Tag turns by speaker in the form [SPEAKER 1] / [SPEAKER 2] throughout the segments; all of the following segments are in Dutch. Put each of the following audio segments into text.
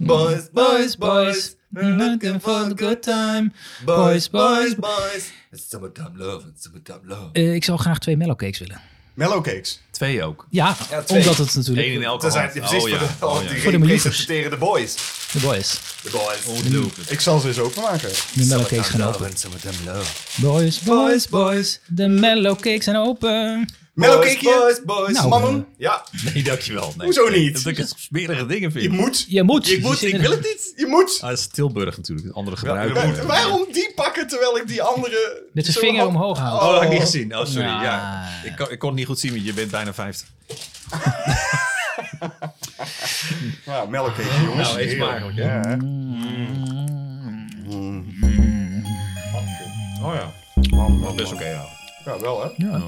[SPEAKER 1] Boys, boys, boys. We're looking for a good time. Boys, boys, boys. It's summertime love, it's summertime love.
[SPEAKER 2] Eh, ik zou graag twee mellowcakes willen.
[SPEAKER 3] Mellowcakes.
[SPEAKER 4] Twee ook.
[SPEAKER 2] Ja,
[SPEAKER 1] Ja, twee.
[SPEAKER 2] omdat het natuurlijk
[SPEAKER 4] Eén in elke
[SPEAKER 1] Dat zijn
[SPEAKER 4] hand.
[SPEAKER 1] die precies
[SPEAKER 4] oh, ja.
[SPEAKER 1] voor de,
[SPEAKER 4] oh, ja.
[SPEAKER 2] Voor de
[SPEAKER 1] die
[SPEAKER 2] miljoeners.
[SPEAKER 1] representeren de boys.
[SPEAKER 2] de boy is.
[SPEAKER 1] De boys.
[SPEAKER 4] Ongelooflijk.
[SPEAKER 3] Ik zal ze eens openmaken.
[SPEAKER 2] De
[SPEAKER 1] nou
[SPEAKER 2] mellowcakes gaan open.
[SPEAKER 1] and summertime love.
[SPEAKER 2] Boys, boys, boys. De mellowcakes zijn open.
[SPEAKER 1] Boys,
[SPEAKER 3] Mellowcakeje.
[SPEAKER 1] boys, boys.
[SPEAKER 2] Nou,
[SPEAKER 3] Mannen,
[SPEAKER 1] eh, Ja,
[SPEAKER 4] Nee, dankjewel. Nee,
[SPEAKER 3] Hoezo
[SPEAKER 4] nee.
[SPEAKER 3] niet?
[SPEAKER 4] Dat ik het smerige dingen
[SPEAKER 3] je
[SPEAKER 4] vind.
[SPEAKER 3] moet.
[SPEAKER 2] Je moet.
[SPEAKER 3] Ik moet.
[SPEAKER 2] Je zit
[SPEAKER 3] Ik
[SPEAKER 2] er-
[SPEAKER 3] wil het niet. Je moet.
[SPEAKER 4] Ah, dat is Tilburg natuurlijk. Een andere gebruik.
[SPEAKER 1] je moet.
[SPEAKER 4] Eh,
[SPEAKER 3] Waarom die pakken terwijl ik die andere...
[SPEAKER 2] Met zijn
[SPEAKER 3] zo
[SPEAKER 2] vinger
[SPEAKER 3] hand-
[SPEAKER 2] omhoog houden.
[SPEAKER 4] Oh, dat had ik niet gezien. Oh, sorry.
[SPEAKER 2] Ja.
[SPEAKER 4] Ja. Ik, kon, ik kon het niet goed zien, want je bent bijna 50.
[SPEAKER 3] Ja, mellowcakeje, jongens.
[SPEAKER 4] Nou, eet smakelijk, hè?
[SPEAKER 3] Ja, hè.
[SPEAKER 4] Oh ja. Dat is oké, ja.
[SPEAKER 3] Ja, wel hè.
[SPEAKER 4] Ja.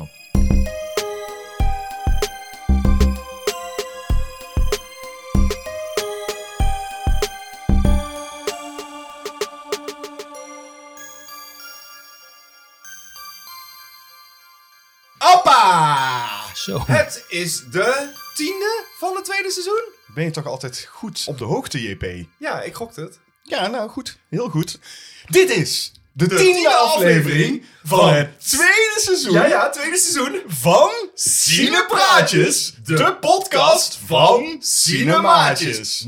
[SPEAKER 1] Appa!
[SPEAKER 2] Zo.
[SPEAKER 1] Het is de tiende van het tweede seizoen.
[SPEAKER 3] Ben je toch altijd goed op de hoogte, JP?
[SPEAKER 1] Ja, ik gokte het.
[SPEAKER 3] Ja, nou goed. Heel goed. Dit is de, tiende,
[SPEAKER 1] tiende
[SPEAKER 3] aflevering van,
[SPEAKER 1] van
[SPEAKER 3] het tweede seizoen
[SPEAKER 1] Ja, ja, tweede seizoen.
[SPEAKER 3] van
[SPEAKER 1] Cinepraatjes,
[SPEAKER 3] Cinepraatjes.
[SPEAKER 1] de
[SPEAKER 3] De, podcast van
[SPEAKER 1] Cinemaatjes.
[SPEAKER 3] Cinemaatjes.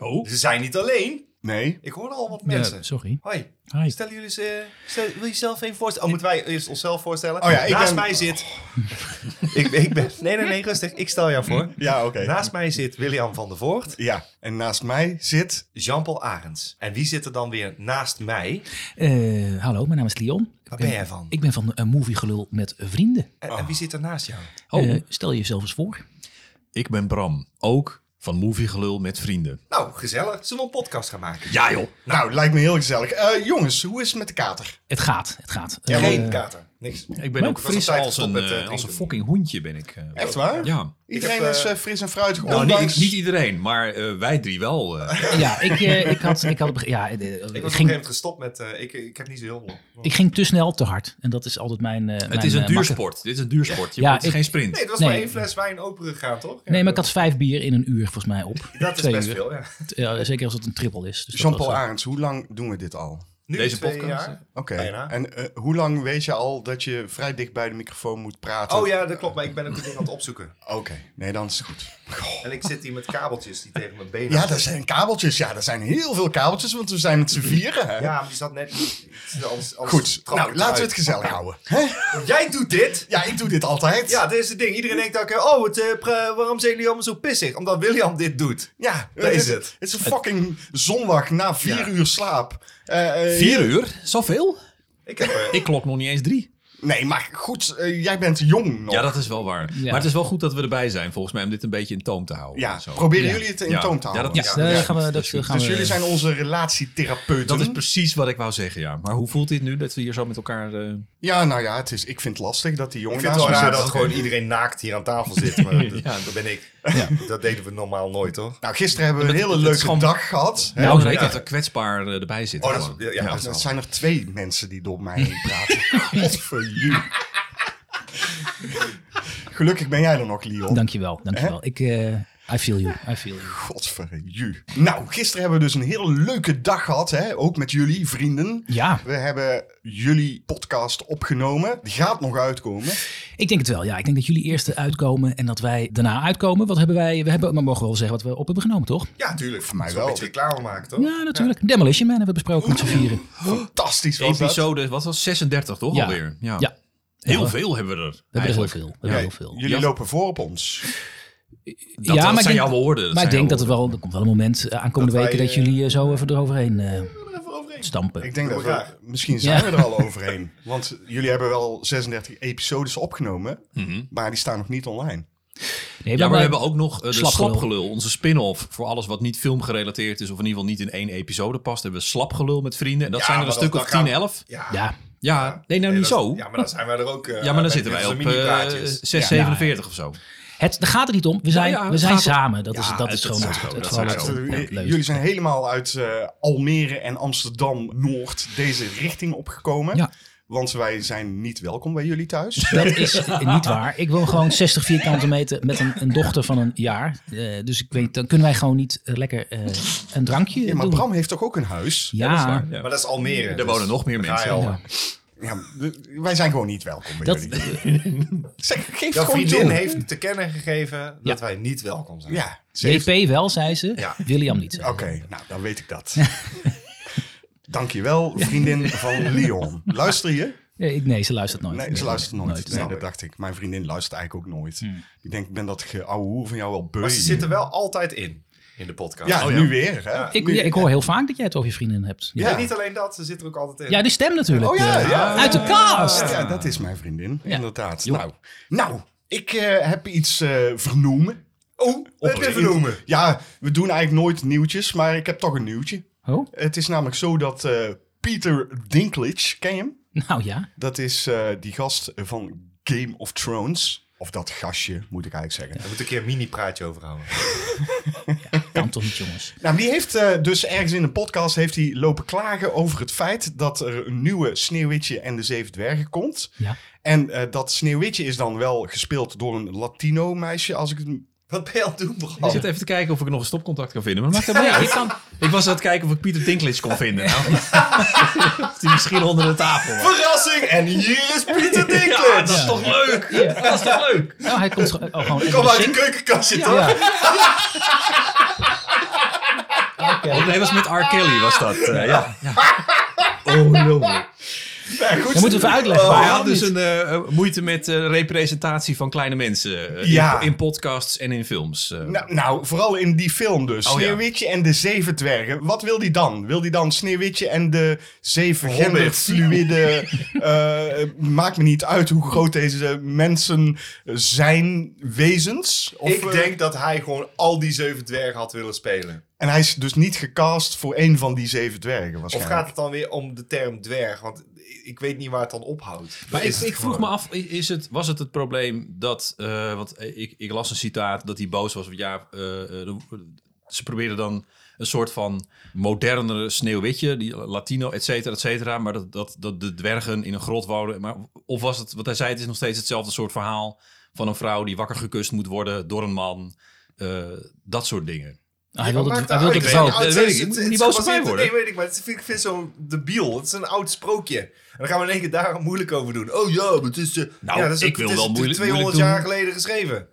[SPEAKER 1] Maar
[SPEAKER 4] Oh.
[SPEAKER 1] ze zijn niet alleen.
[SPEAKER 3] Nee.
[SPEAKER 1] Ik hoorde al wat
[SPEAKER 2] Ja,
[SPEAKER 1] mensen.
[SPEAKER 2] sorry.
[SPEAKER 1] Hoi.
[SPEAKER 2] Hi.
[SPEAKER 1] Stel jullie eens, eh, stel- wil je jezelf even voorstellen? Oh, moeten wij eerst onszelf voorstellen?
[SPEAKER 3] Oh ja, ik
[SPEAKER 1] Naast
[SPEAKER 3] ben-
[SPEAKER 1] mij zit...
[SPEAKER 2] Oh.
[SPEAKER 1] ik, ik ben... Nee, nee, nee, rustig. Ik stel jou voor.
[SPEAKER 3] Ja, oké.
[SPEAKER 1] Naast mij zit William van der Voort,
[SPEAKER 3] Ja. En naast mij zit...
[SPEAKER 1] Jean-Paul Arends. En wie zit er dan weer naast mij?
[SPEAKER 2] Eh, hallo, mijn naam is Leon.
[SPEAKER 1] Waar ben jij van?
[SPEAKER 2] Ik ben van een moviegelul met vrienden.
[SPEAKER 1] En, en wie zit er naast jou?
[SPEAKER 4] Oh.
[SPEAKER 2] Eh, stel jezelf eens voor.
[SPEAKER 4] Ik ben Bram. Ook van Moviegelul met vrienden.
[SPEAKER 1] Nou, gezellig. Zullen we een podcast gaan maken?
[SPEAKER 4] Ja joh.
[SPEAKER 3] Nou, lijkt me heel gezellig. Eh, jongens, hoe is het met de kater?
[SPEAKER 2] Het gaat, het gaat.
[SPEAKER 3] Ja,
[SPEAKER 2] Eh,
[SPEAKER 1] Geen kater. Niks.
[SPEAKER 4] Ik ben
[SPEAKER 2] Maar
[SPEAKER 4] ook
[SPEAKER 2] ik
[SPEAKER 1] was
[SPEAKER 4] fris
[SPEAKER 1] op tijd
[SPEAKER 4] als
[SPEAKER 1] gestopt
[SPEAKER 4] een,
[SPEAKER 1] met, eh,
[SPEAKER 4] eh,
[SPEAKER 1] drinken.
[SPEAKER 4] als een fucking hoentje ben ik. eh.
[SPEAKER 3] Echt waar?
[SPEAKER 4] Ja.
[SPEAKER 3] Iedereen
[SPEAKER 1] Ik heb,
[SPEAKER 3] is
[SPEAKER 1] eh,
[SPEAKER 3] eh, fris en fruitig,
[SPEAKER 4] Nou, niet,
[SPEAKER 3] ondanks...
[SPEAKER 4] niet iedereen, maar eh, wij drie wel. eh.
[SPEAKER 2] ja ik, eh, ik had... Ik, had op een gege- ja, eh, eh,
[SPEAKER 1] Ik
[SPEAKER 2] ik,
[SPEAKER 1] was op een gegeven
[SPEAKER 2] ging,
[SPEAKER 1] moment gestopt met... eh, ik, ik heb niet zo heel veel.
[SPEAKER 2] ik ging te snel te hard. En dat is altijd mijn... eh,
[SPEAKER 4] het
[SPEAKER 2] mijn,
[SPEAKER 4] is een
[SPEAKER 2] eh, makker.
[SPEAKER 4] duursport. Dit is een duursport. Je
[SPEAKER 2] Ja,
[SPEAKER 4] moet- het is
[SPEAKER 2] ik-
[SPEAKER 4] geen sprint.
[SPEAKER 1] Nee, het was
[SPEAKER 2] Nee.
[SPEAKER 1] maar één fles wijn open gegaan, toch? Ja,
[SPEAKER 2] Nee, maar ik had vijf bier in een uur volgens mij op.
[SPEAKER 1] Dat is
[SPEAKER 2] Twee
[SPEAKER 1] best
[SPEAKER 2] uur.
[SPEAKER 1] veel, ja.
[SPEAKER 2] Ja, zeker als het een triple is. Dus dat was,
[SPEAKER 3] Jean-Paul
[SPEAKER 2] eh,
[SPEAKER 3] Arends, hoe lang doen we dit al?
[SPEAKER 1] Nu
[SPEAKER 4] Deze
[SPEAKER 1] twee
[SPEAKER 4] podcast,
[SPEAKER 1] jaar.
[SPEAKER 3] Oké.
[SPEAKER 1] Bijna.
[SPEAKER 3] En eh, hoe lang weet je al dat je vrij dicht bij de microfoon moet praten?
[SPEAKER 1] Oh ja, dat klopt, maar ik ben het ding aan het opzoeken.
[SPEAKER 3] Oké. Nee, dan is het goed.
[SPEAKER 1] En ik zit hier met kabeltjes die tegen mijn benen...
[SPEAKER 3] Ja, dat zijn kabeltjes. Ja, dat zijn heel veel kabeltjes, want we zijn met z'n vieren. Hè?
[SPEAKER 1] Ja, maar die zat net niet. Anders, anders
[SPEAKER 3] Goed,
[SPEAKER 1] trap ik
[SPEAKER 3] nou, laten we
[SPEAKER 1] eruit.
[SPEAKER 3] het gezellig houden. Hè?
[SPEAKER 1] Jij doet dit!
[SPEAKER 3] Ja, ik doe dit altijd.
[SPEAKER 1] Ja, dit is het ding. Iedereen denkt ook, eh, oh, het, eh, pre- waarom zijn jullie allemaal zo pissig? Omdat William dit doet.
[SPEAKER 3] ja
[SPEAKER 1] dat is
[SPEAKER 3] dit-
[SPEAKER 1] het.
[SPEAKER 3] Het is een fucking zondag na vier
[SPEAKER 1] Ja.
[SPEAKER 3] uur slaap. Eh, eh,
[SPEAKER 4] Vier uur? Zoveel?
[SPEAKER 1] Ik heb... eh,
[SPEAKER 4] Ik klok nog niet eens drie.
[SPEAKER 3] Nee, maar goed, eh, jij bent jong nog.
[SPEAKER 4] Ja, dat is wel waar.
[SPEAKER 2] Ja.
[SPEAKER 4] Maar het is wel goed dat we erbij zijn, volgens mij, om dit een beetje in toom te houden.
[SPEAKER 3] Ja,
[SPEAKER 4] Zo.
[SPEAKER 3] proberen
[SPEAKER 2] Ja.
[SPEAKER 3] jullie het in
[SPEAKER 4] Ja.
[SPEAKER 3] toom te
[SPEAKER 4] Ja,
[SPEAKER 3] houden.
[SPEAKER 4] dat-
[SPEAKER 2] Ja,
[SPEAKER 4] Ja,
[SPEAKER 2] daar
[SPEAKER 4] ja,
[SPEAKER 2] gaan we,
[SPEAKER 4] dat
[SPEAKER 2] dat eh,
[SPEAKER 4] is goed.
[SPEAKER 2] gaan
[SPEAKER 3] Dus
[SPEAKER 2] we...
[SPEAKER 3] jullie zijn onze relatietherapeuten.
[SPEAKER 4] Dat is precies wat ik wou zeggen, ja. Maar hoe voelt dit nu dat we hier zo met elkaar... eh,
[SPEAKER 3] Ja, nou ja, het is, ik vind het lastig dat die jongen
[SPEAKER 1] Ik vind het
[SPEAKER 3] naast
[SPEAKER 1] wel
[SPEAKER 3] me
[SPEAKER 1] raar
[SPEAKER 3] zit.
[SPEAKER 1] dat gewoon iedereen naakt hier aan tafel zit. Maar dat, dat ben ik. Dat deden we normaal nooit, toch?
[SPEAKER 3] Nou, gisteren hebben we een
[SPEAKER 4] Dat-
[SPEAKER 3] hele
[SPEAKER 4] dat is
[SPEAKER 3] leuke
[SPEAKER 4] gewoon-
[SPEAKER 3] dag gehad. hè.
[SPEAKER 4] Nou,
[SPEAKER 2] Nou,
[SPEAKER 4] ik
[SPEAKER 2] ja.
[SPEAKER 4] dat er kwetsbaar eh, erbij zit.
[SPEAKER 1] Oh, dat is-
[SPEAKER 4] gewoon.
[SPEAKER 1] ja, ja,
[SPEAKER 3] Dat,
[SPEAKER 1] dat is
[SPEAKER 3] zijn er twee mensen die door mij heen praten. Godverju. Gelukkig ben jij er nog, Leon.
[SPEAKER 2] Dankjewel, dankjewel. Ik, eh I feel you, I feel you.
[SPEAKER 3] Godverju. Nou, gisteren hebben we dus een hele leuke dag gehad. Hè? Ook met jullie, vrienden.
[SPEAKER 2] Ja,
[SPEAKER 3] We hebben jullie podcast opgenomen. Die gaat nog uitkomen.
[SPEAKER 2] ik denk het wel. Ja, ik denk dat jullie eerst uitkomen en dat wij daarna uitkomen. Wat hebben wij? We hebben, maar mogen we wel zeggen wat we op hebben genomen, toch?
[SPEAKER 1] Ja, tuurlijk. Voor mij
[SPEAKER 3] Zo
[SPEAKER 1] wel.
[SPEAKER 3] een
[SPEAKER 1] Een
[SPEAKER 3] beetje
[SPEAKER 1] beetje reclame maken, toch?
[SPEAKER 2] Ja, natuurlijk. Demolition Man hebben we besproken met z'n vieren.
[SPEAKER 3] Fantastisch was dat.
[SPEAKER 4] Episode, wat was 36 toch
[SPEAKER 2] Ja.
[SPEAKER 4] alweer? Ja.
[SPEAKER 2] Ja.
[SPEAKER 4] Heel
[SPEAKER 2] Ja,
[SPEAKER 4] veel hebben we er.
[SPEAKER 2] We hebben er heel
[SPEAKER 4] eigenlijk.
[SPEAKER 2] veel. We
[SPEAKER 3] Ja,
[SPEAKER 2] hebben heel veel.
[SPEAKER 3] Jullie
[SPEAKER 4] Ja.
[SPEAKER 3] lopen voor op ons.
[SPEAKER 4] Dat, dat
[SPEAKER 2] maar ik
[SPEAKER 4] zijn
[SPEAKER 2] denk-
[SPEAKER 4] jouw woorden. dat
[SPEAKER 2] Maar ik
[SPEAKER 4] zijn
[SPEAKER 2] denk
[SPEAKER 4] jouw
[SPEAKER 2] dat er wel, er komt wel een moment eh, aankomende
[SPEAKER 1] Dat wij,
[SPEAKER 2] weken dat
[SPEAKER 1] eh,
[SPEAKER 2] jullie eh, zo even eroverheen eh, stampen.
[SPEAKER 3] Ik denk dat
[SPEAKER 1] Doe maar
[SPEAKER 3] we,
[SPEAKER 1] graag.
[SPEAKER 3] misschien zijn
[SPEAKER 2] Ja.
[SPEAKER 3] we er al overheen. Want jullie hebben wel 36 episodes opgenomen.
[SPEAKER 4] woorden. Mhm.
[SPEAKER 3] Maar die staan nog niet online.
[SPEAKER 2] Nee,
[SPEAKER 4] Ja, maar
[SPEAKER 2] wij-
[SPEAKER 4] we hebben ook nog eh, de
[SPEAKER 2] Slapgelul.
[SPEAKER 4] Slapgelul, onze spin-off voor alles wat niet filmgerelateerd is, of in ieder geval niet in één episode past. Hebben we Slapgelul met vrienden. En dat
[SPEAKER 1] Ja,
[SPEAKER 4] zijn er een
[SPEAKER 1] maar
[SPEAKER 4] stuk
[SPEAKER 1] dat-
[SPEAKER 4] of
[SPEAKER 1] dat
[SPEAKER 4] 10,
[SPEAKER 1] gaan
[SPEAKER 4] 11.
[SPEAKER 1] Ja.
[SPEAKER 2] Ja,
[SPEAKER 4] Ja, nee, nou
[SPEAKER 1] Nee,
[SPEAKER 4] niet
[SPEAKER 1] dat-
[SPEAKER 4] zo.
[SPEAKER 1] Ja, maar dan zijn wij er ook. eh,
[SPEAKER 4] Ja, maar dan
[SPEAKER 1] met
[SPEAKER 4] zitten wij
[SPEAKER 1] onze
[SPEAKER 4] op eh
[SPEAKER 1] mini-praatjes.
[SPEAKER 4] 6, 47 of zo.
[SPEAKER 2] het daar gaat er niet om. We zijn,
[SPEAKER 4] ja, het
[SPEAKER 2] we zijn
[SPEAKER 4] gaat om-
[SPEAKER 2] samen. Dat is,
[SPEAKER 4] Ja,
[SPEAKER 2] dat is
[SPEAKER 4] het-
[SPEAKER 2] gewoon
[SPEAKER 4] het-
[SPEAKER 2] het, het,
[SPEAKER 4] dat is
[SPEAKER 2] verhaal.
[SPEAKER 4] zo.
[SPEAKER 2] Oh, Ja, het leuk.
[SPEAKER 3] jullie zijn eh, helemaal uit eh, Almere en Amsterdam Noord deze richting opgekomen.
[SPEAKER 2] Ja.
[SPEAKER 3] Want wij zijn niet welkom bij jullie thuis.
[SPEAKER 2] Dat is eh, niet waar. Ik wil gewoon 60 vierkante meter met een, een dochter van een jaar. Eh, dus ik weet, dan kunnen wij gewoon niet eh, lekker eh, een drankje
[SPEAKER 3] Ja, maar
[SPEAKER 2] doen.
[SPEAKER 3] Bram heeft toch ook een huis?
[SPEAKER 2] ja,
[SPEAKER 4] dat is waar, ja.
[SPEAKER 1] Maar dat is Almere. dus
[SPEAKER 4] Er wonen nog meer mensen.
[SPEAKER 2] Ja.
[SPEAKER 3] Ja, d- wij zijn gewoon niet welkom bij
[SPEAKER 2] Dat-
[SPEAKER 3] jullie. Zeg, geef
[SPEAKER 1] Jouw
[SPEAKER 3] gewoon
[SPEAKER 1] vriendin
[SPEAKER 3] toe.
[SPEAKER 1] heeft te kennen gegeven dat wij niet welkom zijn.
[SPEAKER 3] Ja, ze heeft-
[SPEAKER 2] JP wel, zei ze.
[SPEAKER 1] Ja.
[SPEAKER 2] William niet. zei
[SPEAKER 3] Oké,
[SPEAKER 2] ze.
[SPEAKER 3] nou dan weet ik dat. Dankjewel, vriendin van Leon. Luister je?
[SPEAKER 2] Eh, ik- Nee, ze luistert nooit.
[SPEAKER 3] Nee, ze luistert nooit.
[SPEAKER 2] Nooit,
[SPEAKER 3] nee,
[SPEAKER 2] snap
[SPEAKER 3] dat
[SPEAKER 2] ik. Hmm.
[SPEAKER 3] dacht ik. Mijn vriendin luistert eigenlijk ook nooit. Ik denk, ik ben dat geouwe hoer van jou wel beu.
[SPEAKER 1] Maar ze zitten wel altijd in, in de podcast.
[SPEAKER 3] Ja,
[SPEAKER 1] Oh,
[SPEAKER 3] nu weer. Hè?
[SPEAKER 2] Ik,
[SPEAKER 3] Nu-
[SPEAKER 2] ja, ik hoor heel vaak dat jij het over je vrienden hebt. Ja,
[SPEAKER 1] En niet alleen dat, ze zitten er ook altijd in.
[SPEAKER 2] Ja, die stem natuurlijk.
[SPEAKER 3] Oh ja,
[SPEAKER 2] eh,
[SPEAKER 3] ja.
[SPEAKER 2] Uit de kast.
[SPEAKER 3] Ja, ja, dat is mijn vriendin, inderdaad.
[SPEAKER 2] Joh.
[SPEAKER 3] Nou, nou, ik eh, heb iets eh, vernoemen.
[SPEAKER 1] Oh,
[SPEAKER 3] Op
[SPEAKER 1] op
[SPEAKER 3] de-
[SPEAKER 1] even noemen.
[SPEAKER 3] Ja, we doen eigenlijk nooit nieuwtjes, maar ik heb toch een nieuwtje.
[SPEAKER 2] Oh,
[SPEAKER 3] Het is namelijk zo dat eh, Peter Dinklage, ken je hem?
[SPEAKER 2] nou ja.
[SPEAKER 3] Dat is eh, die gast van Game of Thrones. Of dat gastje, moet ik eigenlijk zeggen.
[SPEAKER 1] Daar moet ik een keer een mini-praatje over houden.
[SPEAKER 2] Kan toch niet, jongens.
[SPEAKER 3] Nou, die heeft eh, dus ergens in een podcast heeft hij lopen klagen over het feit dat er een nieuwe Sneeuwwitje en de Zeven Dwergen komt.
[SPEAKER 2] Ja.
[SPEAKER 3] En eh, dat Sneeuwwitje is dan wel gespeeld door een Latino meisje, als ik het...
[SPEAKER 1] Wat ben je aan het doen,
[SPEAKER 4] Ik
[SPEAKER 1] Bram?
[SPEAKER 4] zit even te kijken of ik nog een stopcontact kan vinden. Maar maakt helemaal niet uit. Ik, kan- ik was aan het kijken of ik Pieter Dinklage kon vinden. Nou, of die misschien onder de tafel was.
[SPEAKER 1] Verrassing! En hier is Pieter
[SPEAKER 4] Ja, dat
[SPEAKER 1] Dinklage!
[SPEAKER 4] is toch leuk? Dat is toch leuk?
[SPEAKER 2] Nou, hij komt ge- oh, gewoon even
[SPEAKER 1] Kom
[SPEAKER 2] de
[SPEAKER 1] uit de
[SPEAKER 2] zin-
[SPEAKER 1] keukenkast zitten.
[SPEAKER 2] Ja.
[SPEAKER 4] Oh, nee, was met R. Kelly was dat. eh, ja. Oh, jongen.
[SPEAKER 3] Ja, goed.
[SPEAKER 2] Dan moeten we even
[SPEAKER 1] Oh,
[SPEAKER 2] uitleggen.
[SPEAKER 4] Maar hij
[SPEAKER 2] waarom
[SPEAKER 4] had dus
[SPEAKER 2] niet.
[SPEAKER 4] een eh, eh, moeite met eh, representatie van kleine mensen. eh, in-
[SPEAKER 3] Ja.
[SPEAKER 4] in, podcasts en in films. eh.
[SPEAKER 3] Nou, nou, vooral in die film dus.
[SPEAKER 4] Oh, ja.
[SPEAKER 3] Sneeuwwitje en de Zeven Dwergen. Wat wil die dan? Wil die dan Sneeuwwitje en de Zeven
[SPEAKER 1] Hobbits.
[SPEAKER 3] Genderfluïde... eh maakt me niet uit hoe groot deze mensen zijn, wezens. Of,
[SPEAKER 1] Ik
[SPEAKER 3] eh,
[SPEAKER 1] denk dat hij gewoon al die zeven dwergen had willen spelen.
[SPEAKER 3] En hij is dus niet gecast voor één van die Zeven Dwergen
[SPEAKER 1] Of
[SPEAKER 3] waarschijnlijk.
[SPEAKER 1] gaat het dan weer om de term dwerg? Want ik weet niet waar het dan ophoudt.
[SPEAKER 4] Maar
[SPEAKER 1] Dat
[SPEAKER 4] ik,
[SPEAKER 1] is het
[SPEAKER 4] ik vroeg me
[SPEAKER 1] gewoon.
[SPEAKER 4] af, i- is het, was het het probleem dat... eh, want ik, ik las een citaat dat hij boos was. want Ja, eh, eh, de- ze probeerden dan een soort van modernere sneeuwwitje. Die Latino, et cetera, et cetera. Maar dat, dat, dat de dwergen in een grot wonen. Maar, of was het, wat hij zei, het is nog steeds hetzelfde soort verhaal... van een vrouw die wakker gekust moet worden door een man... Eh, dat soort dingen.
[SPEAKER 2] Ah, Hij wilde,
[SPEAKER 1] Maakt
[SPEAKER 2] hij wilde
[SPEAKER 1] uit.
[SPEAKER 2] het wel.
[SPEAKER 4] weet niet. dat ik. Ik moet niet boos op mij
[SPEAKER 1] gebaseerd-
[SPEAKER 4] worden.
[SPEAKER 1] Nee, weet ik, maar het vind, ik vind het zo debiel. Het is een oud sprookje. En dan gaan we in één keer daar moeilijk over doen. Oh ja, maar het is... eh,
[SPEAKER 4] Nou,
[SPEAKER 1] ja, dat is,
[SPEAKER 4] ik
[SPEAKER 1] ook-
[SPEAKER 4] wil
[SPEAKER 1] het is
[SPEAKER 4] wel moeilijk-
[SPEAKER 1] 200 jaar
[SPEAKER 4] moeilijk
[SPEAKER 1] geleden geschreven.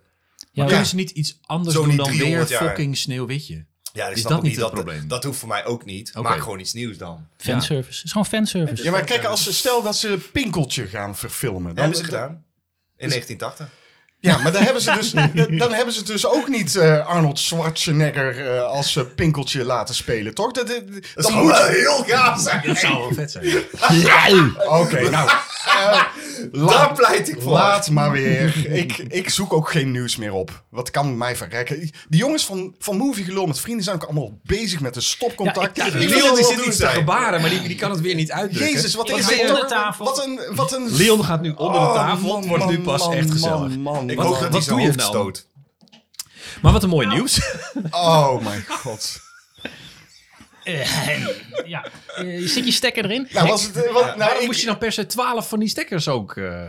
[SPEAKER 2] Ja,
[SPEAKER 4] Kunnen ze niet iets anders
[SPEAKER 1] Zo
[SPEAKER 4] doen
[SPEAKER 1] niet
[SPEAKER 4] dan weer
[SPEAKER 1] 300 jaar.
[SPEAKER 4] fucking sneeuwwitje?
[SPEAKER 1] Ja, ik
[SPEAKER 4] Is
[SPEAKER 1] snap
[SPEAKER 4] dat
[SPEAKER 1] ook
[SPEAKER 4] niet het
[SPEAKER 1] dat,
[SPEAKER 4] probleem?
[SPEAKER 1] Dat hoeft voor mij ook niet.
[SPEAKER 4] Oké.
[SPEAKER 1] Maak gewoon iets nieuws dan.
[SPEAKER 2] fanservice. Het is gewoon fanservice.
[SPEAKER 3] Ja, maar kijk, als, ze- stel dat ze Pinkeltje gaan verfilmen.
[SPEAKER 1] Dat
[SPEAKER 3] Dan,
[SPEAKER 1] hebben ze gedaan. In 1980.
[SPEAKER 3] Ja, maar dan hebben ze dus, dan hebben ze dus ook niet eh, Arnold Schwarzenegger eh, als eh, Pinkeltje laten spelen, toch? Dat, dat,
[SPEAKER 1] Dat
[SPEAKER 3] dat
[SPEAKER 1] zou
[SPEAKER 3] moet-
[SPEAKER 1] wel heel gaaf zijn.
[SPEAKER 4] Dat zou wel vet zijn.
[SPEAKER 3] Oké, nou. eh,
[SPEAKER 1] Daar
[SPEAKER 3] laat,
[SPEAKER 1] pleit ik voor.
[SPEAKER 3] laat maar weer. Ik, ik zoek ook geen nieuws meer op. Wat kan mij verrekken? Die jongens van, van Movie Gelul met vrienden zijn ook allemaal bezig met een stopcontact.
[SPEAKER 4] Ja, ik-
[SPEAKER 3] Ik-
[SPEAKER 1] Leon,
[SPEAKER 4] Leon
[SPEAKER 1] die
[SPEAKER 4] die
[SPEAKER 1] zit
[SPEAKER 4] zit
[SPEAKER 1] iets
[SPEAKER 4] iets
[SPEAKER 1] te
[SPEAKER 4] te gebaren, maar die, die kan het weer niet uitdrukken.
[SPEAKER 3] Jezus, wat
[SPEAKER 2] Ik
[SPEAKER 3] is
[SPEAKER 2] zit
[SPEAKER 3] dit?
[SPEAKER 2] onder
[SPEAKER 3] toch?
[SPEAKER 2] de tafel.
[SPEAKER 3] Wat een... Wat een
[SPEAKER 4] Leon gaat nu onder de tafel.
[SPEAKER 3] Oh, man,
[SPEAKER 4] het wordt nu
[SPEAKER 3] man,
[SPEAKER 4] pas
[SPEAKER 3] man,
[SPEAKER 4] echt gezellig.
[SPEAKER 3] man, man.
[SPEAKER 1] Ik
[SPEAKER 3] Wat-
[SPEAKER 1] hoop dat hij
[SPEAKER 4] wat
[SPEAKER 1] zijn
[SPEAKER 4] doe je
[SPEAKER 1] hoofd
[SPEAKER 4] nou?
[SPEAKER 1] stoot.
[SPEAKER 4] Maar wat een mooi nieuws.
[SPEAKER 3] Oh mijn god.
[SPEAKER 2] Eh, ja. Eh, zit je stekker erin?
[SPEAKER 3] Nou, was het, eh, wat, nou,
[SPEAKER 4] Waarom
[SPEAKER 3] ik-
[SPEAKER 4] moest je dan per se 12 van die stekkers ook? eh,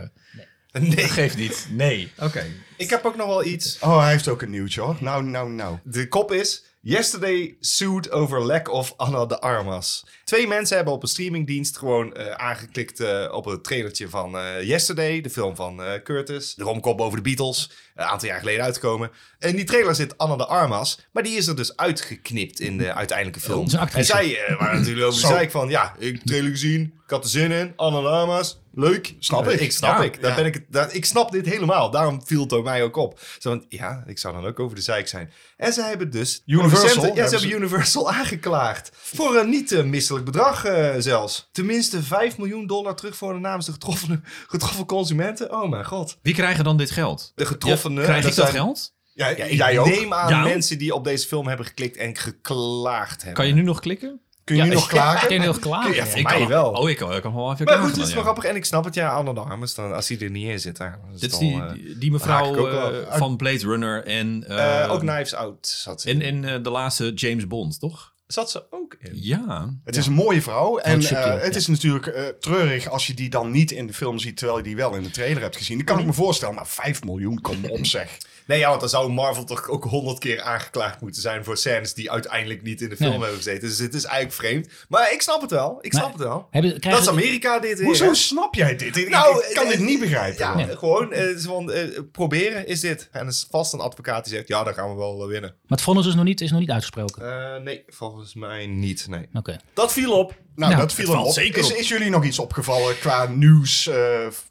[SPEAKER 1] Nee,
[SPEAKER 4] Dat geeft niet. Nee. Oké.
[SPEAKER 1] ik heb ook nog wel iets.
[SPEAKER 3] Oh, hij heeft ook een nieuwtje hoor. Nou, nou, nou.
[SPEAKER 1] De kop is... Yesterday sued over lack of Anna de Armas. Twee mensen hebben op een streamingdienst gewoon eh, aangeklikt eh, op het trailertje van eh, Yesterday, de film van eh, Curtis. De romkop over de Beatles, eh, een aantal jaar geleden uitgekomen. En die trailer zit Anna de Armas, maar die is er dus uitgeknipt in de uiteindelijke film.
[SPEAKER 2] is een
[SPEAKER 1] en
[SPEAKER 2] actrice.
[SPEAKER 1] zij eh, waren natuurlijk over de
[SPEAKER 3] Zo.
[SPEAKER 1] zeik van, ja, ik heb de trailer gezien, ik had er zin in, Anna de Armas, leuk.
[SPEAKER 3] Snap
[SPEAKER 1] Eh,
[SPEAKER 3] ik.
[SPEAKER 1] Ik snap
[SPEAKER 3] Ja,
[SPEAKER 1] ik. Daar
[SPEAKER 3] ja.
[SPEAKER 1] ben ik, het- daar, ik snap dit helemaal. Daarom viel het ook mij ook op. Zo van, ja, ik zou dan ook over de zeik zijn. En ze hebben dus...
[SPEAKER 3] Universal,
[SPEAKER 1] producenten- Ja,
[SPEAKER 3] hebben
[SPEAKER 1] ze hebben
[SPEAKER 3] ze-
[SPEAKER 1] Universal aangeklaagd. Voor een niet eh, misselijk bedrag eh, zelfs. Tenminste 5 miljoen dollar terug voor de namens de getroffenen, getroffen consumenten. Oh mijn god.
[SPEAKER 4] Wie krijgen dan dit geld?
[SPEAKER 1] De getroffenen...
[SPEAKER 4] Krijg ik dat
[SPEAKER 1] zijn-
[SPEAKER 4] geld?
[SPEAKER 3] Ja,
[SPEAKER 1] Ja, ik
[SPEAKER 3] jij ook.
[SPEAKER 1] neem aan
[SPEAKER 4] Ja.
[SPEAKER 1] mensen die op deze film hebben geklikt en geklaagd hebben.
[SPEAKER 4] Kan je nu nog klikken?
[SPEAKER 3] Kun je nu nog
[SPEAKER 2] Ik
[SPEAKER 3] klagen?
[SPEAKER 2] ben heel klaar.
[SPEAKER 1] Ja, voor
[SPEAKER 4] ik
[SPEAKER 1] mij
[SPEAKER 4] kan,
[SPEAKER 1] wel.
[SPEAKER 4] Oh, ik kan, ik kan wel even
[SPEAKER 1] Maar
[SPEAKER 4] klagen
[SPEAKER 1] goed, het
[SPEAKER 4] dan,
[SPEAKER 1] is
[SPEAKER 4] ja.
[SPEAKER 1] wel grappig. En ik snap het, ja, Anne de Armas, dan, als hij er niet in zit. dan is
[SPEAKER 4] Dit is
[SPEAKER 1] het al,
[SPEAKER 4] die,
[SPEAKER 1] eh,
[SPEAKER 4] die- die
[SPEAKER 1] haak ik ook
[SPEAKER 4] mevrouw
[SPEAKER 1] wel
[SPEAKER 4] eh,
[SPEAKER 1] af.
[SPEAKER 4] van Blade Runner en... eh,
[SPEAKER 1] eh, ook Knives Out zat ze in.
[SPEAKER 4] En, en eh, de laatste James Bond, toch?
[SPEAKER 1] zat ze ook in.
[SPEAKER 4] Ja.
[SPEAKER 3] Het is een mooie vrouw. En
[SPEAKER 2] is subtiel,
[SPEAKER 3] eh, het
[SPEAKER 2] ja.
[SPEAKER 3] is natuurlijk eh, treurig als je die dan niet in de film ziet, terwijl je die wel in de trailer hebt gezien. Dat kan
[SPEAKER 4] Mhm.
[SPEAKER 3] ik me voorstellen, maar 5 miljoen, kom op zeg.
[SPEAKER 1] Nee, ja, want dan zou Marvel toch ook honderd keer aangeklaagd moeten zijn voor scènes die uiteindelijk niet in de film
[SPEAKER 2] Nee.
[SPEAKER 1] hebben gezeten. Dus het is eigenlijk vreemd. Maar ik snap het wel. Ik
[SPEAKER 2] Maar-
[SPEAKER 1] snap het wel.
[SPEAKER 2] Hebben,
[SPEAKER 1] Dat
[SPEAKER 2] krijgen,
[SPEAKER 1] is Amerika dit eh, weer.
[SPEAKER 3] Hoezo
[SPEAKER 1] hè?
[SPEAKER 3] snap jij dit? Ik,
[SPEAKER 1] Nou,
[SPEAKER 3] ik kan
[SPEAKER 1] eh,
[SPEAKER 3] dit niet begrijpen.
[SPEAKER 1] Ja,
[SPEAKER 3] hoor.
[SPEAKER 1] gewoon eh, het is van, eh, proberen is dit. En er is vast een advocaat die zegt, ja, dan gaan we wel eh, winnen.
[SPEAKER 2] maar het vonnis is nog niet, is nog niet uitgesproken.
[SPEAKER 1] Eh, nee, volgens mij niet, nee.
[SPEAKER 2] Oké.
[SPEAKER 1] Dat viel op.
[SPEAKER 3] Nou,
[SPEAKER 2] Nou,
[SPEAKER 3] dat viel
[SPEAKER 4] het
[SPEAKER 3] hem op.
[SPEAKER 4] valt zeker
[SPEAKER 3] Is,
[SPEAKER 4] op.
[SPEAKER 3] is jullie nog iets opgevallen qua nieuws? eh,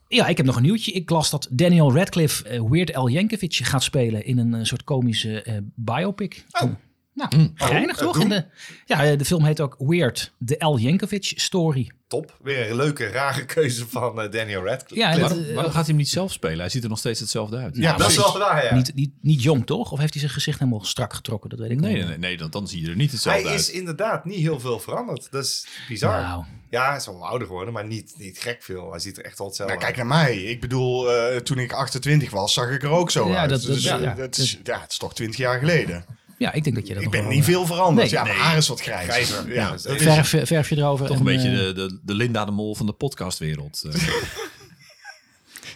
[SPEAKER 2] Ja, ik heb nog een nieuwtje. Ik las dat Daniel Radcliffe eh, Weird Al Yankovic gaat spelen in een eh, soort komische eh, biopic. Oh. Nou, geinig toch? En de, ja, eh, de film heet ook Weird, de Al Yankovic Story.
[SPEAKER 1] Top. Weer een leuke, rare keuze van eh, Daniel Radcliffe.
[SPEAKER 2] Ja, en dat,
[SPEAKER 4] Waarom,
[SPEAKER 2] eh,
[SPEAKER 4] waarom gaat hij hem niet zelf spelen? Hij ziet er nog steeds hetzelfde uit.
[SPEAKER 3] ja,
[SPEAKER 1] dat is
[SPEAKER 3] precies.
[SPEAKER 1] wel waar, ja.
[SPEAKER 2] niet, niet, niet jong toch? Of heeft hij zijn gezicht helemaal strak getrokken? Dat weet ik
[SPEAKER 4] Nee,
[SPEAKER 2] niet.
[SPEAKER 4] nee, nee, nee dan, dan zie je er niet
[SPEAKER 1] Hij
[SPEAKER 4] hetzelfde
[SPEAKER 1] is
[SPEAKER 4] uit.
[SPEAKER 1] inderdaad niet heel veel veranderd. Dat is bizar.
[SPEAKER 2] Nou.
[SPEAKER 1] Ja, hij is wel ouder geworden, maar niet, niet gek veel. Hij ziet er echt wel hetzelfde
[SPEAKER 3] Nou, kijk naar mij. Ik bedoel, eh, toen ik 28 was, zag ik er ook zo
[SPEAKER 2] Ja,
[SPEAKER 3] uit.
[SPEAKER 2] dat- dat-
[SPEAKER 3] dus,
[SPEAKER 2] ja,
[SPEAKER 3] eh,
[SPEAKER 2] ja.
[SPEAKER 3] dat is, ja, het is toch 20 jaar geleden.
[SPEAKER 2] Ja, ik denk dat je dat
[SPEAKER 3] Ik
[SPEAKER 2] nog
[SPEAKER 3] ben
[SPEAKER 2] wel,
[SPEAKER 3] niet
[SPEAKER 2] eh,
[SPEAKER 3] veel veranderd.
[SPEAKER 2] nee.
[SPEAKER 3] ja, mijn haar is wat grijzer.
[SPEAKER 1] Grijzer, ja.
[SPEAKER 3] Ja,
[SPEAKER 1] Dat is-
[SPEAKER 2] Verf, eh, verf je erover.
[SPEAKER 4] Toch
[SPEAKER 2] en,
[SPEAKER 4] een beetje
[SPEAKER 2] eh,
[SPEAKER 4] de, de, de Linda de Mol van de podcastwereld. eh.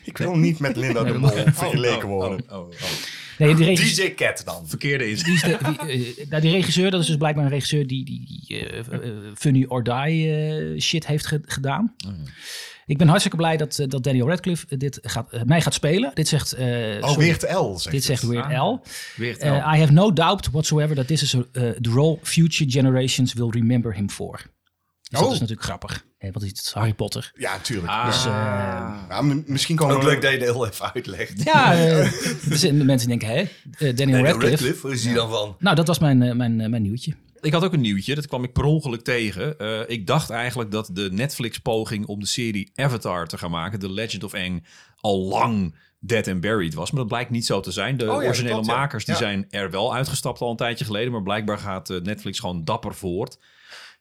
[SPEAKER 3] Ik wil niet met Linda de Mol vergeleken worden.
[SPEAKER 4] Oh, oh, oh.
[SPEAKER 2] nee, die regisseur-
[SPEAKER 1] DJ Cat dan.
[SPEAKER 4] Verkeerde is.
[SPEAKER 2] Die, is de, die, eh, nou, die regisseur, dat is dus blijkbaar een regisseur die, die, die, eh, eh, Funny or Die eh, shit heeft ge- gedaan.
[SPEAKER 4] Oh,
[SPEAKER 2] Ik ben hartstikke blij dat, eh, dat Daniel Radcliffe eh, dit gaat, eh, mij gaat spelen. Dit zegt, eh,
[SPEAKER 3] Oh,
[SPEAKER 2] sorry,
[SPEAKER 3] Weert L. dus. Zegt
[SPEAKER 2] dit zegt
[SPEAKER 3] het.
[SPEAKER 2] Weird
[SPEAKER 4] Ah.
[SPEAKER 2] Al.
[SPEAKER 4] Weer het
[SPEAKER 2] Eh, I have no doubt whatsoever that this is a, eh, the role future generations will remember him for. Dus dat
[SPEAKER 3] Oh.
[SPEAKER 2] is natuurlijk grappig, hè, want het is Harry Potter.
[SPEAKER 3] Ja, tuurlijk.
[SPEAKER 4] Ah.
[SPEAKER 2] Dus, eh,
[SPEAKER 3] Ja, m- misschien komen
[SPEAKER 1] Ook
[SPEAKER 3] we-
[SPEAKER 1] leuk dat je het heel even uitlegt.
[SPEAKER 2] ja, eh, dus, eh, mensen denken, hè, eh, Daniel Radcliffe.
[SPEAKER 1] Radcliffe, hoe is die dan van?
[SPEAKER 2] Nou, dat was mijn, eh, mijn, eh, mijn nieuwtje.
[SPEAKER 4] Ik had ook een nieuwtje, dat kwam ik per ongeluk tegen. Eh, ik dacht eigenlijk dat de Netflix-poging om de serie Avatar te gaan maken, The Legend of Aang, al lang dead and buried was. Maar dat blijkt niet zo te zijn. De
[SPEAKER 1] Oh ja, dat
[SPEAKER 4] originele
[SPEAKER 1] klopt, ja.
[SPEAKER 4] makers die
[SPEAKER 1] Ja.
[SPEAKER 4] zijn er wel uitgestapt al een tijdje geleden, maar blijkbaar gaat eh, Netflix gewoon dapper voort.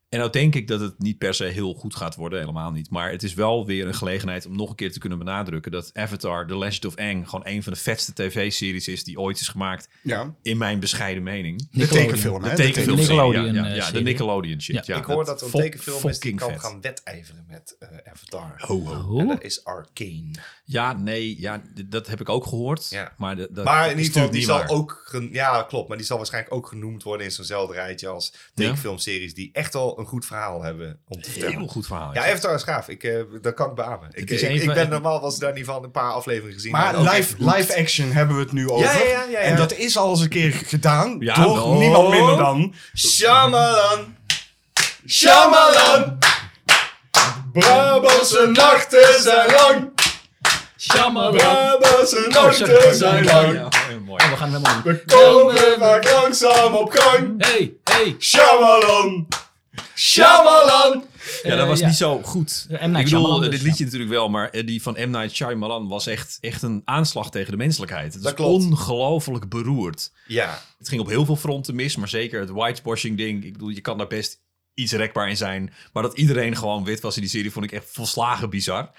[SPEAKER 4] En nou denk ik dat het niet per se heel goed gaat worden, helemaal niet. Maar het is wel weer een gelegenheid om nog een keer te kunnen benadrukken dat Avatar, The Legend of Aang, gewoon een van de vetste tv-series is die ooit is gemaakt,
[SPEAKER 3] Ja,
[SPEAKER 4] in mijn bescheiden mening.
[SPEAKER 3] de
[SPEAKER 2] Nickelodeon.
[SPEAKER 3] tekenfilm. hè,
[SPEAKER 4] De
[SPEAKER 3] de teken-
[SPEAKER 4] tekenfilm.
[SPEAKER 2] Nickelodeon,
[SPEAKER 4] ja, ja,
[SPEAKER 2] eh,
[SPEAKER 4] ja, de
[SPEAKER 2] serie.
[SPEAKER 4] Nickelodeon shit. Ja.
[SPEAKER 1] ik hoor dat er
[SPEAKER 4] we
[SPEAKER 1] een tekenfilm is die kan gaan wedijveren met eh, Avatar. En dat is Arcane.
[SPEAKER 4] Ja, nee, ja, d- dat heb ik ook gehoord.
[SPEAKER 1] Ja.
[SPEAKER 4] Maar, de, dat
[SPEAKER 1] maar
[SPEAKER 4] is
[SPEAKER 1] in ieder geval,
[SPEAKER 4] natuurlijk
[SPEAKER 1] die
[SPEAKER 4] niet
[SPEAKER 1] zal
[SPEAKER 4] waar.
[SPEAKER 1] ook... gen- Ja, klopt. Maar die zal waarschijnlijk ook genoemd worden in zo'nzelfde rijtje als tekenfilmseries... die echt al een goed verhaal hebben om te vertellen.
[SPEAKER 4] Heel goed verhaal.
[SPEAKER 1] Ja,
[SPEAKER 4] Oh, is
[SPEAKER 1] Avatar is gaaf. Ik, eh, dat kan ik beamen. Ik,
[SPEAKER 4] is
[SPEAKER 1] ik,
[SPEAKER 4] een
[SPEAKER 1] ik
[SPEAKER 4] van-
[SPEAKER 1] ben normaal was ik daar niet van een paar afleveringen gezien.
[SPEAKER 3] Maar
[SPEAKER 1] En ook echt
[SPEAKER 3] live,
[SPEAKER 1] goed.
[SPEAKER 3] live action hebben we het nu over.
[SPEAKER 1] ja, ja, ja, ja.
[SPEAKER 3] En dat is al eens een keer gedaan
[SPEAKER 4] Ja,
[SPEAKER 3] door
[SPEAKER 4] wel.
[SPEAKER 3] niemand minder dan...
[SPEAKER 1] Shyamalan. Shyamalan. Brabantse nachten zijn lang. Brabantse
[SPEAKER 4] Nou,
[SPEAKER 1] nachten zijn
[SPEAKER 4] het.
[SPEAKER 1] lang.
[SPEAKER 4] Ja, heel mooi.
[SPEAKER 2] Oh, We gaan helemaal
[SPEAKER 1] We komen vaak langzaam op gang.
[SPEAKER 2] Hey, hey.
[SPEAKER 1] Shyamalan. Shyamalan.
[SPEAKER 4] Ja, dat
[SPEAKER 2] Eh,
[SPEAKER 4] was
[SPEAKER 2] ja.
[SPEAKER 4] niet zo goed.
[SPEAKER 2] Night
[SPEAKER 4] ik bedoel,
[SPEAKER 2] Shyamalan
[SPEAKER 4] eh,
[SPEAKER 2] dus,
[SPEAKER 4] dit liedje natuurlijk wel, maar eh, die van M. Night Shyamalan was echt, echt een aanslag tegen de menselijkheid. Het
[SPEAKER 1] Dat
[SPEAKER 4] is
[SPEAKER 1] klopt.
[SPEAKER 4] ongelooflijk beroerd.
[SPEAKER 1] Ja.
[SPEAKER 4] Het ging op heel veel fronten mis, maar zeker het whitewashing ding. Ik bedoel, je kan daar best iets rekbaar in zijn. Maar dat iedereen gewoon wit was in die serie, vond ik echt volslagen bizar.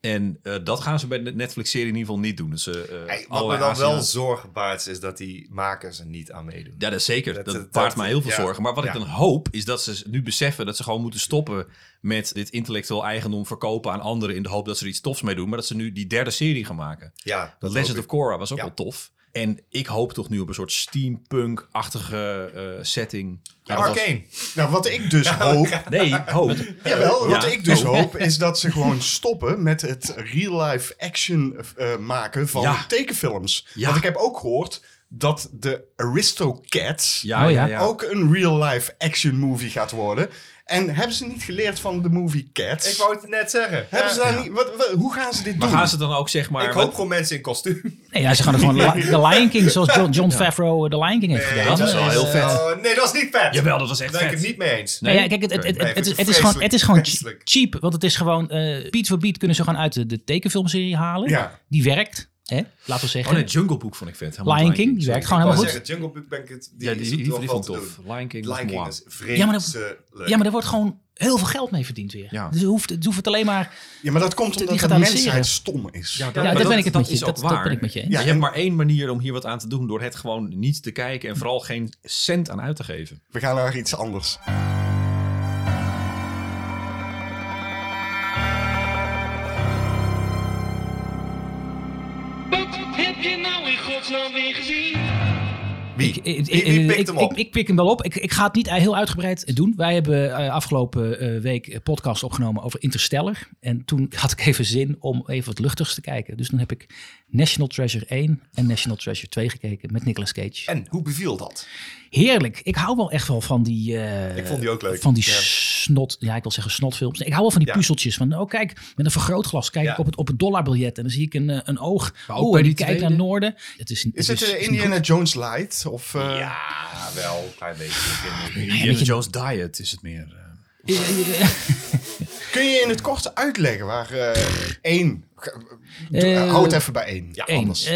[SPEAKER 4] En eh, dat gaan ze bij de Netflix-serie in ieder geval niet doen. Dus, eh, eh,
[SPEAKER 1] Hey, wat me
[SPEAKER 4] allerlei
[SPEAKER 1] dan
[SPEAKER 4] Azië-
[SPEAKER 1] wel zorgen baart is dat die makers er niet aan meedoen.
[SPEAKER 4] Ja, dat is zeker.
[SPEAKER 1] Dat-
[SPEAKER 4] Dat,
[SPEAKER 1] dat-
[SPEAKER 4] baart mij heel veel
[SPEAKER 1] ja.
[SPEAKER 4] zorgen. Maar wat
[SPEAKER 1] Ja.
[SPEAKER 4] ik dan hoop, is dat ze nu beseffen dat ze gewoon moeten stoppen met dit intellectueel eigendom verkopen aan anderen. In de hoop dat ze er iets tofs mee doen. Maar dat ze nu die derde serie gaan maken.
[SPEAKER 1] Ja,
[SPEAKER 4] Dat
[SPEAKER 1] hoop
[SPEAKER 4] Legend
[SPEAKER 1] ik.
[SPEAKER 4] of Korra was ook
[SPEAKER 1] Ja.
[SPEAKER 4] wel tof. En ik hoop toch nu op een soort steampunk-achtige eh, setting. Ja, dat was-
[SPEAKER 1] Arcane.
[SPEAKER 3] Nou, wat ik dus hoop...
[SPEAKER 4] Nee, hoop.
[SPEAKER 3] Jawel, wat
[SPEAKER 4] Ja.
[SPEAKER 3] ik dus
[SPEAKER 4] Oh.
[SPEAKER 3] hoop is dat ze gewoon stoppen met het real-life action eh, maken van
[SPEAKER 4] Ja.
[SPEAKER 3] tekenfilms.
[SPEAKER 4] Ja.
[SPEAKER 3] Want ik heb ook gehoord dat de Aristocats
[SPEAKER 4] Ja,
[SPEAKER 2] Oh, ja.
[SPEAKER 4] ja, ja.
[SPEAKER 3] ook een real-life action movie gaat worden. En hebben ze niet geleerd van de movie Cats?
[SPEAKER 1] Ik wou het net zeggen.
[SPEAKER 3] Hebben
[SPEAKER 1] Ja.
[SPEAKER 3] ze daar niet... Wat, wat- hoe gaan ze dit
[SPEAKER 4] Maar
[SPEAKER 3] doen?
[SPEAKER 4] gaan ze dan ook zeg maar...
[SPEAKER 1] Ik hoop gewoon mensen in kostuum.
[SPEAKER 2] Nee, ja, ze gaan er gewoon li- de Lion King, zoals John, John Favreau de Lion King heeft gedaan. Eh,
[SPEAKER 4] dat is wel heel vet.
[SPEAKER 1] Oh, nee, dat is niet vet.
[SPEAKER 4] Jawel, dat was echt
[SPEAKER 1] Daar ben ik het
[SPEAKER 4] vet.
[SPEAKER 1] niet mee eens.
[SPEAKER 2] Nee, nou ja, kijk, het, het,
[SPEAKER 4] Oké.
[SPEAKER 2] het,
[SPEAKER 1] Nee,
[SPEAKER 2] het
[SPEAKER 1] vind
[SPEAKER 2] is,
[SPEAKER 1] ik
[SPEAKER 2] het is gewoon,
[SPEAKER 1] vreselijk.
[SPEAKER 2] het is gewoon
[SPEAKER 1] Vreselijk.
[SPEAKER 2] cheap, want het is gewoon, eh beat voor beat kunnen ze gewoon uit de, de tekenfilmserie halen.
[SPEAKER 3] Ja.
[SPEAKER 2] Die werkt. Hè? Laten we
[SPEAKER 4] Oh
[SPEAKER 2] zeggen.
[SPEAKER 4] nee, Jungle Book vond ik vet. Helemaal
[SPEAKER 2] Lion King, die
[SPEAKER 4] sorry.
[SPEAKER 2] werkt gewoon helemaal
[SPEAKER 1] Ik
[SPEAKER 2] Nou, goed.
[SPEAKER 1] wou zeggen, Jungle Book Banket, die,
[SPEAKER 4] Ja,
[SPEAKER 1] is
[SPEAKER 4] die, die,
[SPEAKER 1] wel
[SPEAKER 4] die
[SPEAKER 1] wat
[SPEAKER 4] vond
[SPEAKER 1] te
[SPEAKER 4] ik tof.
[SPEAKER 1] doen.
[SPEAKER 4] Lion King, was
[SPEAKER 1] Lion King
[SPEAKER 4] mooi.
[SPEAKER 1] is
[SPEAKER 2] Ja, maar
[SPEAKER 1] vreselijk.
[SPEAKER 2] Ja, maar er wordt gewoon heel veel geld mee verdiend weer.
[SPEAKER 4] Ja.
[SPEAKER 2] Dus het hoeft, het hoeft het alleen maar...
[SPEAKER 3] Ja, maar dat komt
[SPEAKER 2] Die
[SPEAKER 3] omdat
[SPEAKER 2] gaat
[SPEAKER 3] de
[SPEAKER 2] analyseren.
[SPEAKER 3] mensheid stom is.
[SPEAKER 4] Ja, dat,
[SPEAKER 2] Ja,
[SPEAKER 4] maar
[SPEAKER 2] dat,
[SPEAKER 4] dat-
[SPEAKER 2] ben ik het
[SPEAKER 4] dat
[SPEAKER 2] met je.
[SPEAKER 4] is ook
[SPEAKER 2] Dat, dat
[SPEAKER 4] waar.
[SPEAKER 2] ben ik met je eens.
[SPEAKER 3] Ja,
[SPEAKER 4] je
[SPEAKER 3] en-
[SPEAKER 4] hebt maar één manier om hier wat aan te doen door het gewoon niet te kijken en vooral geen cent aan uit te geven.
[SPEAKER 3] We gaan naar iets anders.
[SPEAKER 5] Wat heb je nou in godsnaam weer gezien?
[SPEAKER 1] Wie?
[SPEAKER 2] Ik,
[SPEAKER 1] Wie-
[SPEAKER 2] ik,
[SPEAKER 1] wie
[SPEAKER 2] ik-
[SPEAKER 1] pikt
[SPEAKER 2] ik-
[SPEAKER 1] hem op?
[SPEAKER 2] ik- ik pik hem wel op. Ik, ik ga het niet heel uitgebreid doen. Wij hebben eh, afgelopen eh, week een podcast opgenomen over Interstellar. En toen had ik even zin om even wat luchtigs te kijken. Dus toen heb ik National Treasure 1 en National Treasure 2 gekeken met Nicolas Cage.
[SPEAKER 1] En hoe beviel dat?
[SPEAKER 2] Heerlijk. Ik hou wel echt wel van die... eh,
[SPEAKER 1] Ik vond die ook leuk.
[SPEAKER 2] Van die
[SPEAKER 1] Ja.
[SPEAKER 2] snot... Ja, ik wil zeggen snotfilms. Nee, ik hou wel van die
[SPEAKER 1] Ja.
[SPEAKER 2] puzzeltjes. Van, oh kijk, met een vergrootglas kijk
[SPEAKER 1] Ja.
[SPEAKER 2] ik op het, op het dollarbiljet. En dan zie ik een, eh, een oog.
[SPEAKER 4] Maar ook
[SPEAKER 2] Oh,
[SPEAKER 4] bij
[SPEAKER 2] en die
[SPEAKER 4] die
[SPEAKER 2] kijkt naar
[SPEAKER 4] tweede?
[SPEAKER 2] noorden. Het is,
[SPEAKER 3] Is
[SPEAKER 2] het
[SPEAKER 3] het
[SPEAKER 2] dus is-
[SPEAKER 3] eh,
[SPEAKER 2] is niet
[SPEAKER 3] Indiana Jones Light? Of, eh,
[SPEAKER 1] Ja, wel een klein beetje.
[SPEAKER 4] Indiana Jones Diet is het meer. eh.
[SPEAKER 3] Kun je in het kort uitleggen waar eh, één...
[SPEAKER 2] Eh,
[SPEAKER 3] Houd het even bij één. Ja,
[SPEAKER 2] Eén.
[SPEAKER 3] anders
[SPEAKER 2] Eh,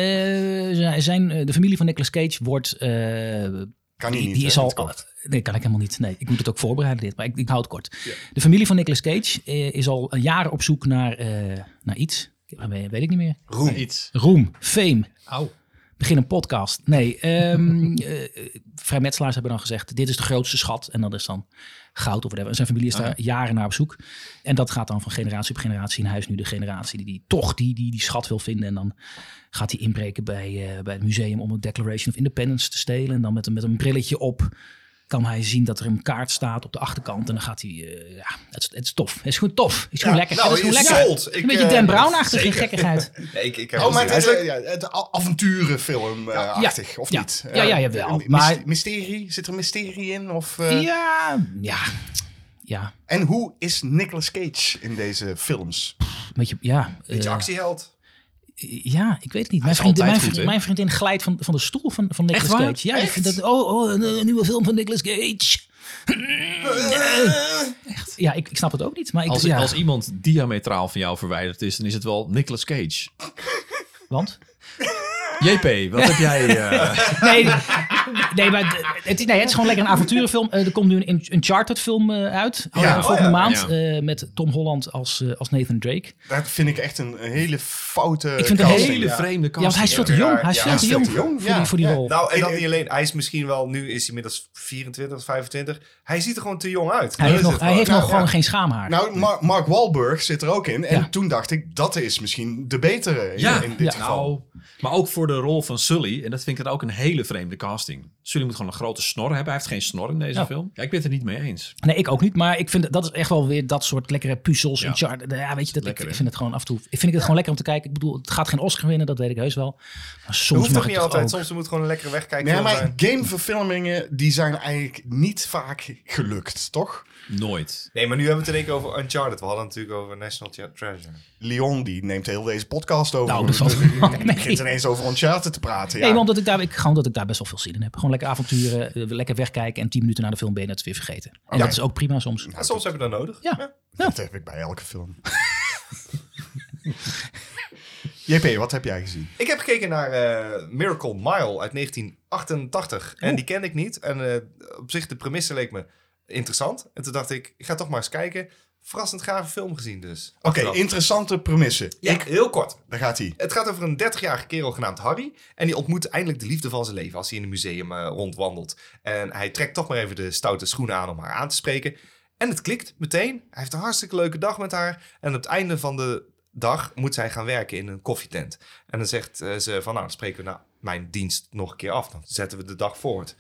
[SPEAKER 2] zij- zijn, eh, de familie van Nicolas Cage wordt... eh,
[SPEAKER 3] kan hij
[SPEAKER 2] die,
[SPEAKER 3] niet.
[SPEAKER 2] die
[SPEAKER 3] hè,
[SPEAKER 2] is
[SPEAKER 3] in
[SPEAKER 2] al. Oh,
[SPEAKER 3] het kort.
[SPEAKER 2] Nee, kan ik helemaal niet. Nee, ik moet het ook voorbereiden, dit. Maar ik, ik hou het kort. De familie van Nicolas Cage eh, is al jaren op zoek naar, eh, naar iets. Weet, weet ik niet meer.
[SPEAKER 1] Roem.
[SPEAKER 4] Iets.
[SPEAKER 2] Roem, fame.
[SPEAKER 4] Au.
[SPEAKER 2] Begin een podcast. Nee, ehm eh, vrijmetselaars hebben dan gezegd: dit is de grootste schat. En dat is dan goud of whatever. En zijn familie is daar jaren naar op zoek. En dat gaat dan van generatie op generatie in huis. Nu de generatie die, die toch die, die, die schat wil vinden. En dan gaat hij inbreken bij, eh, bij het museum om een Declaration of Independence te stelen. En dan met een, met een brilletje op kan hij zien dat er een kaart staat op de achterkant. En dan gaat hij... eh, ja, het, is- het is tof. Het is gewoon tof. Het is gewoon lekker.
[SPEAKER 1] nou,
[SPEAKER 2] het is gewoon
[SPEAKER 1] je
[SPEAKER 2] lekker.
[SPEAKER 1] sold. Ik,
[SPEAKER 2] een beetje
[SPEAKER 1] eh,
[SPEAKER 2] Dan Brown-achtige
[SPEAKER 1] zeker.
[SPEAKER 2] gekkigheid.
[SPEAKER 1] Nee, ik, ik heb
[SPEAKER 3] Oh, maar
[SPEAKER 1] het
[SPEAKER 3] het, is,
[SPEAKER 1] niet.
[SPEAKER 3] eh, ja, het a- avonturenfilm-achtig, of
[SPEAKER 2] Ja.
[SPEAKER 3] niet?
[SPEAKER 2] Ja,
[SPEAKER 3] Eh,
[SPEAKER 2] ja, jawel,
[SPEAKER 3] een mys-
[SPEAKER 2] maar-
[SPEAKER 3] Mysterie? Zit er mysterie in? Of, eh,
[SPEAKER 2] Ja, ja, ja.
[SPEAKER 3] En hoe is Nicolas Cage in deze films?
[SPEAKER 2] Met je, ja,
[SPEAKER 1] Beetje
[SPEAKER 2] eh,
[SPEAKER 1] actieheld.
[SPEAKER 2] ja, ik weet het niet. Mijn
[SPEAKER 4] is
[SPEAKER 2] vriendin,
[SPEAKER 4] altijd
[SPEAKER 2] mijn,
[SPEAKER 4] goed,
[SPEAKER 2] vriendin,
[SPEAKER 4] hè?
[SPEAKER 2] mijn vriendin glijdt van, van de stoel van, van Nicolas
[SPEAKER 4] waar?
[SPEAKER 2] Cage. Ja, die vindt dat, oh, oh een, een nieuwe film van Nicolas Cage. Echt? Ja, ik, ik snap het ook niet. Maar ik,
[SPEAKER 4] Als,
[SPEAKER 2] ja,
[SPEAKER 4] als iemand diametraal van jou verwijderd is, dan is het wel Nicolas Cage.
[SPEAKER 2] want?
[SPEAKER 4] JP, wat heb jij? eh,
[SPEAKER 2] Nee, nee, maar het, is- nee, het is gewoon lekker een avonturenfilm. Eh, er komt nu een Uncharted film eh, uit.
[SPEAKER 3] Ja,
[SPEAKER 2] eh, volgende
[SPEAKER 1] oh ja,
[SPEAKER 2] maand.
[SPEAKER 4] ja.
[SPEAKER 2] eh, met Tom Holland als, eh, als Nathan Drake.
[SPEAKER 3] Dat vind ik echt een, een hele foute
[SPEAKER 2] Ik vind het
[SPEAKER 3] casting.
[SPEAKER 2] een
[SPEAKER 4] hele
[SPEAKER 3] Ja.
[SPEAKER 4] vreemde
[SPEAKER 2] Ja, want hij is veel
[SPEAKER 4] kans.
[SPEAKER 2] te jong.
[SPEAKER 1] raar.
[SPEAKER 2] Hij is
[SPEAKER 1] Ja,
[SPEAKER 2] veel te jong voor
[SPEAKER 3] ja.
[SPEAKER 2] die, voor die
[SPEAKER 3] Ja.
[SPEAKER 2] rol.
[SPEAKER 1] Nou, en dat niet alleen. Hij is misschien wel, nu is hij inmiddels 24, 25. Hij ziet er gewoon te jong uit.
[SPEAKER 2] Hij
[SPEAKER 1] Dat
[SPEAKER 2] heeft
[SPEAKER 1] is
[SPEAKER 2] nog,
[SPEAKER 1] het nou,
[SPEAKER 2] hij heeft
[SPEAKER 1] gewoon.
[SPEAKER 2] nog gewoon geen schaamhaar.
[SPEAKER 3] Nou, Mar- Mark Wahlberg zit er ook in. En
[SPEAKER 2] Ja.
[SPEAKER 3] toen dacht ik, dat is misschien de betere in,
[SPEAKER 4] Ja,
[SPEAKER 3] in dit
[SPEAKER 2] ja.
[SPEAKER 3] geval.
[SPEAKER 4] Nou, maar ook voor de rol van Sully. En dat vind ik dan ook een hele vreemde casting. Sully moet gewoon een grote snor hebben. Hij heeft geen snor in deze
[SPEAKER 2] Ja.
[SPEAKER 4] film. Ja, ik ben het er niet mee eens.
[SPEAKER 2] Nee, ik ook niet. Maar ik vind dat- dat is echt wel weer dat soort lekkere puzzels.
[SPEAKER 4] Ja.
[SPEAKER 2] Ja, ja weet je, dat, ik,
[SPEAKER 4] Lekker, hè?
[SPEAKER 2] ik vind het gewoon af en toe. Ik vind het gewoon lekker om te kijken. Ik bedoel, het gaat geen Oscar winnen, dat weet ik heus wel. Maar
[SPEAKER 1] Dat
[SPEAKER 2] soms
[SPEAKER 1] hoeft
[SPEAKER 2] mag
[SPEAKER 1] toch niet
[SPEAKER 2] het
[SPEAKER 1] altijd.
[SPEAKER 2] ook.
[SPEAKER 1] Soms moet gewoon een lekkere wegkijken.
[SPEAKER 3] Nee, maar gameverfilmingen die zijn eigenlijk niet vaak gelukt, toch?
[SPEAKER 4] Nooit.
[SPEAKER 1] nee, maar nu hebben we het in één keer over Uncharted. We hadden het natuurlijk over National Tre- Treasure.
[SPEAKER 3] Leon die neemt heel deze podcast over.
[SPEAKER 2] Nou, dat valt
[SPEAKER 3] Die
[SPEAKER 2] wel mee.
[SPEAKER 3] begint ineens over Uncharted te praten. Ja.
[SPEAKER 2] Nee, maar omdat ik daar, ik, gewoon dat ik daar best wel veel zin in heb. Gewoon lekker avonturen, eh, lekker wegkijken en tien minuten na de film ben je het weer vergeten. En dat is ook prima soms.
[SPEAKER 1] En soms heb je dat nodig.
[SPEAKER 2] Ja.
[SPEAKER 3] Dat heb ik bij elke film. JP, wat heb jij gezien?
[SPEAKER 1] Ik heb gekeken naar eh, Miracle Mile uit 1988. En die kende ik niet. En eh, op zich, de premisse leek me interessant. En toen dacht ik, ik ga toch maar eens kijken. Verrassend gave film gezien dus.
[SPEAKER 3] Oké,
[SPEAKER 1] Achteraf.
[SPEAKER 3] interessante premisse.
[SPEAKER 1] Ja, heel kort.
[SPEAKER 3] Daar gaat hij.
[SPEAKER 1] Het gaat over een 30-jarige kerel genaamd Harry. En die ontmoet eindelijk de liefde van zijn leven als hij in een museum eh, rondwandelt. En hij trekt toch maar even de stoute schoenen aan om haar aan te spreken. En het klikt meteen. Hij heeft een hartstikke leuke dag met haar. En op het einde van de dag moet zij gaan werken in een koffietent. En dan zegt eh, ze van nou, dan spreken we na mijn dienst nog een keer af. Dan zetten we de dag voort.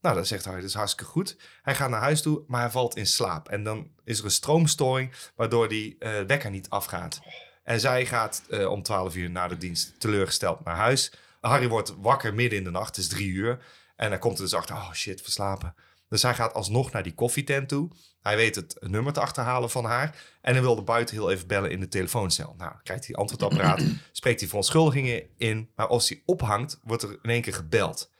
[SPEAKER 1] Nou, dan zegt Harry, dat is hartstikke goed. Hij gaat naar huis toe, maar hij valt in slaap. En dan is er een stroomstoring, waardoor die eh, wekker niet afgaat. En zij gaat eh, om 12 uur na de dienst teleurgesteld naar huis. Harry wordt wakker midden in de nacht, het is drie uur. En hij komt er dus achter, oh shit, verslapen. Dus hij gaat alsnog naar die koffietent toe. Hij weet het nummer te achterhalen van haar. En hij wilde buiten heel even bellen in de telefooncel. Nou, krijgt hij antwoordapparaat, spreekt hij verontschuldigingen in. Maar als hij ophangt, wordt er in één keer gebeld.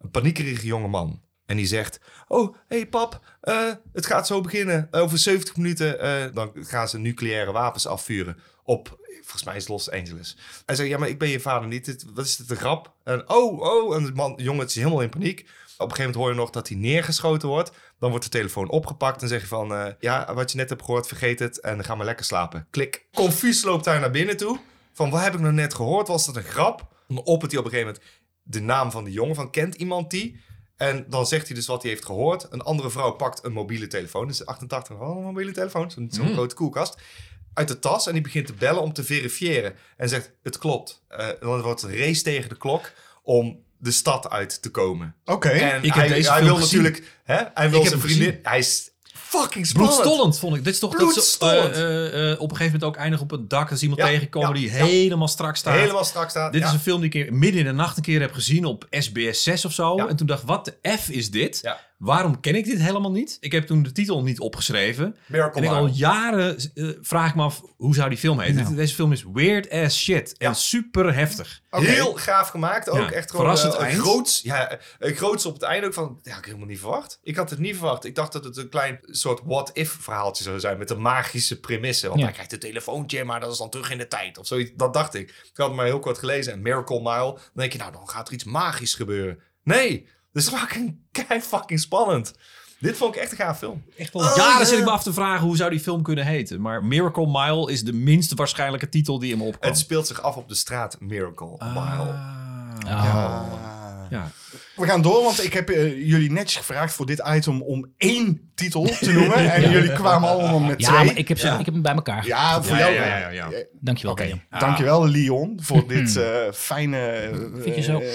[SPEAKER 1] Een paniekerige jongeman. En die zegt, oh, hé hey pap, eh, het gaat zo beginnen. Over 70 minuten, eh, dan gaan ze nucleaire wapens afvuren op, volgens mij is het Los Angeles. Hij zei, ja, maar ik ben je vader niet. Dit, wat is dit, een grap? En oh, oh, en de man, de jongen het is helemaal in paniek. Op een gegeven moment hoor je nog dat hij neergeschoten wordt. Dan wordt de telefoon opgepakt en zeg je van... eh, ja, wat je net hebt gehoord, vergeet het en ga maar lekker slapen. Klik. Confuus loopt daar naar binnen toe. Van, wat heb ik nou net gehoord? Was dat een grap? Dan oppert hij op een gegeven moment de naam van de jongen. Van, kent iemand die? En dan zegt hij dus wat hij heeft gehoord. Een andere vrouw pakt een mobiele telefoon. Dus 88, oh, een mobiele telefoon. Zo'n zo'n
[SPEAKER 4] Hmm.
[SPEAKER 1] grote koelkast. Uit de tas en die begint te bellen om te verifiëren. En zegt, het klopt. Eh, en dan wordt het een race tegen de klok om de stad uit te komen.
[SPEAKER 3] Oké.
[SPEAKER 1] En
[SPEAKER 4] Ik heb
[SPEAKER 1] hij,
[SPEAKER 4] deze
[SPEAKER 1] hij
[SPEAKER 4] film
[SPEAKER 1] wil
[SPEAKER 4] gezien.
[SPEAKER 1] natuurlijk... Hè, hij wil
[SPEAKER 4] heb
[SPEAKER 1] zijn
[SPEAKER 4] hem
[SPEAKER 1] vriendin...
[SPEAKER 4] gezien.
[SPEAKER 1] Hij is fucking spannend.
[SPEAKER 4] Bloedstollend vond ik. Dit is toch dat ze eh,
[SPEAKER 1] Bloedstollend.
[SPEAKER 4] eh, eh, op een gegeven moment ook eindigen op het dak. Als iemand
[SPEAKER 1] Ja,
[SPEAKER 4] tegenkomen
[SPEAKER 1] ja,
[SPEAKER 4] die
[SPEAKER 1] ja.
[SPEAKER 4] helemaal strak staat.
[SPEAKER 1] Helemaal strak staat.
[SPEAKER 4] Dit
[SPEAKER 1] ja.
[SPEAKER 4] is een film die ik een keer midden in de nacht een keer heb gezien op SBS 6 of zo.
[SPEAKER 1] Ja.
[SPEAKER 4] En toen dacht ik, wat de F is dit?
[SPEAKER 1] Ja.
[SPEAKER 4] Waarom ken ik dit helemaal niet? Ik heb toen de titel niet opgeschreven.
[SPEAKER 1] Miracle
[SPEAKER 4] en ik
[SPEAKER 1] Man.
[SPEAKER 4] al jaren eh, vraag ik me af, hoe zou die film heten?
[SPEAKER 2] Nou.
[SPEAKER 4] Dit- Deze film is weird as shit.
[SPEAKER 1] Ja.
[SPEAKER 4] En super heftig.
[SPEAKER 3] Oké.
[SPEAKER 1] Heel gaaf gemaakt. Ook
[SPEAKER 4] Ja,
[SPEAKER 1] echt gewoon
[SPEAKER 4] verrassend
[SPEAKER 1] eh,
[SPEAKER 4] eind.
[SPEAKER 1] groots. Ja, eh, groots op het einde ook van... Ja, had ik helemaal niet verwacht. Ik had het niet verwacht. Ik dacht dat het een klein soort what-if verhaaltje zou zijn. Met een magische premisse. Want
[SPEAKER 2] Ja.
[SPEAKER 1] hij krijgt een telefoontje, maar dat is dan terug in de tijd. Of zoiets. Dat dacht ik. Ik had het maar heel kort gelezen. En Miracle Mile. Dan denk je, nou, dan gaat er iets magisch gebeuren. Nee. Dus fucking kei fucking spannend. Dit vond ik echt een gaaf film.
[SPEAKER 4] Echt al jaren zit ik me af te vragen, hoe zou die film kunnen heten? Maar Miracle Mile is de minst waarschijnlijke titel die in me opkwam.
[SPEAKER 1] Het speelt zich af op de straat Miracle Mile.
[SPEAKER 4] Ah.
[SPEAKER 3] Ah.
[SPEAKER 4] Ja.
[SPEAKER 3] We gaan door, want ik heb eh, jullie netjes gevraagd voor dit item om één titel te noemen. En jullie kwamen allemaal met
[SPEAKER 2] Ja,
[SPEAKER 3] twee.
[SPEAKER 2] maar ik heb, ze, ik heb hem bij elkaar.
[SPEAKER 3] Ja, voor
[SPEAKER 4] Ja,
[SPEAKER 3] jou.
[SPEAKER 4] ja, ja, ja.
[SPEAKER 3] Eh,
[SPEAKER 2] Dankjewel,
[SPEAKER 3] Oké,
[SPEAKER 2] William.
[SPEAKER 3] dankjewel Leon voor dit eh, fijne
[SPEAKER 2] Vind je zo?
[SPEAKER 3] eh,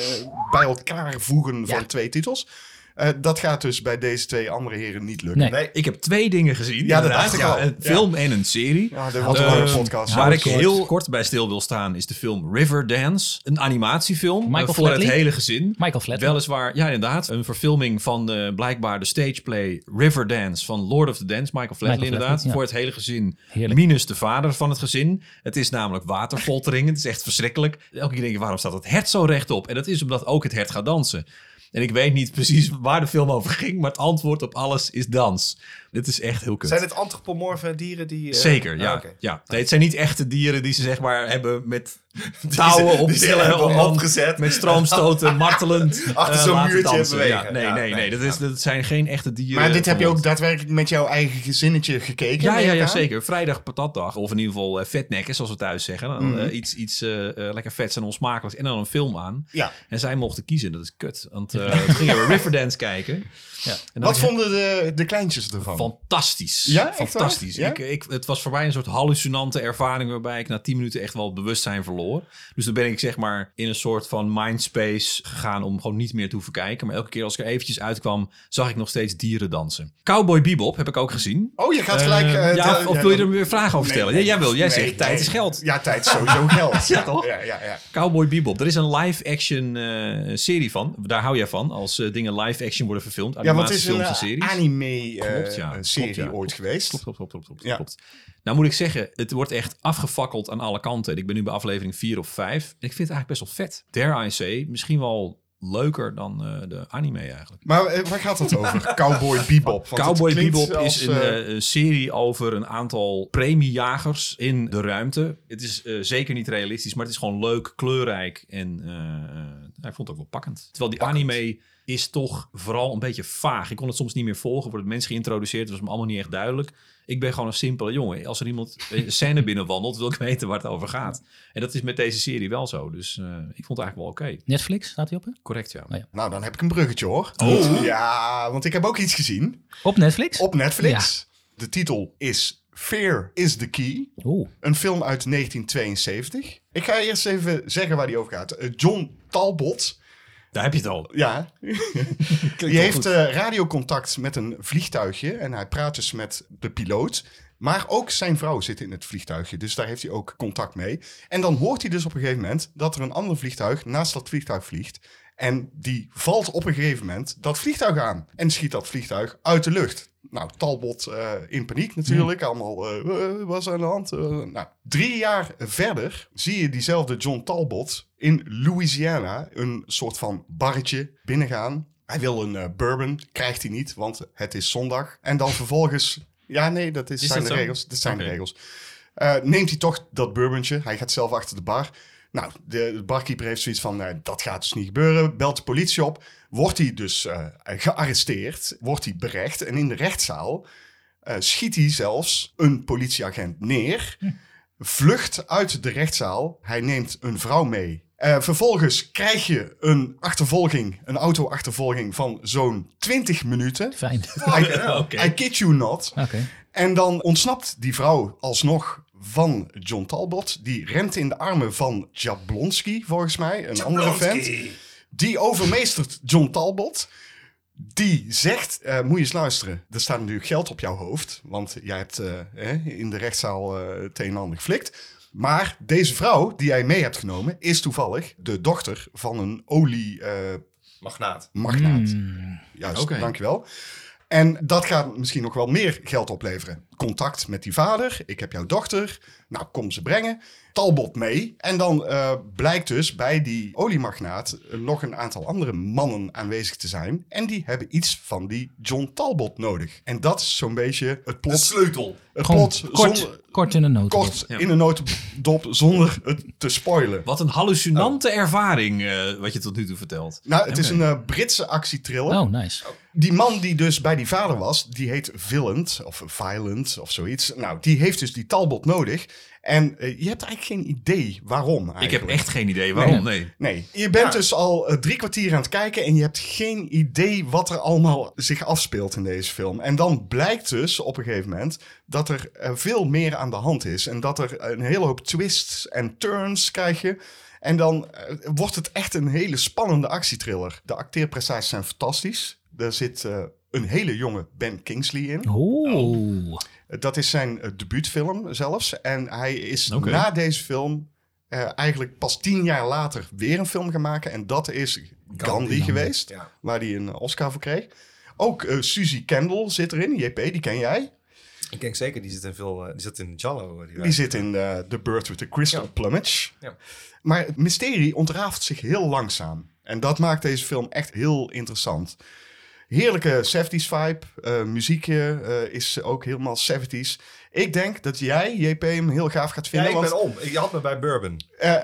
[SPEAKER 3] bij elkaar voegen van
[SPEAKER 2] Ja.
[SPEAKER 3] twee titels. Eh, dat gaat dus bij deze twee andere heren niet lukken.
[SPEAKER 2] Nee.
[SPEAKER 4] Ik heb twee dingen gezien.
[SPEAKER 3] Ja, dat
[SPEAKER 4] inderdaad.
[SPEAKER 3] dacht ik al.
[SPEAKER 4] Een
[SPEAKER 3] Ja.
[SPEAKER 4] film en een serie.
[SPEAKER 3] Ja, dat wordt een
[SPEAKER 4] Eh,
[SPEAKER 3] lange podcast.
[SPEAKER 4] Waar
[SPEAKER 3] Ja,
[SPEAKER 4] ik
[SPEAKER 3] dat
[SPEAKER 4] heel
[SPEAKER 3] wordt-
[SPEAKER 4] kort bij stil wil staan is de film Riverdance. Een animatiefilm
[SPEAKER 2] Michael
[SPEAKER 4] eh, voor het
[SPEAKER 2] Flatley?
[SPEAKER 4] hele gezin.
[SPEAKER 2] Michael Flatley.
[SPEAKER 4] Weliswaar, ja inderdaad, een verfilming van eh, blijkbaar de stageplay Riverdance van Lord of the Dance. Michael Flatley
[SPEAKER 2] Michael
[SPEAKER 4] inderdaad.
[SPEAKER 2] Flatley, ja.
[SPEAKER 4] Voor het hele gezin.
[SPEAKER 2] Heerlijk.
[SPEAKER 4] Minus de vader van het gezin. Het is namelijk waterfoltering. het is echt verschrikkelijk. Elke keer denk je, waarom staat het hert zo rechtop? En dat is omdat ook het hert gaat dansen. En ik weet niet precies waar de film over ging, maar het antwoord op alles is dans. Dit is echt heel kut.
[SPEAKER 1] Zijn het antropomorfe dieren die... eh,
[SPEAKER 4] Zeker,
[SPEAKER 1] ah,
[SPEAKER 4] ja.
[SPEAKER 1] oké.
[SPEAKER 4] ja. Nee, het zijn niet echte dieren die ze zeg maar hebben met touwen op
[SPEAKER 1] die ze hebben
[SPEAKER 4] en dan
[SPEAKER 1] opgezet.
[SPEAKER 4] Met stroomstoten, martelend.
[SPEAKER 1] Achter
[SPEAKER 4] eh,
[SPEAKER 1] zo'n
[SPEAKER 4] laten
[SPEAKER 1] muurtje
[SPEAKER 4] dansen.
[SPEAKER 1] bewegen.
[SPEAKER 4] Ja, nee,
[SPEAKER 1] Ja,
[SPEAKER 4] nee,
[SPEAKER 1] nee,
[SPEAKER 4] nee. Dat, is, dat zijn geen echte dieren.
[SPEAKER 3] Maar dit heb
[SPEAKER 4] van
[SPEAKER 3] je ook
[SPEAKER 4] ons.
[SPEAKER 3] daadwerkelijk met jouw eigen gezinnetje gekeken?
[SPEAKER 4] Ja,
[SPEAKER 3] neem
[SPEAKER 4] ja,
[SPEAKER 3] ik
[SPEAKER 4] ja,
[SPEAKER 3] aan?
[SPEAKER 4] zeker. Vrijdag patatdag. Of in ieder geval eh, vetnekken zoals we thuis zeggen. Dan,
[SPEAKER 3] Mhm.
[SPEAKER 4] eh, iets iets eh, eh, lekker vets en onsmakelijks. En dan een film aan.
[SPEAKER 3] Ja.
[SPEAKER 4] En zij mochten kiezen. Dat is kut. Want eh toen gingen we Riverdance kijken. Ja. En dan
[SPEAKER 3] Wat vonden de, de kleintjes ervan?
[SPEAKER 4] Fantastisch.
[SPEAKER 3] Ja, echt waar?
[SPEAKER 4] fantastisch.
[SPEAKER 3] Ja?
[SPEAKER 4] Ik, ik, het was voor mij een soort hallucinante ervaring waarbij ik na 10 minuten echt wel het bewustzijn verloor. Dus dan ben ik zeg maar in een soort van mindspace gegaan om gewoon niet meer te hoeven kijken. Maar elke keer als ik er eventjes uitkwam, zag ik nog steeds dieren dansen. Cowboy Bebop heb ik ook gezien.
[SPEAKER 3] oh, je gaat gelijk...
[SPEAKER 4] Eh,
[SPEAKER 3] eh,
[SPEAKER 4] ja,
[SPEAKER 3] de-
[SPEAKER 4] of wil je er weer vragen over
[SPEAKER 3] Nee,
[SPEAKER 4] stellen?
[SPEAKER 3] nee,
[SPEAKER 4] ja, jij wil. Jij
[SPEAKER 3] nee,
[SPEAKER 4] zegt tijd
[SPEAKER 3] nee.
[SPEAKER 4] is geld.
[SPEAKER 3] Ja, tijd is sowieso geld.
[SPEAKER 4] Ja, toch?
[SPEAKER 3] Ja, ja, ja.
[SPEAKER 4] Cowboy Bebop. Er is een live-action eh, serie van. Daar hou jij van. Als eh, dingen live-action worden verfilmd.
[SPEAKER 3] ja want het is
[SPEAKER 4] Animatiefilms
[SPEAKER 3] een
[SPEAKER 4] en
[SPEAKER 3] eh,
[SPEAKER 4] series. Klopt, ja. Klopt,
[SPEAKER 3] anime-serie
[SPEAKER 4] ja.
[SPEAKER 3] ooit geweest.
[SPEAKER 4] Klopt, klopt, klopt, klopt, klopt,
[SPEAKER 3] Ja.
[SPEAKER 4] klopt. Nou moet ik zeggen, het wordt echt afgefakkeld aan alle kanten. Ik ben nu bij aflevering 4 of 5. En ik vind het eigenlijk best wel vet. Dare I say, misschien wel leuker dan eh, de anime eigenlijk.
[SPEAKER 3] Maar eh, waar gaat het over? Cowboy Bebop. Want het
[SPEAKER 4] Cowboy
[SPEAKER 3] klinkt
[SPEAKER 4] Bebop
[SPEAKER 3] als,
[SPEAKER 4] is een
[SPEAKER 3] eh,
[SPEAKER 4] eh, een serie over een aantal premiejagers in de ruimte. Het is eh, zeker niet realistisch, maar het is gewoon leuk, kleurrijk en eh, eh, ik vond het ook wel pakkend. Terwijl die anime is toch vooral een beetje vaag. Ik kon het soms niet meer volgen. Wordt het mensen geïntroduceerd, het was me allemaal niet echt duidelijk. Ik ben gewoon een simpele jongen. Als er iemand een scène binnenwandelt, wil ik weten waar het over gaat. En dat is met deze serie wel zo. Dus eh, ik vond het eigenlijk wel oké.
[SPEAKER 2] Netflix, staat hij op? hè?
[SPEAKER 4] Correct, ja.
[SPEAKER 3] Nou, dan heb ik een bruggetje hoor.
[SPEAKER 4] Oh.
[SPEAKER 3] Ja, want ik heb ook iets gezien
[SPEAKER 2] Op Netflix?
[SPEAKER 3] op Netflix. De titel is Fear is the Key.
[SPEAKER 2] Oeh.
[SPEAKER 3] Een film uit 1972. Ik ga eerst even zeggen waar die over gaat. Eh, John Talbot,
[SPEAKER 4] Daar heb je het al.
[SPEAKER 3] ja, die heeft eh, radiocontact met een vliegtuigje. En hij praat dus met de piloot. Maar ook zijn vrouw zit in het vliegtuigje. Dus daar heeft hij ook contact mee. En dan hoort hij dus op een gegeven moment dat er een ander vliegtuig naast dat vliegtuig vliegt. En die valt op een gegeven moment dat vliegtuig aan. En schiet dat vliegtuig uit de lucht. Nou, Talbot eh, in paniek natuurlijk. Allemaal, eh, eh, wat is er aan de hand? Eh, nou, drie jaar verder zie je diezelfde John Talbot in Louisiana een soort van barretje binnengaan. Hij wil een eh, bourbon, krijgt hij niet, want het is zondag. En dan vervolgens... Ja, nee, dat is,
[SPEAKER 4] Is
[SPEAKER 3] zijn
[SPEAKER 4] dat
[SPEAKER 3] de
[SPEAKER 4] zo?
[SPEAKER 3] regels. Dit zijn de
[SPEAKER 4] Oké.
[SPEAKER 3] regels. Eh, neemt hij toch dat bourbonje. Hij gaat zelf achter de bar. Nou, de, de barkeeper heeft zoiets van, eh, dat gaat dus niet gebeuren. Belt de politie op. Wordt hij dus eh, gearresteerd. Wordt hij berecht. En in de rechtszaal eh, schiet hij zelfs een politieagent neer. Vlucht uit de rechtszaal. Hij neemt een vrouw mee. Eh, vervolgens krijg je een achtervolging, een auto-achtervolging van zo'n 20 minuten.
[SPEAKER 2] Fijn.
[SPEAKER 3] I,
[SPEAKER 4] Oké.
[SPEAKER 3] I kid you not.
[SPEAKER 2] Oké.
[SPEAKER 3] En dan ontsnapt die vrouw alsnog van John Talbot. Die rent in de armen van Jablonski, volgens mij. Een andere vent. Die overmeestert John Talbot. Die zegt, eh, moet je eens luisteren, er staat natuurlijk geld op jouw hoofd. Want jij hebt eh, hè, in de rechtszaal eh, het een en ander geflikt. Maar deze vrouw die jij mee hebt genomen, is toevallig de dochter van een olie... eh,
[SPEAKER 1] Magnaat.
[SPEAKER 3] magnaat. Hmm. Juist,
[SPEAKER 4] Oké.
[SPEAKER 3] dankjewel. En dat gaat misschien nog wel meer geld opleveren. Contact met die vader. Ik heb jouw dochter. Nou, kom ze brengen. Talbot mee. En dan eh, blijkt dus bij die oliemagnaat eh, nog een aantal andere mannen aanwezig te zijn. En die hebben iets van die John Talbot nodig. En dat is zo'n beetje het
[SPEAKER 1] De
[SPEAKER 3] plot.
[SPEAKER 1] sleutel.
[SPEAKER 3] Het
[SPEAKER 2] Gewoon
[SPEAKER 3] plot
[SPEAKER 2] kort,
[SPEAKER 3] zonder,
[SPEAKER 2] kort in een notendop.
[SPEAKER 3] kort in een notendop zonder het te spoilen.
[SPEAKER 4] Wat een hallucinante
[SPEAKER 3] Oh.
[SPEAKER 4] ervaring eh, wat je tot nu toe vertelt.
[SPEAKER 3] Nou, het is een eh, Britse actietriller.
[SPEAKER 2] Oh, nice.
[SPEAKER 3] Die man die dus bij die vader was, die heet Villand of Violent of zoiets. Nou, die heeft dus die Talbot nodig. En eh, je hebt eigenlijk geen idee waarom.
[SPEAKER 4] Ik heb
[SPEAKER 3] eigenlijk.
[SPEAKER 4] echt geen idee waarom, nee.
[SPEAKER 3] Nee, je bent dus al eh, drie kwartier aan het kijken en je hebt geen idee wat er allemaal zich afspeelt in deze film. En dan blijkt dus op een gegeven moment dat er eh, veel meer aan de hand is. En dat er een hele hoop twists en turns krijg je. En dan eh, wordt het echt een hele spannende actietriller. De acteerprestaties zijn fantastisch. Daar zit eh, een hele jonge Ben Kingsley in.
[SPEAKER 2] Oeh. Nou,
[SPEAKER 3] Dat is zijn eh, debuutfilm zelfs. En hij is
[SPEAKER 4] Oké.
[SPEAKER 3] na deze film eh, eigenlijk pas tien jaar later weer een film gaan maken. En dat is Gandhi, geweest,
[SPEAKER 1] ja.
[SPEAKER 3] waar hij een Oscar voor kreeg. Ook eh, Suzy Kendall zit erin. JP, die ken jij.
[SPEAKER 1] Ik denk zeker, die zit in veel... eh, die zit in Jallo. eh, Die,
[SPEAKER 3] Die zit in eh, The Bird with the Crystal Plumage.
[SPEAKER 1] Ja.
[SPEAKER 3] Maar het mysterie ontraaft zich heel langzaam. En dat maakt deze film echt heel interessant. Heerlijke 70s vibe. eh, muziekje eh, is ook helemaal 70s. Ik denk dat jij, JP, hem heel gaaf gaat
[SPEAKER 1] Ja,
[SPEAKER 3] vinden.
[SPEAKER 1] ik
[SPEAKER 3] want,
[SPEAKER 1] ben om. Ik had me bij Bourbon.
[SPEAKER 3] eh, eh,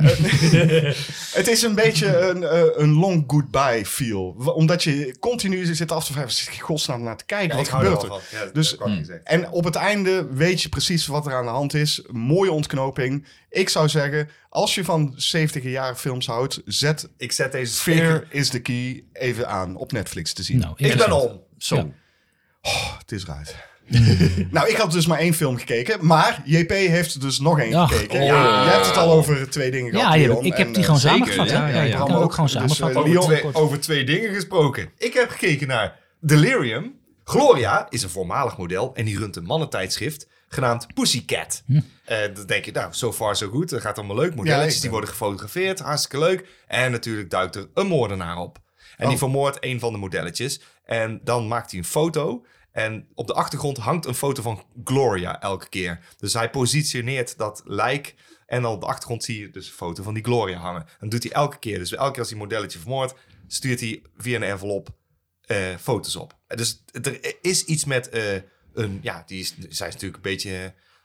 [SPEAKER 3] het is een beetje een, eh, een long goodbye feel. Wa- Omdat je continu zit af te vragen, "Wat zit ik in godsnaam naar te kijken.
[SPEAKER 1] Ja,
[SPEAKER 3] wat
[SPEAKER 1] ik hou er
[SPEAKER 3] gebeurt
[SPEAKER 1] wel
[SPEAKER 3] er?
[SPEAKER 1] van. Ja, dat
[SPEAKER 3] Dus-
[SPEAKER 1] heb ik al gezegd.
[SPEAKER 3] En op het einde weet je precies wat er aan de hand is. Mooie ontknoping. Ik zou zeggen, als je van 70 jaren films houdt, zet
[SPEAKER 1] Ik zet deze
[SPEAKER 3] Fear is the Key even aan op Netflix te zien.
[SPEAKER 2] Nou,
[SPEAKER 1] Ik ben
[SPEAKER 2] interessant.
[SPEAKER 1] om.
[SPEAKER 4] Zo.
[SPEAKER 2] Ja.
[SPEAKER 3] Oh, het is eruit. nou, ik had dus maar één film gekeken, maar JP heeft dus nog één
[SPEAKER 2] Ach, oh.
[SPEAKER 3] gekeken. Ja, je hebt het al over twee dingen
[SPEAKER 2] Ja,
[SPEAKER 3] gehad.
[SPEAKER 2] je,
[SPEAKER 3] Leon,
[SPEAKER 2] ik heb
[SPEAKER 3] en,
[SPEAKER 2] die
[SPEAKER 3] eh,
[SPEAKER 2] gewoon
[SPEAKER 4] zeker,
[SPEAKER 2] samengevat.
[SPEAKER 4] ja,
[SPEAKER 2] Ja,
[SPEAKER 4] ja,
[SPEAKER 2] ja,
[SPEAKER 4] ja.
[SPEAKER 2] Ik kan
[SPEAKER 3] Bram
[SPEAKER 2] hem
[SPEAKER 3] ook,
[SPEAKER 2] ook gewoon
[SPEAKER 3] dus,
[SPEAKER 2] samenvatten.
[SPEAKER 1] Over
[SPEAKER 3] Leon-
[SPEAKER 1] twee,
[SPEAKER 2] Oh, kort.
[SPEAKER 1] over twee dingen gesproken. Ik heb gekeken naar Delirium. Gloria is een voormalig model en die runt een mannentijdschrift genaamd Pussycat. Eh, dan denk je, nou, so far so good. Dat gaat allemaal leuk.
[SPEAKER 3] Ja, ik
[SPEAKER 1] Modelletjes
[SPEAKER 3] ben-
[SPEAKER 1] die worden gefotografeerd, hartstikke leuk. En natuurlijk duikt er een moordenaar op. En die vermoordt een van de modelletjes. En dan maakt hij een foto. En op de achtergrond hangt een foto van Gloria elke keer. Dus hij positioneert dat lijk. En dan op de achtergrond zie je dus een foto van die Gloria hangen. En dat doet hij elke keer. Dus elke keer als hij een modelletje vermoordt, stuurt hij via een envelop eh, foto's op. Dus er is iets met eh, een. Ja, die is, zij is natuurlijk een beetje eh,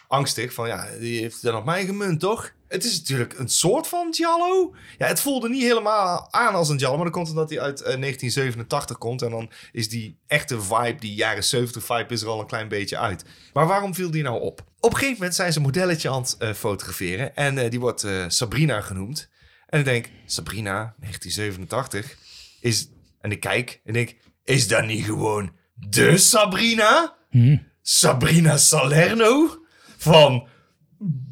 [SPEAKER 1] angstig. Van ja, die heeft dan op mij gemunt, toch? Het is natuurlijk een soort van Giallo. Ja, het voelde niet helemaal aan als een Giallo. Maar dat komt omdat hij uit eh, 1987 komt. En dan is die echte vibe, die jaren 70 vibe, is er al een klein beetje uit. Maar waarom viel die nou op? Op een gegeven moment zijn ze een modelletje aan het eh, fotograferen. En eh, die wordt eh, Sabrina genoemd. En ik denk, Sabrina, 1987, is... En ik kijk en denk, is dat niet gewoon de Sabrina? Sabrina Salerno? Van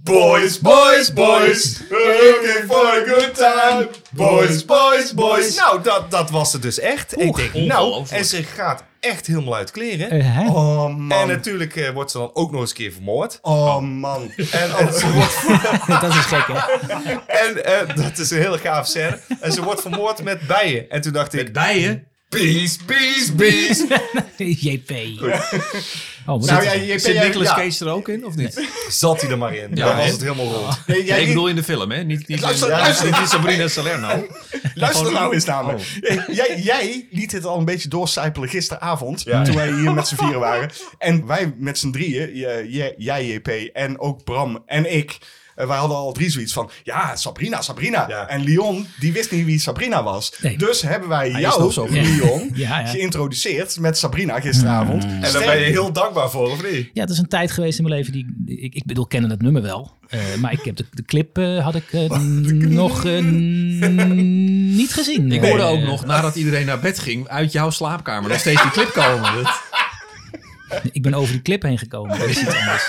[SPEAKER 1] Boys, boys, boys, we're looking for a good time. Boys, boys, boys. Nou, dat, dat was het dus echt. En ik denk, nou,
[SPEAKER 4] ongelooflijk.
[SPEAKER 1] en ze gaat echt helemaal uit kleren.
[SPEAKER 2] Eh, hè?
[SPEAKER 3] Oh man,
[SPEAKER 1] en natuurlijk eh, wordt ze dan ook nog eens een keer vermoord.
[SPEAKER 3] oh man.
[SPEAKER 1] En, en ze wordt
[SPEAKER 2] Dat is gek, hè?
[SPEAKER 1] En eh, dat is een hele gaaf scène. En ze wordt vermoord met bijen. En toen dacht ik,
[SPEAKER 4] Bijen?
[SPEAKER 1] Peace, peace, peace.
[SPEAKER 2] JP. Oh, wat
[SPEAKER 3] Nou,
[SPEAKER 2] is
[SPEAKER 3] ja,
[SPEAKER 2] het?
[SPEAKER 3] je
[SPEAKER 4] Zit Nicolas
[SPEAKER 3] ja.
[SPEAKER 4] Cage er ook in, of niet?
[SPEAKER 1] Zat hij er maar in.
[SPEAKER 4] Ja,
[SPEAKER 1] Dan was
[SPEAKER 4] hè?
[SPEAKER 1] het helemaal rond.
[SPEAKER 3] Nee, jij-
[SPEAKER 4] ik bedoel in de film, hè? Niet, niet,
[SPEAKER 3] Luister,
[SPEAKER 4] ja,
[SPEAKER 3] luister.
[SPEAKER 4] niet, niet Sabrina Salerno.
[SPEAKER 3] Luister
[SPEAKER 1] oh,
[SPEAKER 3] nou eens namelijk. Jij, jij liet dit al een beetje doorcijpelen gisteravond.
[SPEAKER 1] Ja.
[SPEAKER 3] Toen wij hier met z'n vieren waren. En wij met z'n drieën, j- j- jij JP en ook Bram en ik. eh, Wij hadden al drie zoiets van, ja, Sabrina, Sabrina.
[SPEAKER 1] Ja.
[SPEAKER 3] En Leon, die wist niet wie Sabrina was.
[SPEAKER 2] Nee.
[SPEAKER 3] Dus hebben wij
[SPEAKER 4] is
[SPEAKER 3] jou,
[SPEAKER 4] nog zo goed.
[SPEAKER 3] Leon,
[SPEAKER 2] Ja, ja.
[SPEAKER 3] geïntroduceerd met Sabrina gisteravond.
[SPEAKER 1] Mm. En daar ben je heel dankbaar voor, of niet?
[SPEAKER 2] Ja, het is een tijd geweest in mijn leven die ik, ik, ik bedoel, kennen het nummer wel. eh, maar ik heb de, de clip eh, had ik eh, nog eh, niet gezien. eh.
[SPEAKER 4] Ik hoorde ook nog, nadat iedereen naar bed ging, uit jouw slaapkamer nog steeds die clip komen. Dat-
[SPEAKER 2] Ik ben over die clip heen gekomen. Dus, Dat is iets anders.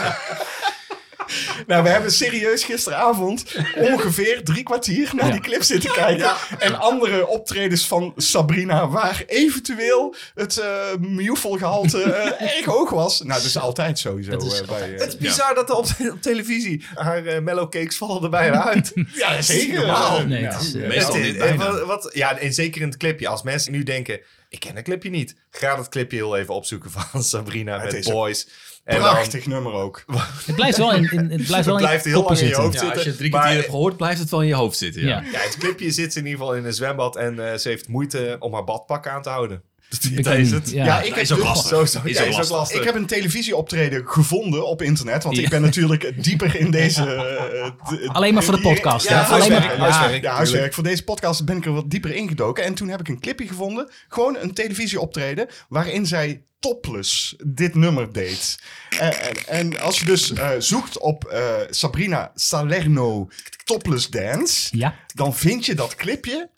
[SPEAKER 3] Nou, we hebben serieus gisteravond ongeveer drie kwartier naar
[SPEAKER 2] Ja.
[SPEAKER 3] die clip zitten kijken. En andere optredens van Sabrina, waar eventueel het eh mioefelgehalte eh, erg hoog was. Nou, dat is altijd sowieso.
[SPEAKER 2] Dat is
[SPEAKER 3] eh, bij, eh,
[SPEAKER 1] Het is bizar dat er op, op televisie haar eh, mellow cakes vallen er bijna uit.
[SPEAKER 3] ja,
[SPEAKER 1] zeker.
[SPEAKER 3] normaal.
[SPEAKER 2] Nee,
[SPEAKER 3] Ja.
[SPEAKER 2] het is, eh,
[SPEAKER 4] Meestal
[SPEAKER 1] Het is-
[SPEAKER 4] niet, bijna.
[SPEAKER 1] eh, wat, wat- ja, en zeker in het clipje. Als mensen nu denken, ik ken het clipje niet. Ga dat clipje heel even opzoeken van Sabrina met
[SPEAKER 3] is een
[SPEAKER 1] Boys. En dan,
[SPEAKER 3] Prachtig nummer ook.
[SPEAKER 2] het blijft wel in, in- het blijft wel
[SPEAKER 1] het
[SPEAKER 2] in
[SPEAKER 1] blijft heel
[SPEAKER 2] koppen
[SPEAKER 1] lang in je
[SPEAKER 2] zitten.
[SPEAKER 1] hoofd
[SPEAKER 4] Ja,
[SPEAKER 1] zitten.
[SPEAKER 4] als je het drie
[SPEAKER 1] maar-
[SPEAKER 4] keer hebt gehoord, blijft het wel in je hoofd zitten. Ja.
[SPEAKER 2] Ja.
[SPEAKER 1] Ja, het clipje zit ze in ieder geval in een zwembad en eh, ze heeft moeite om haar badpak aan te houden. Dat
[SPEAKER 2] Bikini,
[SPEAKER 1] is het.
[SPEAKER 2] ja.
[SPEAKER 3] ik
[SPEAKER 4] is ook
[SPEAKER 3] dus-
[SPEAKER 4] lastig.
[SPEAKER 1] Zo, zo,
[SPEAKER 4] Is
[SPEAKER 1] ja,
[SPEAKER 4] ook
[SPEAKER 1] is ook
[SPEAKER 4] lastig.
[SPEAKER 1] lastig.
[SPEAKER 3] Ik heb een televisieoptreden gevonden op internet. Want
[SPEAKER 2] Ja.
[SPEAKER 3] ik ben natuurlijk dieper in deze... eh, d-
[SPEAKER 2] Alleen maar voor de podcast.
[SPEAKER 3] Ja,
[SPEAKER 2] hè? Alleen
[SPEAKER 1] huiswerk,
[SPEAKER 2] maar,
[SPEAKER 1] huiswerk.
[SPEAKER 3] Ja, huiswerk. Voor deze podcast ben ik er wat dieper ingedoken. En toen heb ik een clipje gevonden. Gewoon een televisieoptreden. Waarin zij topless dit nummer deed. Eh, En, en, en als je dus eh, zoekt op eh, Sabrina Salerno topless dance.
[SPEAKER 2] ja.
[SPEAKER 3] Dan vind je dat clipje.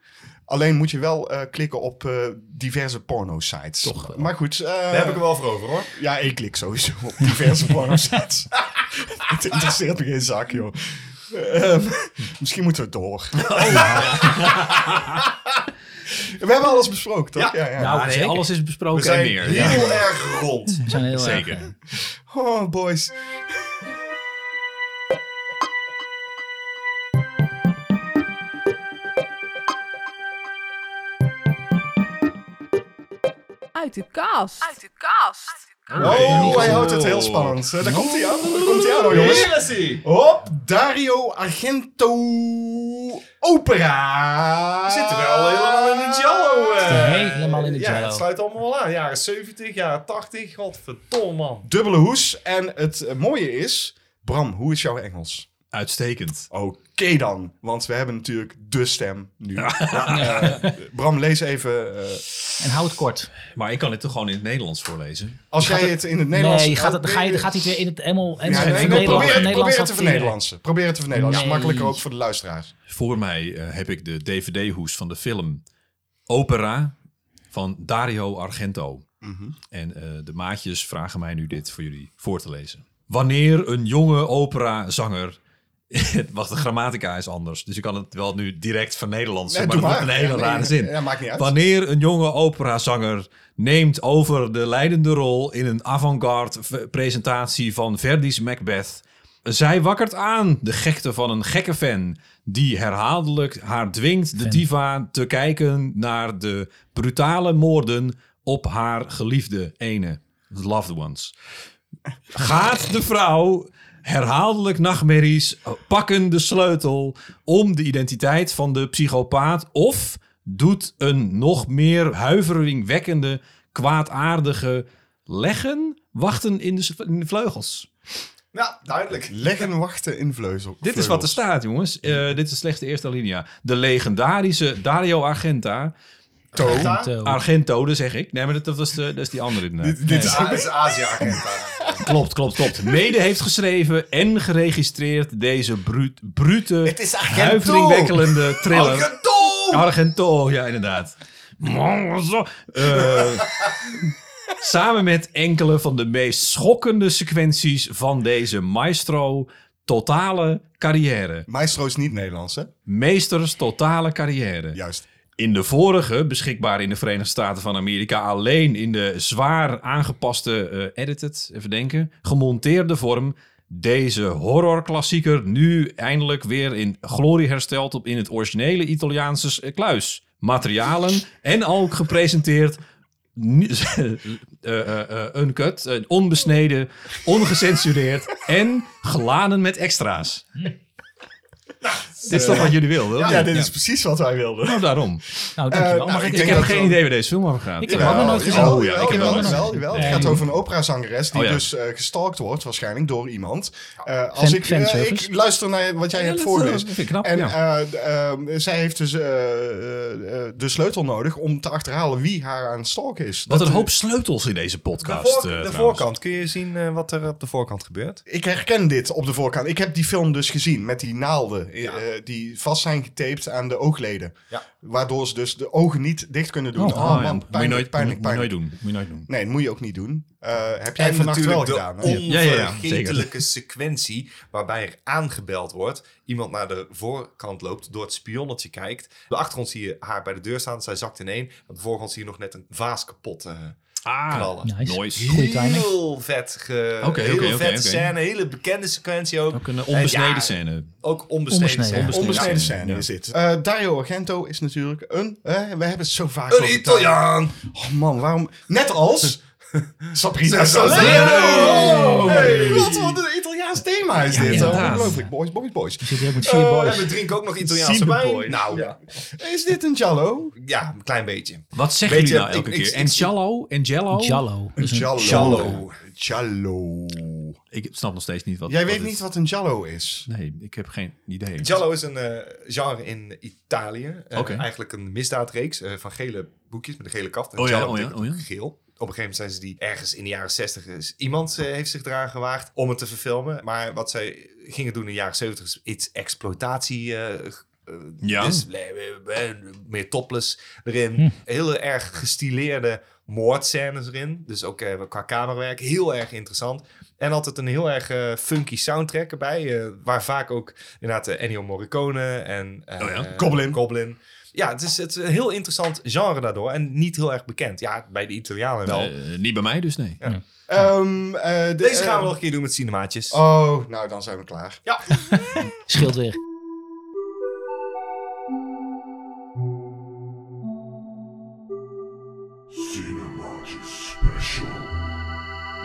[SPEAKER 3] Alleen moet je wel eh, klikken op eh, diverse porno-sites. Maar goed. eh,
[SPEAKER 1] Daar heb ik er wel voor over hoor.
[SPEAKER 3] ja, ik klik sowieso op diverse porno-sites. Het interesseert me geen zak, joh. Ehm, misschien moeten we door. we hebben alles besproken, toch? Ja. Ja,
[SPEAKER 2] Nou,
[SPEAKER 4] Ah, nee,
[SPEAKER 2] zeker.
[SPEAKER 4] alles is
[SPEAKER 1] We
[SPEAKER 4] besproken en
[SPEAKER 1] zijn
[SPEAKER 4] meer. Ja.
[SPEAKER 1] heel erg rond.
[SPEAKER 2] We zijn heel erg, eh,
[SPEAKER 4] Zeker.
[SPEAKER 3] Oh, boys.
[SPEAKER 6] Uit de kast. Uit de kast.
[SPEAKER 3] Oh, hij houdt het heel spannend. Eh, Daar komt hij aan. Daar komt hij aan, hoor, jongens.
[SPEAKER 1] Hier is hij!
[SPEAKER 3] Hop, Dario Argento Opera.
[SPEAKER 1] We zitten wel helemaal in de
[SPEAKER 4] Ah,
[SPEAKER 1] jello. eh.
[SPEAKER 2] Helemaal in de
[SPEAKER 1] Ja,
[SPEAKER 2] jello.
[SPEAKER 1] het sluit allemaal wel aan. Jaren 70, jaren 80. Godverdomme man.
[SPEAKER 3] Dubbele hoes. En het eh, mooie is... Bram, hoe is jouw Engels?
[SPEAKER 4] Uitstekend.
[SPEAKER 3] Oké dan, want we hebben natuurlijk de stem nu. Ja, eh, Bram, lees even. eh,
[SPEAKER 2] En hou het kort.
[SPEAKER 4] Maar ik kan dit toch gewoon in het Nederlands voorlezen?
[SPEAKER 3] als jij het in het Nederlands...
[SPEAKER 2] Nee, je gaat, het,
[SPEAKER 3] Oh,
[SPEAKER 2] ga je,
[SPEAKER 3] nee,
[SPEAKER 2] gaat hij weer in het helemaal en
[SPEAKER 3] Ja,
[SPEAKER 2] het
[SPEAKER 3] nee, nee,
[SPEAKER 2] Nederlands-
[SPEAKER 3] probeer, het- probeer
[SPEAKER 2] Nederlands
[SPEAKER 3] het te
[SPEAKER 2] hanteren.
[SPEAKER 3] vernederlandsen. Probeer het te vernederlandsen.
[SPEAKER 2] Nee.
[SPEAKER 3] Makkelijker ook voor de luisteraars.
[SPEAKER 4] Voor mij eh, heb ik de DVD-hoes van de film Opera van Dario Argento.
[SPEAKER 3] Mhm.
[SPEAKER 4] En eh, de maatjes vragen mij nu dit voor jullie voor te lezen. Wanneer een jonge operazanger... Wacht, de grammatica is anders. Dus ik kan het wel nu direct van Nederlands.
[SPEAKER 3] Nee,
[SPEAKER 4] maar
[SPEAKER 3] doe
[SPEAKER 4] dat wordt een hele
[SPEAKER 3] Ja,
[SPEAKER 4] rare
[SPEAKER 3] nee,
[SPEAKER 4] zin.
[SPEAKER 3] Ja, maakt niet uit.
[SPEAKER 4] Wanneer een jonge operazanger neemt over de leidende rol in een avant-garde v- presentatie van Verdi's Macbeth. Zij wakkert aan de gekte van een gekke fan die herhaaldelijk haar dwingt de diva te kijken naar de brutale moorden op haar geliefde ene, the loved ones. Gaat de vrouw herhaaldelijk nachtmerries pakken de sleutel om de identiteit van de psychopaat of doet een nog meer huiveringwekkende, kwaadaardige leggen wachten in de, s- in de vleugels.
[SPEAKER 1] Nou, duidelijk.
[SPEAKER 3] Leggen wachten in vleuzel.
[SPEAKER 4] Dit is wat er staat, jongens. Eh, dit is slechts de eerste alinea. De legendarische Dario Argenta.
[SPEAKER 1] Daar-
[SPEAKER 2] Zo.
[SPEAKER 4] Ah, Argento, dat zeg ik. Nee, maar dat, dat, was de, dat is die andere. in, eh.
[SPEAKER 1] Dit
[SPEAKER 3] Ah,
[SPEAKER 1] is, dit is Azië-agenda.
[SPEAKER 4] Klopt, klopt, klopt. Mede heeft geschreven en geregistreerd deze bruut, brute,
[SPEAKER 3] Het is Argento.
[SPEAKER 4] huiveringwekkelende thriller.
[SPEAKER 1] Argento!
[SPEAKER 4] Argento, ja, inderdaad. Eh, samen met enkele van de meest schokkende sequenties van deze maestro totale carrière.
[SPEAKER 3] Maestro is niet Nederlands, hè?
[SPEAKER 4] Meesters totale carrière.
[SPEAKER 3] Juist.
[SPEAKER 4] In de vorige, beschikbaar in de Verenigde Staten van Amerika, alleen in de zwaar aangepaste, eh, edited, even denken, gemonteerde vorm. Deze horrorklassieker nu eindelijk weer in glorie hersteld op in het originele Italiaanse s- eh, kluis. materialen en al gepresenteerd ni- eh, eh, eh, uncut, eh, onbesneden, ongecensureerd en geladen met extra's. dit is toch wat jullie wilden?
[SPEAKER 3] eh, Ja,
[SPEAKER 4] hoor?
[SPEAKER 3] dit is precies wat wij wilden.
[SPEAKER 4] Nou, daarom.
[SPEAKER 2] Nou, dankjewel.
[SPEAKER 3] nou,
[SPEAKER 2] maar
[SPEAKER 3] ik
[SPEAKER 2] ik,
[SPEAKER 4] Ik
[SPEAKER 3] denk
[SPEAKER 2] heb
[SPEAKER 4] heb
[SPEAKER 3] dat
[SPEAKER 2] geen...
[SPEAKER 4] geen
[SPEAKER 3] wel-
[SPEAKER 4] idee waar deze film over gaat.
[SPEAKER 2] Ik heb hem ook nog nooit gezien.
[SPEAKER 4] Oh ja, ik heb hem ook
[SPEAKER 3] wel,
[SPEAKER 4] nog nooit
[SPEAKER 3] wel, wel. Het gaat
[SPEAKER 2] Nee.
[SPEAKER 3] over een operazangeres die
[SPEAKER 4] Oh ja.
[SPEAKER 3] dus eh, gestalkt wordt, waarschijnlijk door iemand. Eh, als ik, eh,
[SPEAKER 2] fanservice.
[SPEAKER 3] ik luister naar wat jij
[SPEAKER 4] Ja,
[SPEAKER 3] hebt
[SPEAKER 4] dat,
[SPEAKER 3] voorgelezen.
[SPEAKER 4] eh, vind ik knap,
[SPEAKER 3] en
[SPEAKER 4] ja.
[SPEAKER 3] eh, d- ehm, zij heeft dus eh, eh, eh, de sleutel nodig om te achterhalen wie haar aan het stalken is.
[SPEAKER 4] Wat
[SPEAKER 3] Dat-
[SPEAKER 4] een hoop sleutels in deze
[SPEAKER 1] De,
[SPEAKER 4] podcast.
[SPEAKER 1] voor-
[SPEAKER 4] eh,
[SPEAKER 1] de
[SPEAKER 4] trouwens.
[SPEAKER 1] voorkant. Kun je zien eh, wat er op de voorkant gebeurt?
[SPEAKER 3] Ik herken dit op de voorkant. Ik heb die film dus gezien met die naalden eh, eh, die vast zijn getaped aan de oogleden.
[SPEAKER 1] Ja.
[SPEAKER 3] Waardoor ze dus de ogen niet dicht kunnen doen.
[SPEAKER 2] Oh,
[SPEAKER 3] Oh,
[SPEAKER 4] Oh, ja.
[SPEAKER 3] man,
[SPEAKER 4] Moet je
[SPEAKER 3] pijnlijk,
[SPEAKER 4] nooit-
[SPEAKER 3] pijnlijk,
[SPEAKER 4] Moet je nooit
[SPEAKER 3] pijnlijk.
[SPEAKER 4] doen. Moet je nooit doen.
[SPEAKER 3] Nee, dat moet je ook niet doen. Eh, heb jij vannacht wel gedaan. hè?
[SPEAKER 1] de
[SPEAKER 4] Ja, ja, ja,
[SPEAKER 1] onvergetelijke sequentie waarbij er aangebeld wordt. Iemand naar de voorkant loopt, door het spionnetje kijkt. Op De achtergrond zie je haar bij de deur staan. Zij zakt ineen. Aan de voorgrond zie je nog net een vaas kapot eh,
[SPEAKER 4] Ah,
[SPEAKER 1] knallen.
[SPEAKER 2] Nice.
[SPEAKER 4] Nice.
[SPEAKER 2] Goeie timing.
[SPEAKER 1] Heel vet, ge,
[SPEAKER 4] Oké,
[SPEAKER 1] heel
[SPEAKER 4] oké, oké,
[SPEAKER 1] vette
[SPEAKER 4] oké.
[SPEAKER 1] scène, hele bekende sequentie ook.
[SPEAKER 4] Ook een
[SPEAKER 1] En
[SPEAKER 4] onbesneden
[SPEAKER 1] ja,
[SPEAKER 4] scène.
[SPEAKER 1] Ook onbesneden,
[SPEAKER 2] Onbesneden.
[SPEAKER 1] scène.
[SPEAKER 2] Onbesneden.
[SPEAKER 3] Onbesneden
[SPEAKER 4] Ja.
[SPEAKER 3] scène
[SPEAKER 4] Ja.
[SPEAKER 3] is dit. Eh, Dario Argento is natuurlijk een... eh, we hebben het zo vaak
[SPEAKER 1] Een
[SPEAKER 3] over
[SPEAKER 1] Italiaan!
[SPEAKER 3] Oh man, waarom... Net als...
[SPEAKER 1] Sabrina
[SPEAKER 3] Sabrina Salerno!
[SPEAKER 1] Salerno!
[SPEAKER 3] Hey, wat wat een Italiaans thema is dit.
[SPEAKER 4] inderdaad.
[SPEAKER 3] Oh, Ongelooflijk. Boys, boys, boys.
[SPEAKER 2] Zit hier ook met vier boys.
[SPEAKER 1] en Nou, we drinken ook nog
[SPEAKER 3] Zien
[SPEAKER 1] Italiaanse
[SPEAKER 3] de
[SPEAKER 1] wijn.
[SPEAKER 3] boys.
[SPEAKER 1] Nou,
[SPEAKER 3] Ja.
[SPEAKER 1] ja.
[SPEAKER 3] Is dit een giallo?
[SPEAKER 1] een klein beetje.
[SPEAKER 4] Wat zeggen
[SPEAKER 1] Weet
[SPEAKER 4] jullie
[SPEAKER 1] je,
[SPEAKER 4] nou elke
[SPEAKER 1] ik- ik-
[SPEAKER 4] keer?
[SPEAKER 1] ik-
[SPEAKER 4] En Jallo? En Jello?
[SPEAKER 2] Jallo. Dus een-
[SPEAKER 1] Giallo.
[SPEAKER 3] Giallo.
[SPEAKER 4] Ik snap nog steeds niet wat
[SPEAKER 3] Jij
[SPEAKER 4] wat
[SPEAKER 3] weet
[SPEAKER 4] het-
[SPEAKER 3] niet wat een giallo is.
[SPEAKER 4] Nee, ik heb geen idee.
[SPEAKER 1] Giallo is een eh, genre in Italië. Eh,
[SPEAKER 4] dus- Oké.
[SPEAKER 1] Eigenlijk een misdaadreeks eh, van gele boekjes met een gele kaft. En
[SPEAKER 4] Oh ja,
[SPEAKER 1] Giallo
[SPEAKER 4] oh ja,
[SPEAKER 1] betekent
[SPEAKER 4] oh ja.
[SPEAKER 1] geel. Op een gegeven moment zijn ze die ergens in de jaren 60 is. Iemand eh, heeft zich eraan gewaagd om het te verfilmen. Maar wat zij gingen doen in de jaren 70 is iets exploitatie. eh, g- eh,
[SPEAKER 4] Ja. Hm.
[SPEAKER 1] Dus eh, eh, eh, meer topless erin. Heel erg gestileerde moordscènes erin. Dus ook eh, qua camerawerk heel erg interessant. En altijd een heel erg eh, funky soundtrack erbij. eh, waar vaak ook inderdaad eh, Ennio Morricone en eh,
[SPEAKER 4] Oh ja,
[SPEAKER 1] eh,
[SPEAKER 3] Goblin.
[SPEAKER 1] Goblin. Ja, het is, het is een heel interessant genre daardoor. En niet heel erg bekend. Ja, bij de Italianen wel.
[SPEAKER 4] Eh, niet bij mij dus, nee.
[SPEAKER 3] Ehm, eh, de-
[SPEAKER 1] Deze gaan
[SPEAKER 3] eh,
[SPEAKER 1] we nog een keer doen met cinemaatjes.
[SPEAKER 3] Oh, nou dan zijn we klaar.
[SPEAKER 1] Ja.
[SPEAKER 2] Scheelt weer.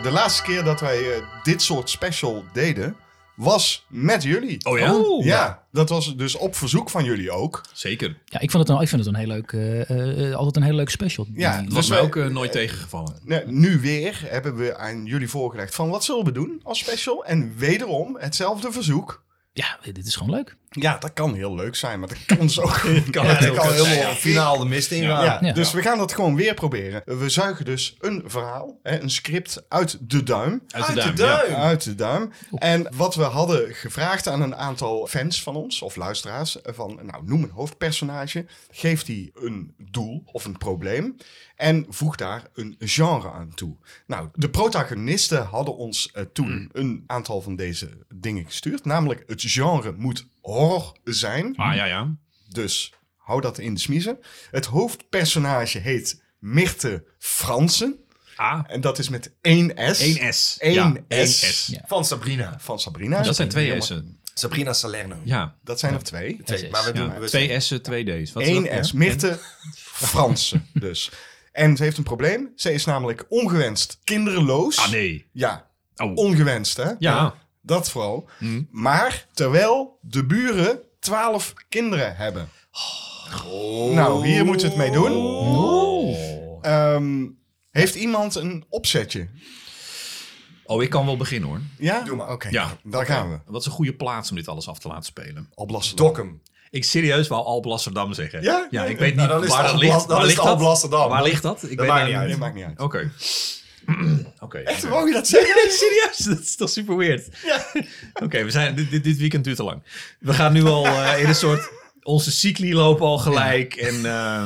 [SPEAKER 3] De laatste keer dat wij eh, dit soort special deden, was met jullie.
[SPEAKER 4] Oh ja?
[SPEAKER 3] ja. dat was dus op verzoek van jullie ook.
[SPEAKER 4] Zeker.
[SPEAKER 2] Ja, ik vond het, een, ik vind het een heel leuk, eh, eh, eh, altijd een heel leuk special.
[SPEAKER 3] Ja,
[SPEAKER 2] Die-
[SPEAKER 4] Dat was
[SPEAKER 3] Dus
[SPEAKER 4] mij
[SPEAKER 3] wij-
[SPEAKER 4] ook eh, nooit tegengevallen.
[SPEAKER 3] Nou, Nu weer hebben we aan jullie voorgelegd van wat zullen we doen als special. En wederom hetzelfde verzoek.
[SPEAKER 2] ja, dit is gewoon leuk.
[SPEAKER 3] Ja, dat kan heel leuk zijn, maar dat kan zo ook.
[SPEAKER 1] Kan
[SPEAKER 3] Ja,
[SPEAKER 1] het
[SPEAKER 3] dat kan
[SPEAKER 1] helemaal
[SPEAKER 3] heel
[SPEAKER 1] finaal de mist in gaan.
[SPEAKER 3] Ja,
[SPEAKER 2] Ja.
[SPEAKER 3] Dus we gaan dat gewoon weer proberen. We zuigen dus een verhaal, hè, een script uit de duim.
[SPEAKER 4] Uit de
[SPEAKER 1] Uit
[SPEAKER 4] duim,
[SPEAKER 1] de
[SPEAKER 4] ja.
[SPEAKER 1] duim.
[SPEAKER 3] Uit de duim. En wat we hadden gevraagd aan een aantal fans van ons, of luisteraars, van nou, noem een hoofdpersonage, geef die een doel of een probleem en voeg daar een genre aan toe. Nou, de protagonisten hadden ons eh, toen
[SPEAKER 4] Hmm.
[SPEAKER 3] een aantal van deze dingen gestuurd, namelijk het genre moet horror zijn.
[SPEAKER 4] Ah ja, ja.
[SPEAKER 3] Dus hou dat in de smiezen. Het hoofdpersonage heet Mirte Fransen.
[SPEAKER 4] Ah,
[SPEAKER 3] En dat is met één S.
[SPEAKER 4] 1S.
[SPEAKER 3] Eén
[SPEAKER 4] Ja,
[SPEAKER 3] S.
[SPEAKER 4] één S.
[SPEAKER 2] Ja.
[SPEAKER 1] Van Sabrina.
[SPEAKER 3] Van Sabrina.
[SPEAKER 4] Dat zijn twee
[SPEAKER 3] Helemaal-
[SPEAKER 4] S'en.
[SPEAKER 1] Sabrina Salerno.
[SPEAKER 4] Ja.
[SPEAKER 3] Dat zijn er twee.
[SPEAKER 1] Twee, maar we doen
[SPEAKER 4] ja.
[SPEAKER 1] we-
[SPEAKER 4] Twee S'en, twee D's. Wat is dat?
[SPEAKER 3] Eén S. Mirte Fransen dus. En ze heeft een probleem. Ze is namelijk ongewenst kinderloos.
[SPEAKER 4] Ah nee.
[SPEAKER 3] Ja,
[SPEAKER 4] Oh.
[SPEAKER 3] ongewenst hè.
[SPEAKER 4] Ja. Hmm.
[SPEAKER 3] Dat vooral. Maar terwijl de buren twaalf kinderen hebben.
[SPEAKER 4] Oh.
[SPEAKER 3] Nou, hier moeten we het mee doen. Ehm, heeft iemand een opzetje?
[SPEAKER 4] Oh, ik kan wel beginnen hoor.
[SPEAKER 3] Ja?
[SPEAKER 1] Doe maar.
[SPEAKER 3] Oké,
[SPEAKER 4] Ja.
[SPEAKER 3] daar gaan we.
[SPEAKER 4] Wat is een goede plaats om dit alles af te laten spelen.
[SPEAKER 3] Alblasserdam.
[SPEAKER 1] Dokkum.
[SPEAKER 4] Ik serieus wou Alblasserdam zeggen.
[SPEAKER 3] Ja?
[SPEAKER 4] Ja,
[SPEAKER 3] Nee,
[SPEAKER 4] ik weet
[SPEAKER 1] nou,
[SPEAKER 4] niet
[SPEAKER 1] dan is
[SPEAKER 4] waar
[SPEAKER 1] het
[SPEAKER 4] dat
[SPEAKER 1] Alblas-
[SPEAKER 4] ligt.
[SPEAKER 1] dan is
[SPEAKER 4] Waar ligt
[SPEAKER 1] het
[SPEAKER 4] dat?
[SPEAKER 1] Alblasserdam.
[SPEAKER 4] Waar ligt dat? Ik
[SPEAKER 1] Dat maakt
[SPEAKER 4] daar-
[SPEAKER 1] niet uit.
[SPEAKER 3] Nee, maakt niet uit.
[SPEAKER 4] Oké. Oké.
[SPEAKER 3] Echt, Oh, wou je dat zeggen?
[SPEAKER 4] Nee, serieus? Dat is toch super weird? Oké, we zijn dit, dit, dit weekend duurt te lang. We gaan nu al eh, in een soort... Onze cycli lopen al gelijk. En eh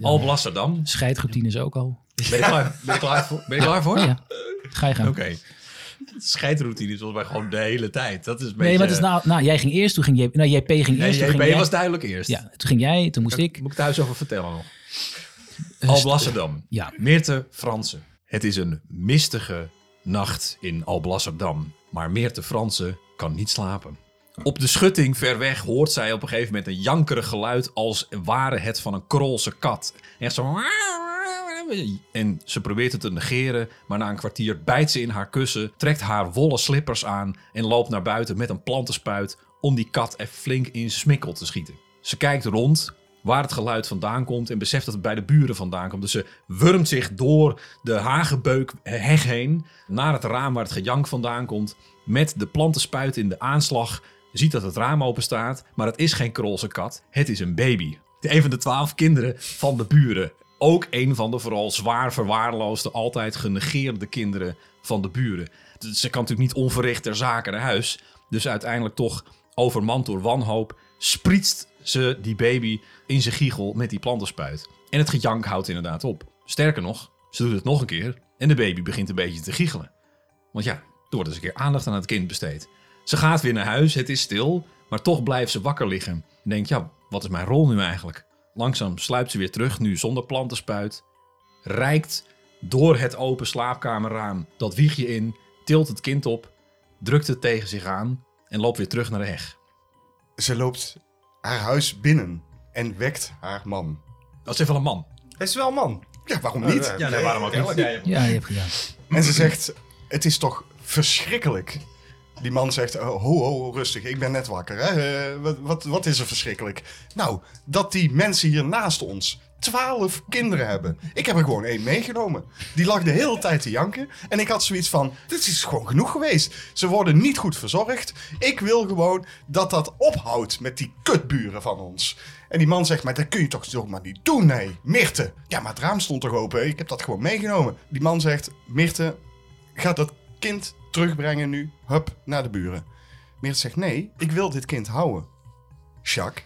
[SPEAKER 4] Alblasserdam.
[SPEAKER 2] Scheidroutine is ook al.
[SPEAKER 4] Ben je klaar, ben je klaar voor? Ben je klaar voor?
[SPEAKER 2] Oh ja, ga je gaan.
[SPEAKER 4] Oké. Scheidroutine is volgens mij gewoon de hele tijd. Dat is een beetje...
[SPEAKER 2] Nee, maar het is nou, nou, jij ging eerst, toen ging JP. Nou, JP ging
[SPEAKER 4] Nee,
[SPEAKER 2] eerst. toen ging
[SPEAKER 4] JP
[SPEAKER 2] jij-
[SPEAKER 4] was duidelijk eerst.
[SPEAKER 2] Ja, toen ging jij, toen moest ik. Eh,
[SPEAKER 4] Moet ik thuis over vertellen nog. Alblasserdam.
[SPEAKER 2] Ja.
[SPEAKER 4] Meerte Fransen. Het is een mistige nacht in Alblasserdam. Maar Meerte Fransen kan niet slapen. Op de schutting ver weg hoort zij op een gegeven moment een jankerig geluid als ware het van een krolse kat. Echt zo... En ze probeert het te negeren, maar na een kwartier bijt ze in haar kussen, trekt haar wollen slippers aan en loopt naar buiten met een plantenspuit om die kat er flink in smikkel te schieten. Ze kijkt rond waar het geluid vandaan komt en beseft dat het bij de buren vandaan komt. Dus ze wurmt zich door de hagebeuk heg heen naar het raam waar het gejank vandaan komt met de plantenspuit in de aanslag. Ziet dat het raam open staat, maar het is geen krolse kat, het is een baby. Een van de twaalf kinderen van de buren. Ook een van de vooral zwaar verwaarloosde, altijd genegeerde kinderen van de buren. Dus Ze kan natuurlijk niet onverricht ter zake naar huis. Dus uiteindelijk toch overmand door wanhoop sprietst ze die baby in zijn giegel met die plantenspuit. En het gejank houdt inderdaad op. Sterker nog, ze doet het nog een keer en de baby begint een beetje te giechelen. Want ja, er wordt eens een keer aandacht aan het kind besteed. Ze gaat weer naar huis, het is stil, maar toch blijft ze wakker liggen. En denkt, ja, wat is mijn rol nu eigenlijk? Langzaam sluipt ze weer terug, nu zonder plantenspuit. Rijkt door het open slaapkamerraam dat wiegje in, tilt het kind op, drukt het tegen zich aan en loopt weer terug naar de heg.
[SPEAKER 3] Ze loopt haar huis binnen en wekt haar man.
[SPEAKER 4] Dat is even een man.
[SPEAKER 1] Hij is wel een man.
[SPEAKER 3] Ja, waarom niet?
[SPEAKER 1] Ja, nee, waarom ook niet?
[SPEAKER 2] Ja, je hebt gedaan.
[SPEAKER 3] En ze zegt, het is toch verschrikkelijk. Die man zegt, oh, ho, ho, rustig, ik ben net wakker. Hè? Eh, wat, wat, wat is er verschrikkelijk? Nou, dat die mensen hier naast ons twaalf kinderen hebben. Ik heb er gewoon één meegenomen. Die lag de hele tijd te janken. En ik had zoiets van, dit is gewoon genoeg geweest. Ze worden niet goed verzorgd. Ik wil gewoon dat dat ophoudt met die kutburen van ons. En die man zegt, maar dat kun je toch zomaar niet doen, nee. Mirte, ja, maar het raam stond toch open? Ik heb dat gewoon meegenomen. Die man zegt, Mirte, ga dat kind terugbrengen nu, hup, naar de buren. Meert zegt, nee, ik wil dit kind houden. Jacques.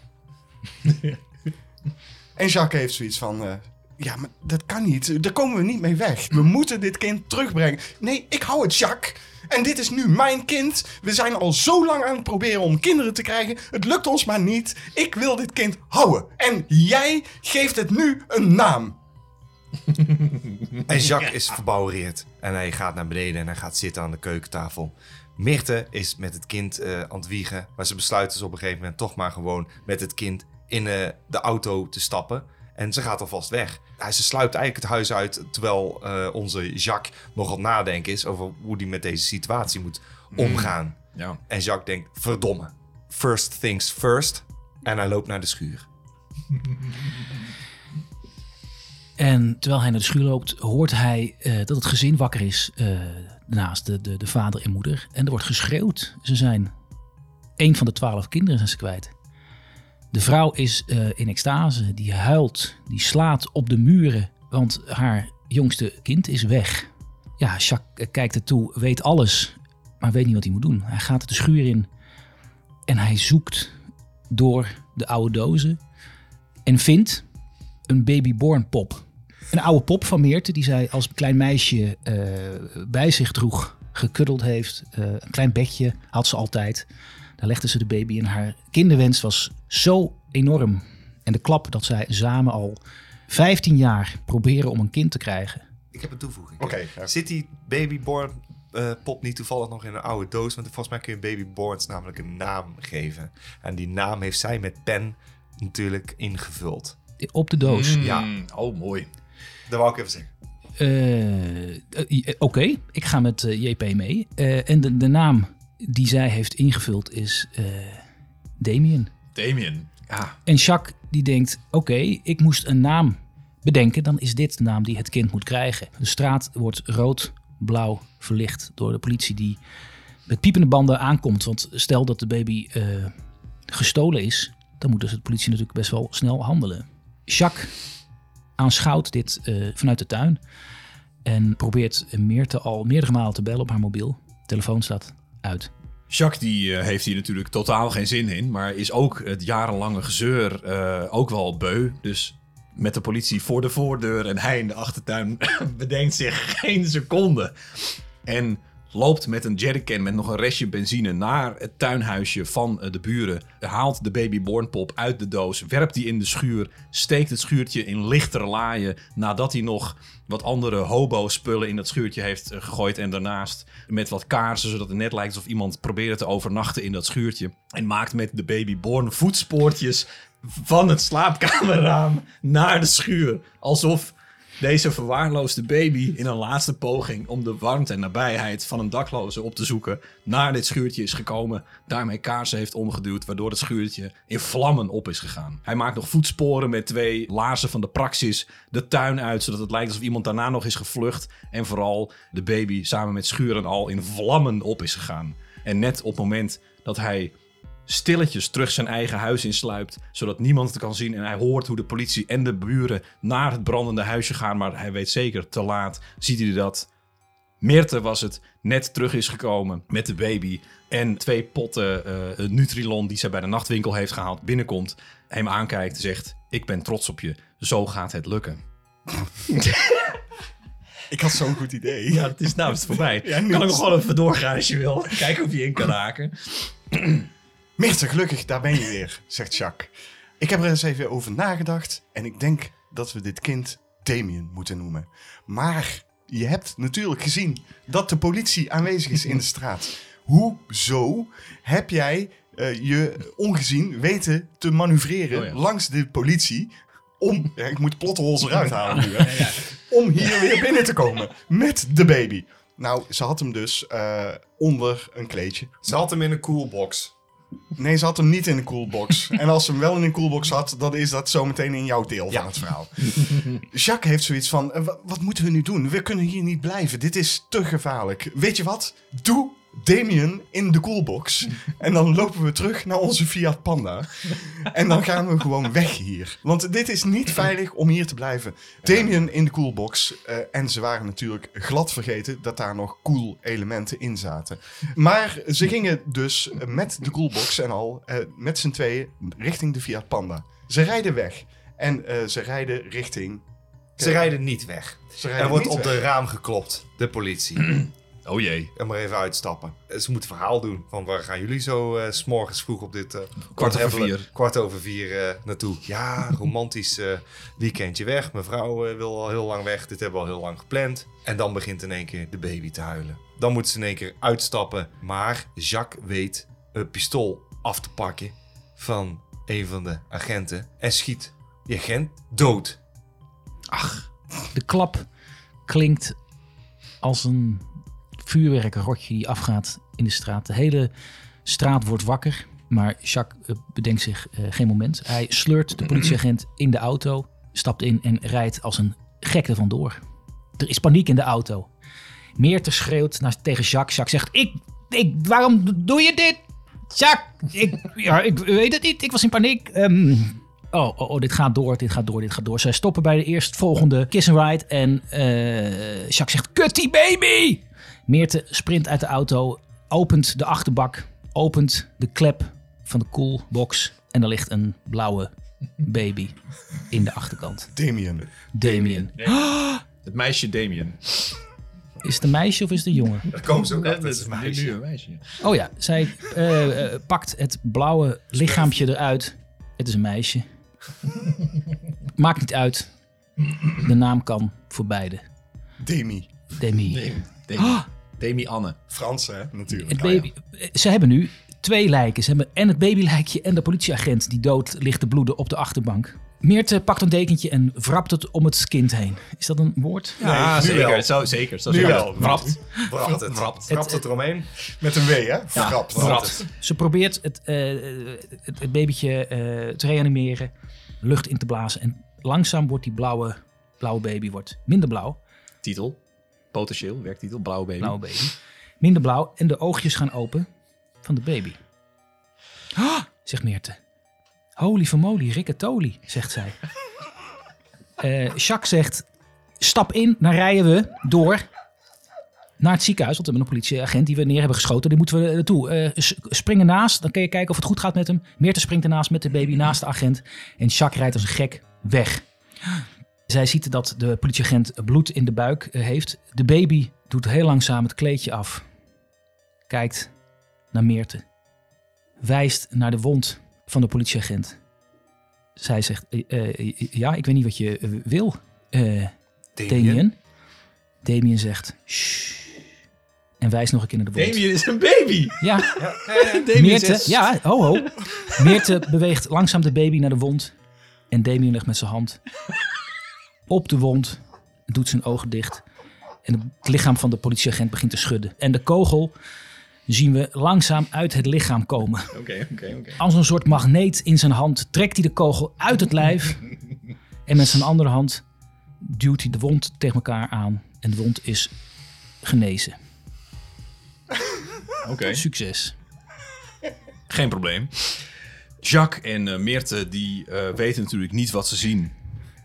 [SPEAKER 3] en Jacques heeft zoiets van, eh, ja, maar dat kan niet. Daar komen we niet mee weg. We moeten dit kind terugbrengen. Nee, ik hou het, Jacques. En dit is nu mijn kind. We zijn al zo lang aan het proberen om kinderen te krijgen. Het lukt ons maar niet. Ik wil dit kind houden. En jij geeft het nu een naam.
[SPEAKER 1] En Jacques is verbouwereerd. En hij gaat naar beneden en hij gaat zitten aan de keukentafel. Mirte is met het kind eh, aan het wiegen. Maar ze besluit dus op een gegeven moment toch maar gewoon met het kind in eh, de auto te stappen. En ze gaat alvast weg. Hij ze sluipt eigenlijk het huis uit terwijl eh, onze Jacques nog aan het nadenken is over hoe hij met deze situatie moet omgaan.
[SPEAKER 4] Ja.
[SPEAKER 1] En Jacques denkt, verdomme, first things first. En hij loopt naar de schuur.
[SPEAKER 2] En terwijl hij naar de schuur loopt, hoort hij eh, dat het gezin wakker is. eh, naast de, de, de vader en moeder. En er wordt geschreeuwd. Ze zijn. één van de twaalf kinderen zijn ze kwijt. De vrouw is eh, in extase. Die huilt. Die slaat op de muren. Want haar jongste kind is weg. Ja, Jacques eh, kijkt ertoe, weet alles. Maar weet niet wat hij moet doen. Hij gaat de schuur in. En hij zoekt door de oude dozen. En vindt een babyborn pop. Een oude pop van Meerte die zij als klein meisje eh, bij zich droeg, gekuddeld heeft. Eh, een klein bedje had ze altijd. Daar legde ze de baby in. Haar kinderwens was zo enorm. En de klap dat zij samen al 15 jaar proberen om een kind te krijgen.
[SPEAKER 1] Ik heb een toevoeging.
[SPEAKER 3] Oké, ja.
[SPEAKER 1] Zit die babyborn eh, pop niet toevallig nog in een oude doos? Want volgens mij kun je babyborns namelijk een naam geven. En die naam heeft zij met pen natuurlijk ingevuld.
[SPEAKER 2] Op de doos.
[SPEAKER 4] ja. Oh, mooi.
[SPEAKER 1] Dat wou ik even zeggen.
[SPEAKER 2] Eh, eh, Oké, ik ga met eh, JP mee. Eh, en de, de naam die zij heeft ingevuld is eh Damien.
[SPEAKER 4] Damien. Ja.
[SPEAKER 2] En Jacques die denkt, oké, ik moest een naam bedenken. Dan is dit de naam die het kind moet krijgen. De straat wordt rood-blauw verlicht door de politie die met piepende banden aankomt. Want stel dat de baby eh, gestolen is, dan moet dus de politie natuurlijk best wel snel handelen. Jacques aanschouwt dit eh, vanuit de tuin en probeert Meerte al meerdere malen te bellen op haar mobiel. Telefoon staat uit.
[SPEAKER 4] Jacques die, eh, heeft hier natuurlijk totaal geen zin in, maar is ook het jarenlange gezeur eh, ook wel beu. Dus met de politie voor de voordeur en hij in de achtertuin bedenkt zich geen seconde. En loopt met een jerrycan met nog een restje benzine naar het tuinhuisje van eh, de buren. Haalt de baby born pop uit de doos, werpt die in de schuur, steekt het schuurtje in lichtere laaien nadat hij nog wat andere hobo-spullen in dat schuurtje heeft eh, gegooid en daarnaast met wat kaarsen zodat het net lijkt alsof iemand probeerde te overnachten in dat schuurtje. En maakt met de baby born voetspoortjes van het slaapkamerraam naar de schuur. Alsof deze verwaarloosde baby in een laatste poging om de warmte en nabijheid van een dakloze op te zoeken naar dit schuurtje is gekomen, daarmee kaarsen heeft omgeduwd, waardoor het schuurtje in vlammen op is gegaan. Hij maakt nog voetsporen met twee laarzen van de praxis de tuin uit, zodat het lijkt alsof iemand daarna nog is gevlucht en vooral de baby samen met schuren al in vlammen op is gegaan. En net op het moment dat hij stilletjes terug zijn eigen huis insluipt, zodat niemand het kan zien. En hij hoort hoe de politie en de buren naar het brandende huisje gaan, maar hij weet zeker te laat, ziet hij dat. Meerte was het, net terug is gekomen met de baby en twee potten eh, Nutrilon die zij bij de nachtwinkel heeft gehaald binnenkomt, hem aankijkt en zegt, ik ben trots op je, zo gaat het lukken.
[SPEAKER 3] Ik had zo'n goed idee.
[SPEAKER 4] Ja, het is nou het is voorbij.
[SPEAKER 3] Ja, nu
[SPEAKER 4] kan ik
[SPEAKER 3] is-
[SPEAKER 4] nog wel even doorgaan als je wil. Kijken of je in kan haken.
[SPEAKER 3] Meerte, gelukkig, daar ben je weer, zegt Jacques. Ik heb er eens even over nagedacht en ik denk dat we dit kind Damien moeten noemen. Maar je hebt natuurlijk gezien dat de politie aanwezig is in de straat. Hoezo heb jij eh, je ongezien weten te manoeuvreren
[SPEAKER 4] Oh ja.
[SPEAKER 3] langs de politie om... Ja, ik moet plothols eruit halen nu, hè. Om hier weer binnen te komen met de baby. Nou, ze had hem dus eh, onder een kleedje.
[SPEAKER 1] Ze had hem in een coolbox.
[SPEAKER 3] Nee, ze had hem niet in de coolbox. en als ze hem wel in de coolbox had, dan is dat zometeen in jouw deel van het verhaal. Jacques heeft zoiets van, eh, wa- wat moeten we nu doen? We kunnen hier niet blijven. Dit is te gevaarlijk. Weet je wat? Doe Damien in de coolbox. en dan lopen we terug naar onze Fiat Panda. en dan gaan we gewoon weg hier. Want dit is niet veilig om hier te blijven. Damien in de coolbox. eh, en ze waren natuurlijk glad vergeten dat daar nog cool elementen in zaten. Maar ze gingen dus met de coolbox en al, eh, met z'n tweeën, richting de Fiat Panda. Ze rijden weg. En eh, ze rijden richting...
[SPEAKER 1] Ze rijden niet weg.
[SPEAKER 3] Ze
[SPEAKER 1] Er
[SPEAKER 3] rijden
[SPEAKER 1] wordt
[SPEAKER 3] niet
[SPEAKER 1] op
[SPEAKER 3] weg.
[SPEAKER 1] de raam geklopt, de politie.
[SPEAKER 4] Oh jee.
[SPEAKER 1] en maar even uitstappen. Eh, Ze moeten verhaal doen van waar gaan jullie zo eh, s morgens vroeg op dit... eh,
[SPEAKER 4] Kwart over
[SPEAKER 1] onhebbelijk-
[SPEAKER 4] vier.
[SPEAKER 1] Kwart over vier eh, naartoe. Ja, romantisch eh, weekendje weg. Mevrouw eh, wil al heel lang weg. Dit hebben we al heel lang gepland. En dan begint in één keer de baby te huilen. Dan moeten ze in één keer uitstappen. Maar Jacques weet een pistool af te pakken van een van de agenten. En schiet die agent dood.
[SPEAKER 2] De klap klinkt als een vuurwerkrotje die afgaat in de straat. De hele straat wordt wakker, maar Jacques eh, bedenkt zich eh, geen moment. Hij sleurt de politieagent in de auto, stapt in en rijdt als een gek er vandoor. Er is paniek in de auto. Meerte schreeuwt naar, tegen Jacques. Jacques zegt, ik, ik, waarom doe je dit? Jacques, ik, ja, ik weet het niet. Ik was in paniek. Ehm, Oh, oh, oh, dit gaat door, dit gaat door, dit gaat door. Zij stoppen bij de eerstvolgende kiss and ride. En eh Jacques zegt, kut die baby! Meerte sprint uit de auto, opent de achterbak, opent de klep van de koelbox. En daar ligt een blauwe baby in de achterkant.
[SPEAKER 3] Damien.
[SPEAKER 2] Damien.
[SPEAKER 4] Het meisje Damien.
[SPEAKER 2] Is het een meisje of is het een jongen?
[SPEAKER 1] Daar komen ze ook
[SPEAKER 4] Ja,
[SPEAKER 1] achter.
[SPEAKER 4] dat
[SPEAKER 1] Het
[SPEAKER 4] is
[SPEAKER 1] is
[SPEAKER 4] nu-
[SPEAKER 1] een
[SPEAKER 4] nu
[SPEAKER 1] meisje.
[SPEAKER 4] een meisje.
[SPEAKER 2] Oh ja, zij eh, eh, pakt het blauwe lichaampje eruit. Het is een meisje. Maakt niet uit. De naam kan voor beide.
[SPEAKER 3] Demi.
[SPEAKER 2] Demi.
[SPEAKER 3] Ah!
[SPEAKER 4] Demi. Demi Anne.
[SPEAKER 3] Frans, hè? Natuurlijk.
[SPEAKER 2] Het
[SPEAKER 3] Ah, ja.
[SPEAKER 2] baby, Ze hebben nu twee lijken. Ze hebben en het babylijkje en de politieagent die dood ligt te bloeden op de achterbank. Meerte pakt een dekentje en wrapt het om het kind heen. Is dat een woord?
[SPEAKER 4] Ja,
[SPEAKER 1] nu
[SPEAKER 4] zeker.
[SPEAKER 1] wel.
[SPEAKER 4] Zo, zeker. Zo
[SPEAKER 3] Nu
[SPEAKER 4] zeker.
[SPEAKER 3] wel.
[SPEAKER 4] Wrapt.
[SPEAKER 1] Wrapt het.
[SPEAKER 4] Wrapt.
[SPEAKER 1] Wrapt het eromheen.
[SPEAKER 3] Met een W, hè? Verrapt.
[SPEAKER 4] Wrapt.
[SPEAKER 2] Ze probeert het, eh, het, het babytje eh, te reanimeren, lucht in te blazen. En langzaam wordt die blauwe, blauwe baby wordt minder blauw.
[SPEAKER 4] Titel. Potentieel. Werktitel. Blauwe baby.
[SPEAKER 2] Blauwe baby. Minder blauw en de oogjes gaan open van de baby. Ah, zegt Meerte. Holy vermoly, riccatoli, zegt zij. Eh Jacques zegt, stap in, dan rijden we door naar het ziekenhuis. Want we hebben een politieagent die we neer hebben geschoten. Die moeten we naartoe. Eh, s- spring ernaast, dan kun je kijken of het goed gaat met hem. Meerte springt ernaast met de baby naast de agent. En Jacques rijdt als een gek weg. Zij ziet dat de politieagent bloed in de buik eh, heeft. De baby doet heel langzaam het kleedje af. kijkt naar Meerte. Wijst naar de wond van de politieagent. Zij zegt, eh, eh, ja, ik weet niet wat je eh, wil, eh, Damien. Damien. zegt, "Shh." En wijst nog een keer naar de wond.
[SPEAKER 4] Damien is een baby.
[SPEAKER 2] Ja,
[SPEAKER 4] Damien
[SPEAKER 2] Meerte,
[SPEAKER 4] is-
[SPEAKER 2] ja, ho ho. Meerte beweegt langzaam de baby naar de wond. En Damien legt met zijn hand op de wond. Doet zijn ogen dicht. En het lichaam van de politieagent begint te schudden. En de kogel zien we langzaam uit het lichaam komen.
[SPEAKER 4] Oké, oké, oké.
[SPEAKER 2] Als een soort magneet in zijn hand trekt hij de kogel uit het lijf. En met zijn andere hand duwt hij de wond tegen elkaar aan. En de wond is genezen.
[SPEAKER 4] Oké.
[SPEAKER 2] Succes.
[SPEAKER 4] Geen probleem. Jacques en eh, Meerte die eh, weten natuurlijk niet wat ze zien.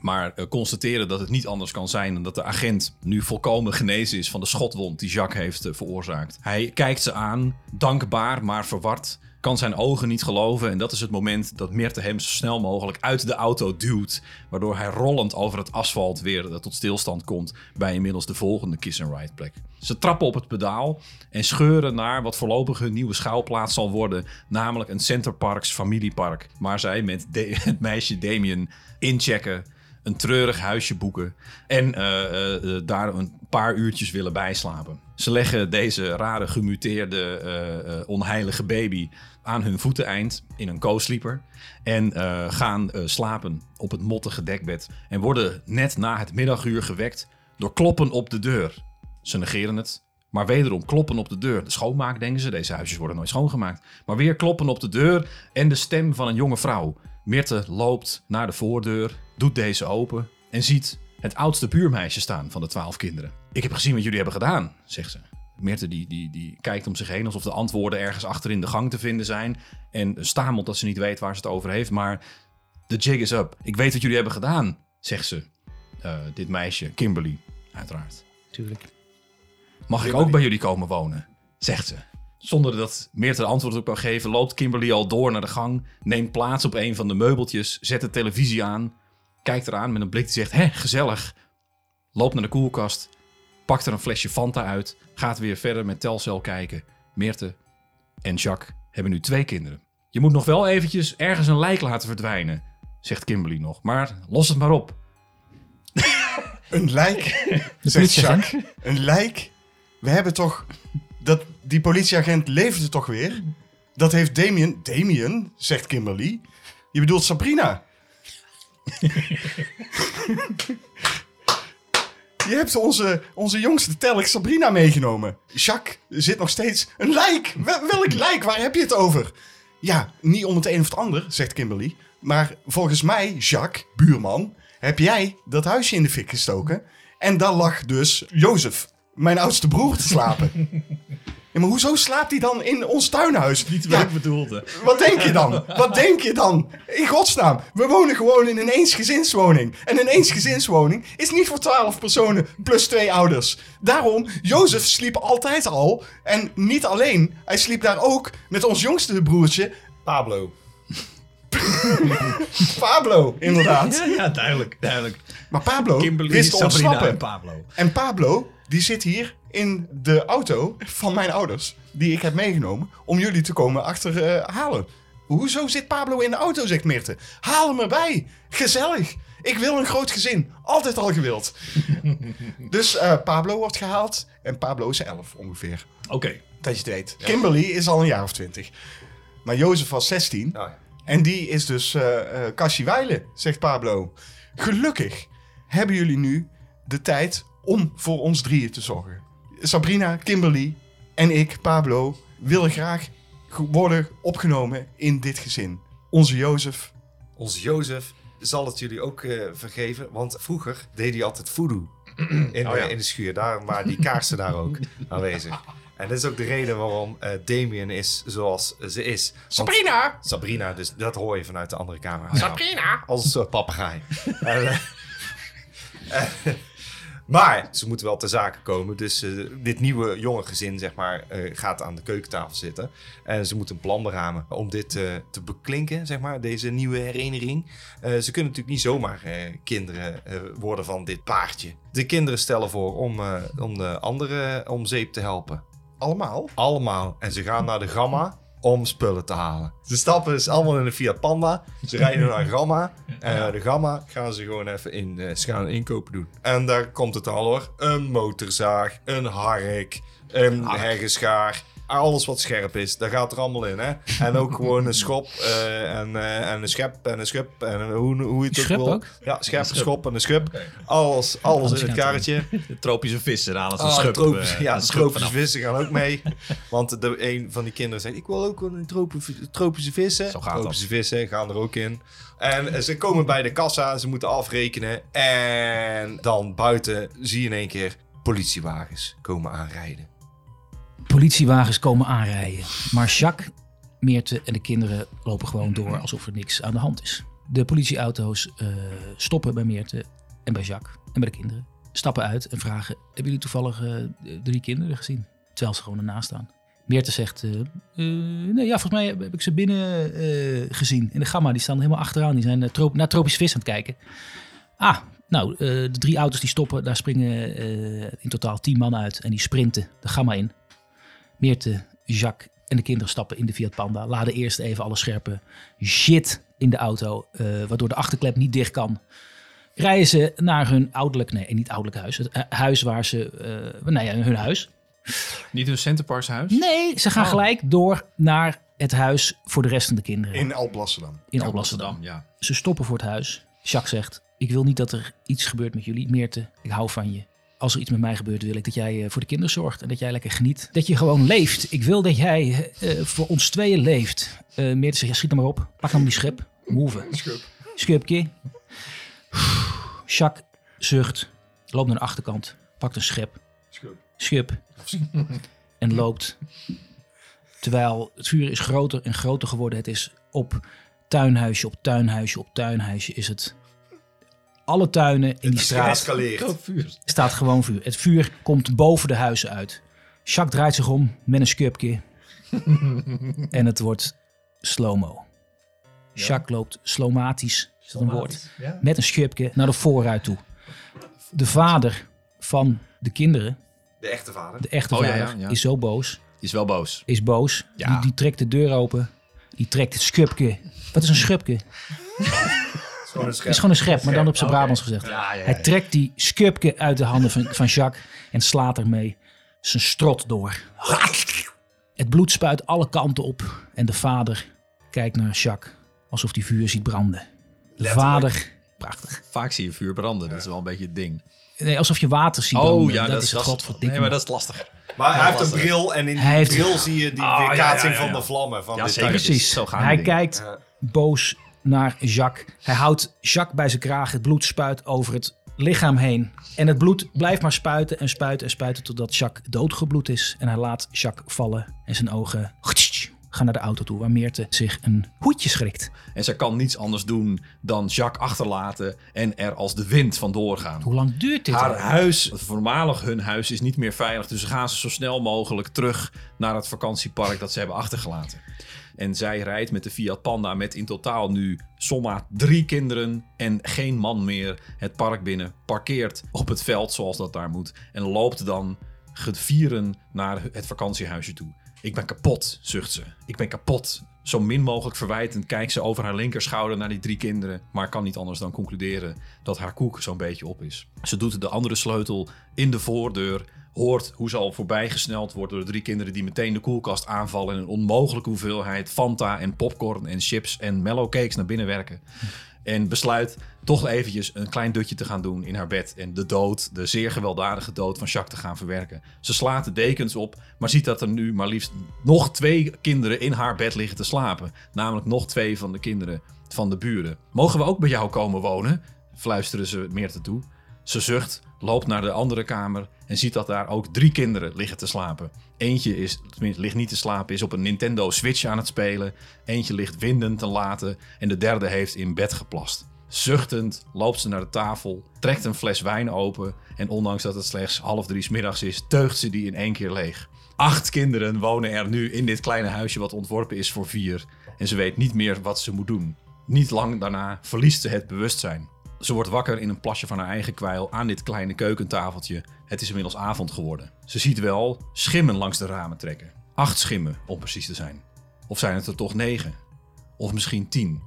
[SPEAKER 4] Maar eh, constateren dat het niet anders kan zijn dan dat de agent nu volkomen genezen is van de schotwond die Jacques heeft eh, veroorzaakt. Hij kijkt ze aan, dankbaar maar verward, kan zijn ogen niet geloven. En dat is het moment dat Meerte hem zo snel mogelijk uit de auto duwt. Waardoor hij rollend over het asfalt weer eh, tot stilstand komt bij inmiddels de volgende kiss-and-ride plek. Ze trappen op het pedaal en scheuren naar wat voorlopig hun nieuwe schuilplaats zal worden. Namelijk een Centerparks familiepark. Waar zij met Da- het meisje Damien inchecken. Een treurig huisje boeken. En eh, eh, eh, daar een paar uurtjes willen bijslapen. Ze leggen deze rare gemuteerde eh, eh, onheilige baby aan hun voeteneind in een co-sleeper. En eh, gaan eh, slapen op het mottige dekbed. En worden net na het middaguur gewekt door kloppen op de deur. Ze negeren het. Maar wederom kloppen op de deur. De schoonmaak, denken ze. Deze huisjes worden nooit schoongemaakt. Maar weer kloppen op de deur en de stem van een jonge vrouw. Mirte loopt naar de voordeur, doet deze open en ziet het oudste buurmeisje staan van de twaalf kinderen. Ik heb gezien wat jullie hebben gedaan, zegt ze. Mirte die, die, die kijkt om zich heen alsof de antwoorden ergens achter in de gang te vinden zijn. En stamelt dat ze niet weet waar ze het over heeft. Maar de jig is up. Ik weet wat jullie hebben gedaan, zegt ze. Eh, dit meisje, Kimberly, uiteraard.
[SPEAKER 2] Tuurlijk.
[SPEAKER 4] Mag ik ook bij jullie komen wonen? Zegt ze. Zonder dat Meerte antwoord op kan geven, loopt Kimberly al door naar de gang, neemt plaats op een van de meubeltjes, zet de televisie aan, kijkt eraan met een blik die zegt: hè, gezellig. Loopt naar de koelkast, pakt er een flesje Fanta uit, gaat weer verder met Telcel kijken. Meerte en Jacques hebben nu twee kinderen. Je moet nog wel eventjes ergens een lijk laten verdwijnen, zegt Kimberly nog, maar los het maar op.
[SPEAKER 3] Een lijk, zegt Jacques. Een lijk? We hebben toch... Dat, die politieagent leefde toch weer? Dat heeft Damien... Damien, zegt Kimberly. Je bedoelt Sabrina. Je hebt onze, onze jongste telk Sabrina meegenomen. Jacques zit nog steeds... Een lijk! Wel- welk lijk? Waar heb je het over? Ja, niet om het een of het ander, zegt Kimberly. Maar volgens mij, Jacques, buurman, heb jij dat huisje in de fik gestoken. En daar lag dus Jozef, mijn oudste broer, te slapen. Ja, maar hoezo slaapt hij dan in ons tuinhuis? Ja,
[SPEAKER 4] bedoelde.
[SPEAKER 3] wat denk je dan? Wat denk je dan? In godsnaam, we wonen gewoon in een eensgezinswoning. En een eensgezinswoning is niet voor twaalf personen plus twee ouders. Daarom, Jozef sliep altijd al. En niet alleen, hij sliep daar ook met ons jongste broertje,
[SPEAKER 1] Pablo.
[SPEAKER 3] Pablo, inderdaad.
[SPEAKER 4] Ja, duidelijk, duidelijk.
[SPEAKER 3] Maar Pablo wist te ontsnappen. En,
[SPEAKER 4] Pablo.
[SPEAKER 3] Pablo, die zit hier in de auto van mijn ouders, die ik heb meegenomen, om jullie te komen achterhalen. Hoezo zit Pablo in de auto, zegt Meerte. Haal hem erbij. Gezellig. Ik wil een groot gezin. Altijd al gewild. dus eh, Pablo wordt gehaald. En Pablo is elf ongeveer.
[SPEAKER 4] Oké.
[SPEAKER 3] Dat je het weet. Kimberly is al een jaar of twintig. Maar Jozef was 16.
[SPEAKER 1] Nou ja.
[SPEAKER 3] En die is dus eh eh Cassie Weilen, zegt Pablo. Gelukkig hebben jullie nu de tijd om voor ons drieën te zorgen. Sabrina, Kimberly en ik, Pablo, willen graag ge- worden opgenomen in dit gezin. Onze Jozef.
[SPEAKER 1] Onze Jozef zal het jullie ook eh, vergeven, want vroeger deed hij altijd voodoo in,
[SPEAKER 4] Oh ja.
[SPEAKER 1] eh, in de schuur. Daarom waren die kaarsen daar ook aanwezig. En dat is ook de reden waarom eh, Damien is zoals ze is. Want
[SPEAKER 3] Sabrina!
[SPEAKER 1] Sabrina, dus dat hoor je vanuit de andere kamer. Sabrina! Als een soort papegaai. En, eh, eh, maar ze moeten wel ter zake komen. Dus eh, dit nieuwe jonge gezin zeg maar, eh, gaat aan de keukentafel zitten. En ze moeten een plan beramen om dit eh, te beklinken, zeg maar, deze nieuwe hereniging. Eh, ze kunnen natuurlijk niet zomaar eh, kinderen eh, worden van dit paardje. De kinderen stellen voor om, eh, om de anderen om zeep te helpen.
[SPEAKER 3] Allemaal?
[SPEAKER 1] Allemaal. En ze gaan naar de Gamma om spullen te halen. Ze stappen dus allemaal in een Fiat Panda. Ze rijden naar Gamma. En naar de Gamma gaan ze gewoon even in, eh, ze gaan inkopen doen. En daar komt het al hoor. Een motorzaag, een hark, een hergeschaar. Alles wat scherp is, daar gaat er allemaal in. Hè? En ook gewoon een schop eh, en, eh, en een schep en een schub. En een- hoe, hoe je het
[SPEAKER 2] Schub
[SPEAKER 1] ook wil.
[SPEAKER 2] ook?
[SPEAKER 1] Ja, schep, schop en een schub. Alles, alles in het
[SPEAKER 2] gaat
[SPEAKER 1] karretje.
[SPEAKER 4] De tropische vissen, daar halen ze een
[SPEAKER 1] Ah,
[SPEAKER 4] schub.
[SPEAKER 1] tropische-
[SPEAKER 4] eh,
[SPEAKER 1] ja,
[SPEAKER 4] een
[SPEAKER 1] de
[SPEAKER 4] schub
[SPEAKER 1] tropische
[SPEAKER 4] vanaf.
[SPEAKER 1] vissen gaan ook mee. Want de, een van die kinderen zegt, ik wil ook een tropische, tropische vissen.
[SPEAKER 4] Zo gaat dat.
[SPEAKER 1] tropische vissen gaan er ook in. En eh, ze komen bij de kassa, ze moeten afrekenen. En dan buiten zie je in één keer politiewagens komen aanrijden.
[SPEAKER 2] Politiewagens komen aanrijden. Maar Jacques, Meerte en de kinderen lopen gewoon door alsof er niks aan de hand is. De politieauto's eh, stoppen bij Meerte en bij Jacques en bij de kinderen. Stappen uit en vragen: Hebben jullie toevallig eh, drie kinderen gezien? Terwijl ze gewoon ernaast staan. Meerte zegt: eh, eh, Nee, ja, volgens mij heb heb ik ze binnen eh, gezien. In de gamma, die staan helemaal achteraan. Die zijn eh, trop- naar tropisch vis aan het kijken. Ah, nou, eh, de drie auto's die stoppen, daar springen eh, in totaal tien man uit. En die sprinten de gamma in. Meerte, Jacques en de kinderen stappen in de Fiat Panda. Laden eerst even alle scherpe shit in de auto, eh, waardoor de achterklep niet dicht kan. Rijden ze naar hun ouderlijk, nee, niet ouderlijk huis. Het eh, huis waar ze, eh nou ja, hun huis.
[SPEAKER 4] Niet hun Centerparks huis?
[SPEAKER 2] Nee, ze gaan
[SPEAKER 4] Oh.
[SPEAKER 2] gelijk door naar het huis voor de rest van de kinderen in,
[SPEAKER 3] In Alblasserdam.
[SPEAKER 2] Alblasserdam.
[SPEAKER 4] ja.
[SPEAKER 2] Ze stoppen voor het huis. Jacques zegt, ik wil niet dat er iets gebeurt met jullie. Meerte, ik hou van je. Als er iets met mij gebeurt, wil ik dat jij eh, voor de kinderen zorgt. En dat jij lekker geniet. Dat je gewoon leeft. Ik wil dat jij eh, eh, voor ons tweeën leeft. Eh Meerte zegt, ja, schiet hem maar op. Pak hem die schep. Move. Schub. Schubje. Jacques zucht. Loopt naar de achterkant. Pakt een schep. Schub. En loopt. Terwijl het vuur is groter en groter geworden. Het is op tuinhuisje op tuinhuisje op tuinhuisje is het. Alle tuinen in die straat
[SPEAKER 1] Escaleert.
[SPEAKER 2] staat gewoon vuur. Het vuur komt boven de huizen uit. Jacques draait zich om met een skubje. en het wordt slow-mo. Jacques loopt slomatisch, is dat een woord, met een skubje naar de voorruit toe. De vader van de kinderen,
[SPEAKER 1] De echte vader.
[SPEAKER 2] de echte
[SPEAKER 4] Oh, ja,
[SPEAKER 2] vader,
[SPEAKER 4] ja, ja.
[SPEAKER 2] is zo boos
[SPEAKER 4] Die is wel boos.
[SPEAKER 2] is boos.
[SPEAKER 4] Ja.
[SPEAKER 2] Die, die trekt de deur open. Die trekt het schubje. Wat is een schubje?
[SPEAKER 1] Dat is gewoon een schep.
[SPEAKER 2] Het is gewoon een schep, maar dan op zijn Brabants gezegd. Hij trekt die schubje uit de handen van, van Jacques en slaat ermee zijn strot door. Het bloed spuit alle kanten op en de vader kijkt naar Jacques alsof hij vuur ziet branden. De vader, prachtig.
[SPEAKER 4] Vaak zie je vuur branden. Dat is wel een beetje het ding.
[SPEAKER 2] Nee, alsof je water ziet branden. Oh, dat, is het godverdikke.
[SPEAKER 4] Nee, maar dat Oh, is lastig.
[SPEAKER 1] Maar hij heeft een bril en in
[SPEAKER 2] Hij
[SPEAKER 1] die
[SPEAKER 2] heeft-
[SPEAKER 1] bril zie je die
[SPEAKER 4] Ah, ja, ja,
[SPEAKER 1] weerkaatsing
[SPEAKER 4] ja,
[SPEAKER 1] van
[SPEAKER 4] ja.
[SPEAKER 1] de vlammen. Van
[SPEAKER 4] Ja,
[SPEAKER 1] dit
[SPEAKER 4] zeker.
[SPEAKER 1] huis.
[SPEAKER 2] Precies.
[SPEAKER 4] Zo gaan
[SPEAKER 2] Hij
[SPEAKER 4] die dingen.
[SPEAKER 2] kijkt boos naar Jacques. Hij houdt Jacques bij zijn kraag. Het bloed spuit over het lichaam heen. En het bloed blijft maar spuiten en spuiten en spuiten totdat Jacques doodgebloed is. En hij laat Jacques vallen en zijn ogen gaan naar de auto toe waar Meerte zich een hoedje schrikt.
[SPEAKER 4] En ze kan niets anders doen dan Jacques achterlaten en er als de wind vandoor gaan.
[SPEAKER 2] Hoe lang duurt dit?
[SPEAKER 4] Haar
[SPEAKER 2] al?
[SPEAKER 4] huis, het voormalig hun huis, is niet meer veilig. Dus gaan ze zo snel mogelijk terug naar het vakantiepark dat ze hebben achtergelaten. En zij rijdt met de Fiat Panda met in totaal nu somma drie kinderen en geen man meer het park binnen. Parkeert op het veld zoals dat daar moet. En loopt dan gevieren naar het vakantiehuisje toe. Ik ben kapot, zucht ze. Ik ben kapot. Zo min mogelijk verwijtend kijkt ze over haar linkerschouder naar die drie kinderen. Maar kan niet anders dan concluderen dat haar koek zo'n beetje op is. Ze doet de andere sleutel in de voordeur. Hoort hoe ze al voorbijgesneld wordt door de drie kinderen die meteen de koelkast aanvallen. En een onmogelijke hoeveelheid Fanta en popcorn en chips en mellowcakes naar binnen werken. En besluit toch eventjes een klein dutje te gaan doen in haar bed. En de dood, de zeer gewelddadige dood van Jacques te gaan verwerken. Ze slaat de dekens op, maar ziet dat er nu maar liefst nog twee kinderen in haar bed liggen te slapen. Namelijk nog twee van de kinderen van de buren. Mogen we ook bij jou komen wonen? Fluisteren ze Meerte toe. Ze zucht, loopt naar de andere kamer en ziet dat daar ook drie kinderen liggen te slapen. Eentje is, tenminste, ligt niet te slapen, is op een Nintendo Switch aan het spelen. Eentje ligt winden te laten en de derde heeft in bed geplast. Zuchtend loopt ze naar de tafel, trekt een fles wijn open en ondanks dat het slechts half drie 's middags is, teugt ze die in één keer leeg. Acht kinderen wonen er nu in dit kleine huisje wat ontworpen is voor vier en ze weet niet meer wat ze moet doen. Niet lang daarna verliest ze het bewustzijn. Ze wordt wakker in een plasje van haar eigen kwijl aan dit kleine keukentafeltje. Het is inmiddels avond geworden. Ze ziet wel schimmen langs de ramen trekken. Acht schimmen, om precies te zijn. Of zijn het er toch negen? Of misschien tien?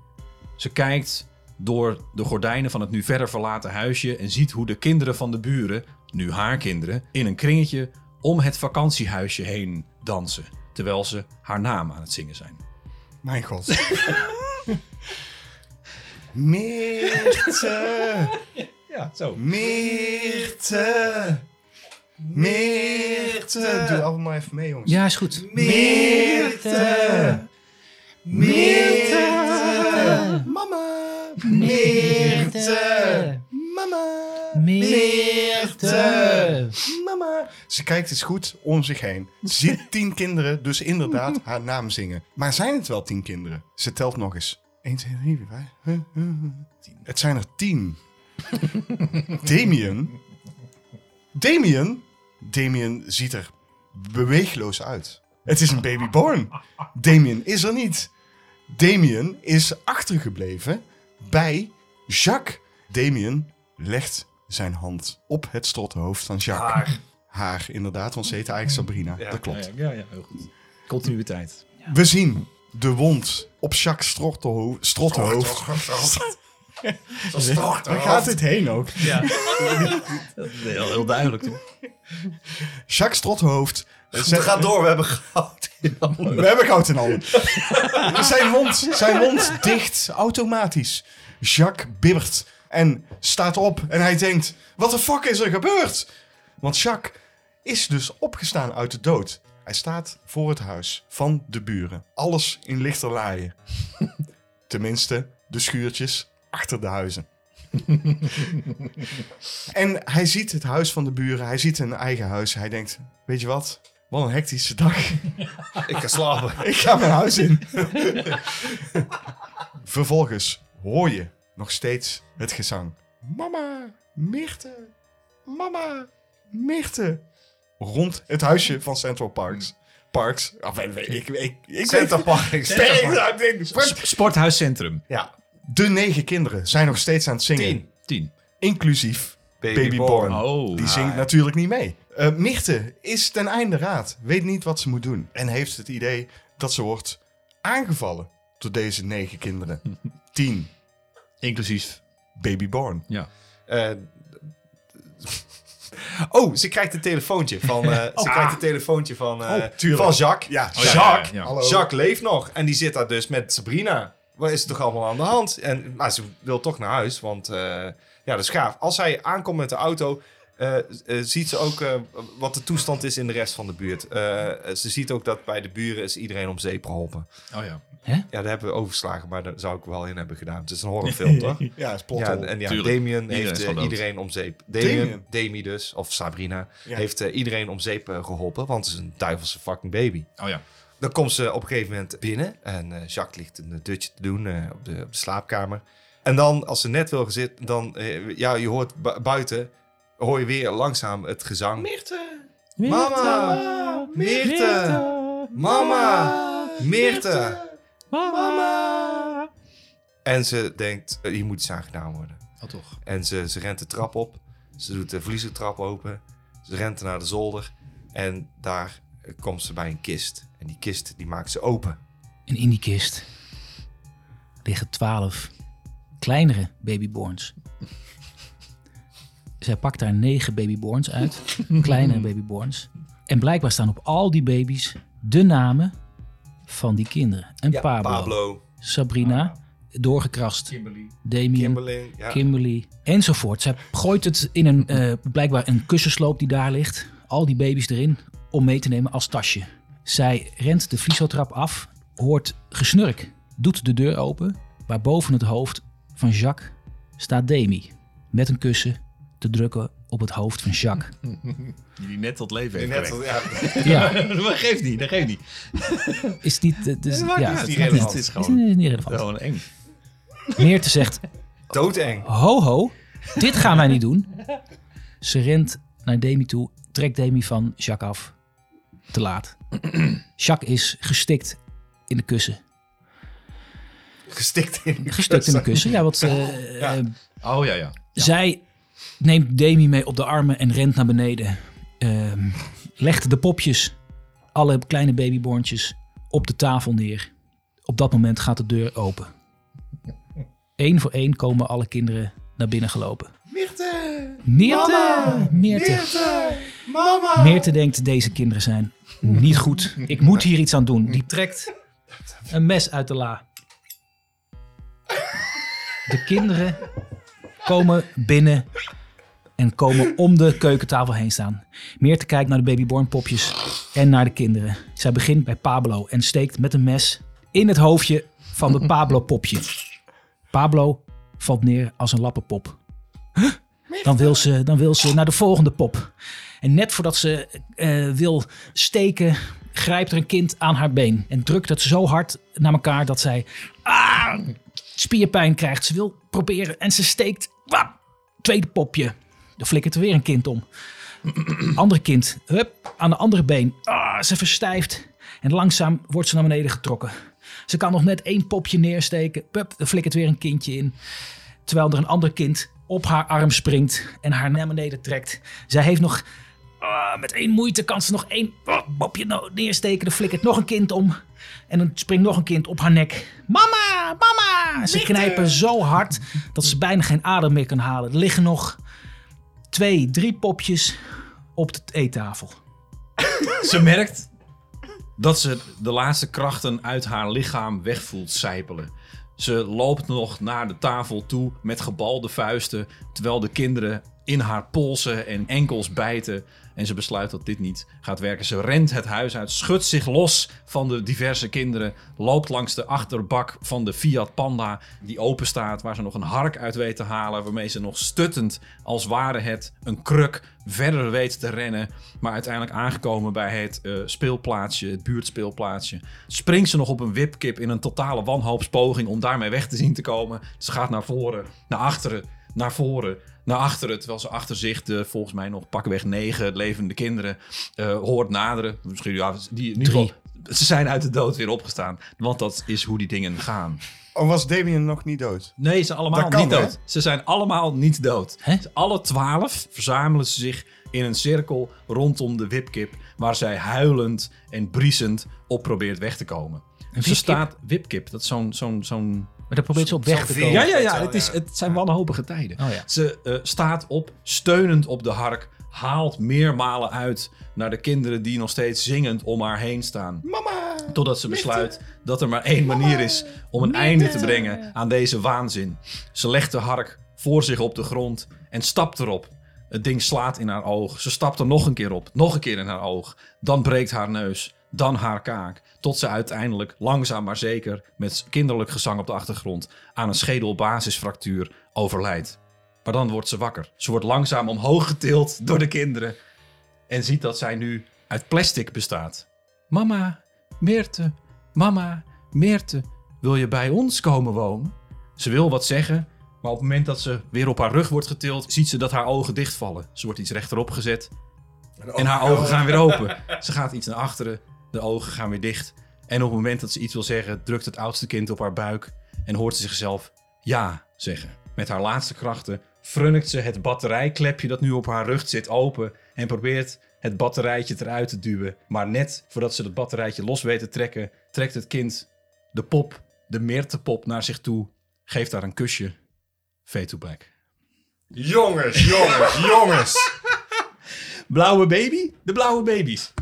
[SPEAKER 4] Ze kijkt door de gordijnen van het nu verder verlaten huisje en ziet hoe de kinderen van de buren, nu haar kinderen, in een kringetje om het vakantiehuisje heen dansen. Terwijl ze haar naam aan het zingen zijn.
[SPEAKER 3] Mijn god. Meerte,
[SPEAKER 4] Ja, zo.
[SPEAKER 3] Meerte, Meerte. Doe allemaal maar even mee, jongens.
[SPEAKER 2] Ja, is goed.
[SPEAKER 3] Meerte, Meerte, mama, Meerte, mama, Meerte.
[SPEAKER 2] Meerte.
[SPEAKER 3] Mama. Ze kijkt eens goed om zich heen. Zit tien kinderen, dus inderdaad haar naam zingen. Maar zijn het wel tien kinderen? Ze telt nog eens. 1, 2, 3, 4, 5. huh, huh, huh. Het zijn er tien. Damien. Damien. Damien ziet er beweegloos uit. Het is een babyborn. Damien is er niet. Damien is achtergebleven bij Jacques. Damien legt zijn hand op het strottenhoofd van Jacques. Haar. inderdaad, want ze heette eigenlijk Sabrina.
[SPEAKER 1] Ja,
[SPEAKER 3] dat klopt.
[SPEAKER 4] Ja, ja, heel goed. Continuïteit.
[SPEAKER 3] We zien de wond op Jacques' strottenho- strottenhoofd. Waar gaat dit heen ook?
[SPEAKER 4] Ja. heel, heel duidelijk toch?
[SPEAKER 3] Jacques Strothoofd.
[SPEAKER 1] Ze gaat door, we hebben goud.
[SPEAKER 3] We hebben goud in handen. zijn, mond, zijn mond dicht, automatisch. Jacques bibbert en staat op en hij denkt... Wat de fuck is er gebeurd? Want Jacques is dus opgestaan uit de dood. Hij staat voor het huis van de buren. Alles in lichterlaaien. Tenminste, de schuurtjes achter de huizen. en hij ziet het huis van de buren. Hij ziet een eigen huis. Hij denkt, weet je wat? Wat een hectische dag.
[SPEAKER 1] Ik ga slapen.
[SPEAKER 3] Ik ga mijn huis in. Vervolgens hoor je nog steeds het gezang. Mama, Mirte, mama, Mirte. Rond het huisje van Central Parks. Parks. Af, ik, ik, ik, ik
[SPEAKER 1] Center Parks.
[SPEAKER 4] Sporthuiscentrum.
[SPEAKER 1] Ja,
[SPEAKER 3] De negen kinderen zijn nog steeds aan het zingen.
[SPEAKER 1] tien.
[SPEAKER 4] Tien.
[SPEAKER 3] Inclusief Baby
[SPEAKER 1] Babyborn.
[SPEAKER 3] Born.
[SPEAKER 4] Oh.
[SPEAKER 3] Die zingt natuurlijk niet mee. Eh Mirte is ten einde raad, weet niet wat ze moet doen en heeft het idee dat ze wordt aangevallen door deze negen kinderen. Tien,
[SPEAKER 4] Inclusief.
[SPEAKER 3] babyborn.
[SPEAKER 4] Ja.
[SPEAKER 1] Eh, oh, ze krijgt een telefoontje van, eh, ze krijgt een telefoontje van, eh,
[SPEAKER 3] Oh, tuurlijk.
[SPEAKER 1] van Jacques.
[SPEAKER 3] Ja,
[SPEAKER 1] Jacques.
[SPEAKER 4] Jacques. Ja.
[SPEAKER 3] Hallo.
[SPEAKER 1] Jacques leeft nog en die zit daar dus met Sabrina. Wat is er toch allemaal aan de hand? En, maar ze wil toch naar huis, want eh, ja, dat is gaaf. Als hij aankomt met de auto, eh, eh, ziet ze ook eh, wat de toestand is in de rest van de buurt. Eh, ze ziet ook dat bij de buren is iedereen om zeep geholpen.
[SPEAKER 4] Oh ja.
[SPEAKER 1] Ja, daar hebben we overslagen, maar daar zou ik wel in hebben gedaan. Het is een horrorfilm, toch?
[SPEAKER 3] Ja, is plot
[SPEAKER 1] Ja,
[SPEAKER 3] hole.
[SPEAKER 1] en ja,
[SPEAKER 4] Tuurlijk.
[SPEAKER 1] Damien
[SPEAKER 4] Iedereen
[SPEAKER 1] heeft
[SPEAKER 4] is
[SPEAKER 1] eh,
[SPEAKER 4] gewoon dood.
[SPEAKER 1] iedereen om zeep. Damien,
[SPEAKER 3] Damien?
[SPEAKER 1] Demi dus, of Sabrina,
[SPEAKER 3] Ja.
[SPEAKER 1] heeft eh, iedereen om zeep eh, geholpen, want het is een duivelse fucking baby.
[SPEAKER 4] Oh ja.
[SPEAKER 1] Dan komt ze op een gegeven moment binnen en eh, Jacques ligt een eh, dutje te doen eh, op, de, op de slaapkamer. En dan, als ze net wil gezit, dan, eh, ja, je hoort bu- buiten, hoor je weer langzaam het gezang. Mama, Meerte, mama, Meerte, mama. En ze denkt, eh, hier moet iets aan gedaan worden.
[SPEAKER 4] Oh toch.
[SPEAKER 1] En ze, ze rent de trap op. Ze doet de vliezentrap open. Ze rent naar de zolder. En daar eh, komt ze bij een kist. En die kist die maakt ze open.
[SPEAKER 2] En in die kist liggen twaalf kleinere babyborns. Zij pakt daar negen babyborns uit, kleine babyborns. En blijkbaar staan op al die baby's de namen van die kinderen. En Pablo,
[SPEAKER 1] Pablo,
[SPEAKER 2] Sabrina, doorgekrast,
[SPEAKER 4] Kimberly.
[SPEAKER 2] Damien, Kimberly,
[SPEAKER 1] Kimberly. Ja.
[SPEAKER 2] enzovoort. Zij gooit het in een, eh, blijkbaar een kussensloop die daar ligt. Al die baby's erin om mee te nemen als tasje. Zij rent de vliesotrap af, hoort gesnurk, doet de deur open. Waar boven het hoofd van Jacques staat Demi. Met een kussen te drukken op het hoofd van Jacques.
[SPEAKER 4] Die die net tot leven
[SPEAKER 1] Die
[SPEAKER 4] heeft
[SPEAKER 1] net, ja,
[SPEAKER 2] Ja,
[SPEAKER 4] dat geeft niet. Dat geeft niet.
[SPEAKER 2] is niet... eh, dus,
[SPEAKER 4] maakt
[SPEAKER 2] ja,
[SPEAKER 4] niet uit,
[SPEAKER 2] het
[SPEAKER 4] het
[SPEAKER 2] is
[SPEAKER 4] is
[SPEAKER 2] niet-
[SPEAKER 4] relevant.
[SPEAKER 2] het is niet niet relevant.
[SPEAKER 4] Gewoon eng.
[SPEAKER 2] Meerte zegt,
[SPEAKER 1] doodeng.
[SPEAKER 2] ho ho, dit gaan wij niet doen. Ze rent naar Demi toe, trekt Demi van Jacques af. Te laat. Jacques is gestikt in de kussen.
[SPEAKER 1] Gestikt in een
[SPEAKER 2] Gestukt in de
[SPEAKER 1] kussen.
[SPEAKER 2] kussen. Ja, want eh,
[SPEAKER 1] Ja.
[SPEAKER 2] eh,
[SPEAKER 4] Oh ja, ja.
[SPEAKER 2] zij neemt Demi mee op de armen en rent naar beneden. Ehm, legt de popjes, alle kleine babyborntjes, op de tafel neer. Op dat moment gaat de deur open. Eén voor één komen alle kinderen naar binnen gelopen.
[SPEAKER 1] Meerte!
[SPEAKER 2] Meerte! Meerte!
[SPEAKER 1] Meerte! Mama!
[SPEAKER 2] Meerte denkt, deze kinderen zijn niet goed. Ik moet hier iets aan doen. Die trekt een mes uit de la. De kinderen komen binnen en komen om de keukentafel heen staan. Meerte kijkt naar de babyborn popjes en naar de kinderen. Zij begint bij Pablo en steekt met een mes in het hoofdje van de Pablo popje. Pablo valt neer als een lappenpop. Huh? Dan wil, ze, dan wil ze naar de volgende pop. En net voordat ze eh, wil steken, grijpt er een kind aan haar been. En drukt het zo hard naar elkaar dat zij ah, spierpijn krijgt. Ze wil proberen en ze steekt. Wap, tweede popje. Dan flikkert er weer een kind om. Ander kind. Hup, aan de andere been. Ah, ze verstijft. En langzaam wordt ze naar beneden getrokken. Ze kan nog net één popje neersteken. Pup, er flikkert weer een kindje in terwijl er een ander kind op haar arm springt en haar naar beneden trekt. Zij heeft nog ah, met één moeite kan ze nog één ah, bopje no- neersteken. Dan flikkert nog een kind om en dan springt nog een kind op haar nek. Mama, mama! Ze knijpen zo hard dat ze bijna geen adem meer kan halen. Er liggen nog twee, drie popjes op de eettafel.
[SPEAKER 4] Ze merkt dat ze de laatste krachten uit haar lichaam wegvoelt sijpelen. Ze loopt nog naar de tafel toe met gebalde vuisten, terwijl de kinderen in haar polsen en enkels bijten. En ze besluit dat dit niet gaat werken. Ze rent het huis uit, schudt zich los van de diverse kinderen, loopt langs de achterbak van de Fiat Panda die open staat, waar ze nog een hark uit weet te halen, waarmee ze nog stuttend als ware het een kruk verder weet te rennen. Maar uiteindelijk aangekomen bij het eh, speelplaatsje, het buurtspeelplaatsje, springt ze nog op een wipkip in een totale wanhoopspoging om daarmee weg te zien te komen. Ze gaat naar voren, naar achteren, naar voren, naar achteren. Terwijl ze achter zich de volgens mij nog pakweg negen levende kinderen eh, hoort naderen. Misschien ja, die in ieder geval- Ze zijn uit de dood weer opgestaan. Want dat is hoe die dingen gaan.
[SPEAKER 3] Oh, was Damien nog niet dood?
[SPEAKER 4] Nee, ze zijn allemaal
[SPEAKER 3] Dat kan,
[SPEAKER 4] niet
[SPEAKER 3] hè?
[SPEAKER 4] dood. Ze zijn allemaal niet dood.
[SPEAKER 2] Hè?
[SPEAKER 4] Ze- Alle twaalf verzamelen ze zich in een cirkel rondom de wipkip... waar zij huilend en briesend op probeert weg te komen. Ze
[SPEAKER 2] wipkip?
[SPEAKER 4] staat... Wipkip, dat is zo'n... zo'n zo'n
[SPEAKER 2] Maar daar probeert ze op weg te
[SPEAKER 1] Zo'n
[SPEAKER 2] komen.
[SPEAKER 4] ja, ja,
[SPEAKER 1] weet
[SPEAKER 4] ja.
[SPEAKER 1] wel,
[SPEAKER 4] Het, is,
[SPEAKER 1] ja.
[SPEAKER 4] het zijn wanhopige tijden.
[SPEAKER 2] Oh ja.
[SPEAKER 4] Ze eh, staat op, steunend op de hark, haalt meermalen uit naar de kinderen die nog steeds zingend om haar heen staan. Mama! Totdat ze besluit dat er maar één manier is om een einde te brengen aan deze waanzin. Ze legt de hark voor zich op de grond en stapt erop. Het ding slaat in haar oog. Ze stapt er nog een keer op, nog een keer in haar oog. Dan breekt haar neus, dan haar kaak. Tot ze uiteindelijk, langzaam maar zeker, met kinderlijk gezang op de achtergrond, aan een schedelbasisfractuur overlijdt. Maar dan wordt ze wakker. Ze wordt langzaam omhoog getild door de kinderen. En ziet dat zij nu uit plastic bestaat. Mama, Meerte, mama, Meerte, wil je bij ons komen wonen? Ze wil wat zeggen, maar op het moment dat ze weer op haar rug wordt getild, ziet ze dat haar ogen dichtvallen. Ze wordt iets rechterop gezet en haar ogen gaan weer open. Ze gaat iets naar achteren, de ogen gaan weer dicht. En op het moment dat ze iets wil zeggen, drukt het oudste kind op haar buik en hoort ze zichzelf ja zeggen. Met haar laatste krachten frunnikt ze het batterijklepje dat nu op haar rug zit open en probeert het batterijtje eruit te duwen. Maar net voordat ze dat batterijtje los weet te trekken, trekt het kind de pop, de meertepop naar zich toe, geeft haar een kusje. Fade to black.
[SPEAKER 1] Jongens, jongens, jongens.
[SPEAKER 4] Blauwe baby? De blauwe babies.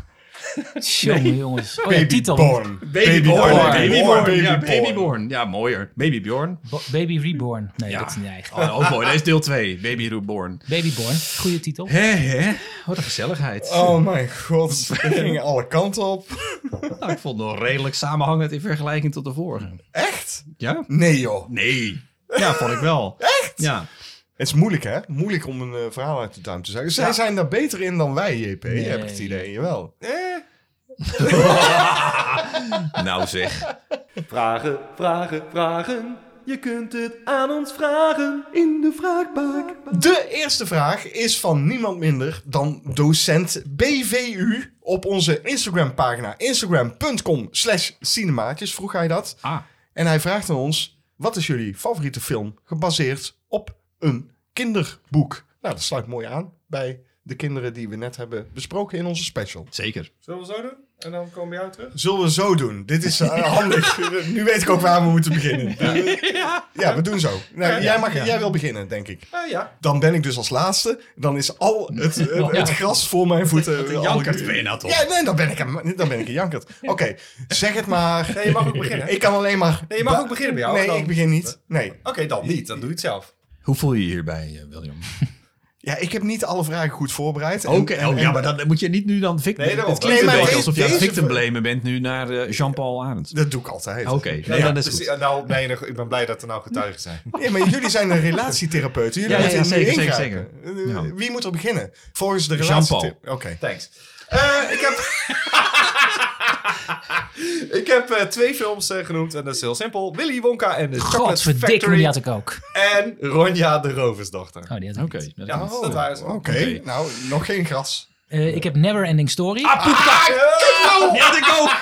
[SPEAKER 2] Jongen, jongens. Oh ja, titel.
[SPEAKER 3] Born.
[SPEAKER 4] Babyborn.
[SPEAKER 1] Babyborn.
[SPEAKER 4] Babyborn. Ja,
[SPEAKER 3] Babyborn.
[SPEAKER 4] Babyborn. Ja, mooier. Baby Bjorn.
[SPEAKER 2] Bo- Baby Reborn. Nee,
[SPEAKER 4] Ja.
[SPEAKER 2] dat is niet eigen.
[SPEAKER 4] Oh, ook mooi. Dat is deel 2. Baby Reborn.
[SPEAKER 2] Babyborn. Goede titel.
[SPEAKER 4] Hé, hé. Wat een gezelligheid.
[SPEAKER 3] Oh mijn god, we gingen alle kanten op.
[SPEAKER 4] Nou, ik vond het nog redelijk samenhangend in vergelijking tot de vorige.
[SPEAKER 3] Echt?
[SPEAKER 4] Ja?
[SPEAKER 3] Nee joh.
[SPEAKER 4] Nee. Ja, vond ik wel. Echt? Ja.
[SPEAKER 3] Het is moeilijk hè? Moeilijk om een eh, verhaal uit de duim te zeggen. Zij zijn daar beter in dan wij, JP, heb ik het idee. Jawel.
[SPEAKER 4] Nou zeg.
[SPEAKER 7] Vragen, vragen, vragen. Je kunt het aan ons vragen in de vraagbak.
[SPEAKER 3] De eerste vraag is van niemand minder dan docent BVU op onze Instagram pagina. Instagram.com slash cinemaatjes vroeg hij dat.
[SPEAKER 4] Ah.
[SPEAKER 3] En hij vraagt aan ons, Wat is jullie favoriete film gebaseerd op een kinderboek? Nou, dat sluit mooi aan bij de kinderen die we net hebben besproken in onze special.
[SPEAKER 4] Zeker.
[SPEAKER 1] Zullen we zo doen? En dan komen we jou terug?
[SPEAKER 3] Zullen we zo doen? Dit is eh, handig. nu weet ik ook waar we moeten beginnen. Ja, we doen zo. Nou, jij, mag, jij wil beginnen, denk ik.
[SPEAKER 2] Eh,
[SPEAKER 1] Ah ja.
[SPEAKER 3] Dan ben ik dus als laatste. Dan is al het, het, het gras voor mijn voeten. eh, al-
[SPEAKER 4] Jankert ben je nou toch?
[SPEAKER 3] Ja, nee, dan ben ik een, dan ben ik een jankert. Oké, zeg het maar.
[SPEAKER 1] Nee, je mag ook beginnen.
[SPEAKER 3] Ik kan alleen maar...
[SPEAKER 1] Nee, je mag ook beginnen bij jou.
[SPEAKER 3] Nee,
[SPEAKER 1] Dan-
[SPEAKER 3] ik begin niet. Nee.
[SPEAKER 1] Oké, dan niet. Dan doe je het zelf.
[SPEAKER 4] Hoe voel je je hierbij, eh, William?
[SPEAKER 3] Ja, ik heb niet alle vragen goed voorbereid. En-
[SPEAKER 4] Oké,
[SPEAKER 3] en-
[SPEAKER 4] oh,
[SPEAKER 3] en-
[SPEAKER 4] ja, maar dan moet je niet nu dan victim...
[SPEAKER 1] Nee, daarom.
[SPEAKER 4] het klinkt
[SPEAKER 3] Nee,
[SPEAKER 4] een
[SPEAKER 3] maar
[SPEAKER 4] beetje
[SPEAKER 3] deze-
[SPEAKER 4] alsof je aan het
[SPEAKER 3] deze-
[SPEAKER 4] victim blamen bent nu naar eh, Jean-Paul Arendt.
[SPEAKER 3] Dat doe ik altijd.
[SPEAKER 4] Oké, nee, dan is het
[SPEAKER 1] precies.
[SPEAKER 4] goed.
[SPEAKER 1] Nou, nee, nog- ik ben blij dat er nou getuigen zijn.
[SPEAKER 3] Ja, maar jullie zijn een relatietherapeuten. Jullie
[SPEAKER 4] Ja, ja,
[SPEAKER 3] moeten
[SPEAKER 4] ja,
[SPEAKER 3] nu
[SPEAKER 4] zeker,
[SPEAKER 3] ingaan.
[SPEAKER 4] zeker, zeker.
[SPEAKER 3] Eh,
[SPEAKER 4] Ja.
[SPEAKER 3] Wie moet er beginnen? Volgens de
[SPEAKER 4] Jean-Paul.
[SPEAKER 3] relatietherapeut. Oké.
[SPEAKER 1] Thanks. Eh, ik heb, ik heb eh, twee films eh, genoemd en dat is heel simpel. Willy Wonka en de Chocolate
[SPEAKER 2] Godverdikke,
[SPEAKER 1] Factory
[SPEAKER 2] die had ik ook.
[SPEAKER 1] en Ronja de Roversdochter.
[SPEAKER 2] Oh, die had ik
[SPEAKER 4] Oké,
[SPEAKER 2] niet.
[SPEAKER 4] dat is
[SPEAKER 1] ja,
[SPEAKER 4] goed.
[SPEAKER 1] dat waren ze.
[SPEAKER 3] Oké, nou, nog geen gras.
[SPEAKER 2] Eh, ik heb Never Ending Story.
[SPEAKER 1] Ah, kut,
[SPEAKER 4] Die had ik ook!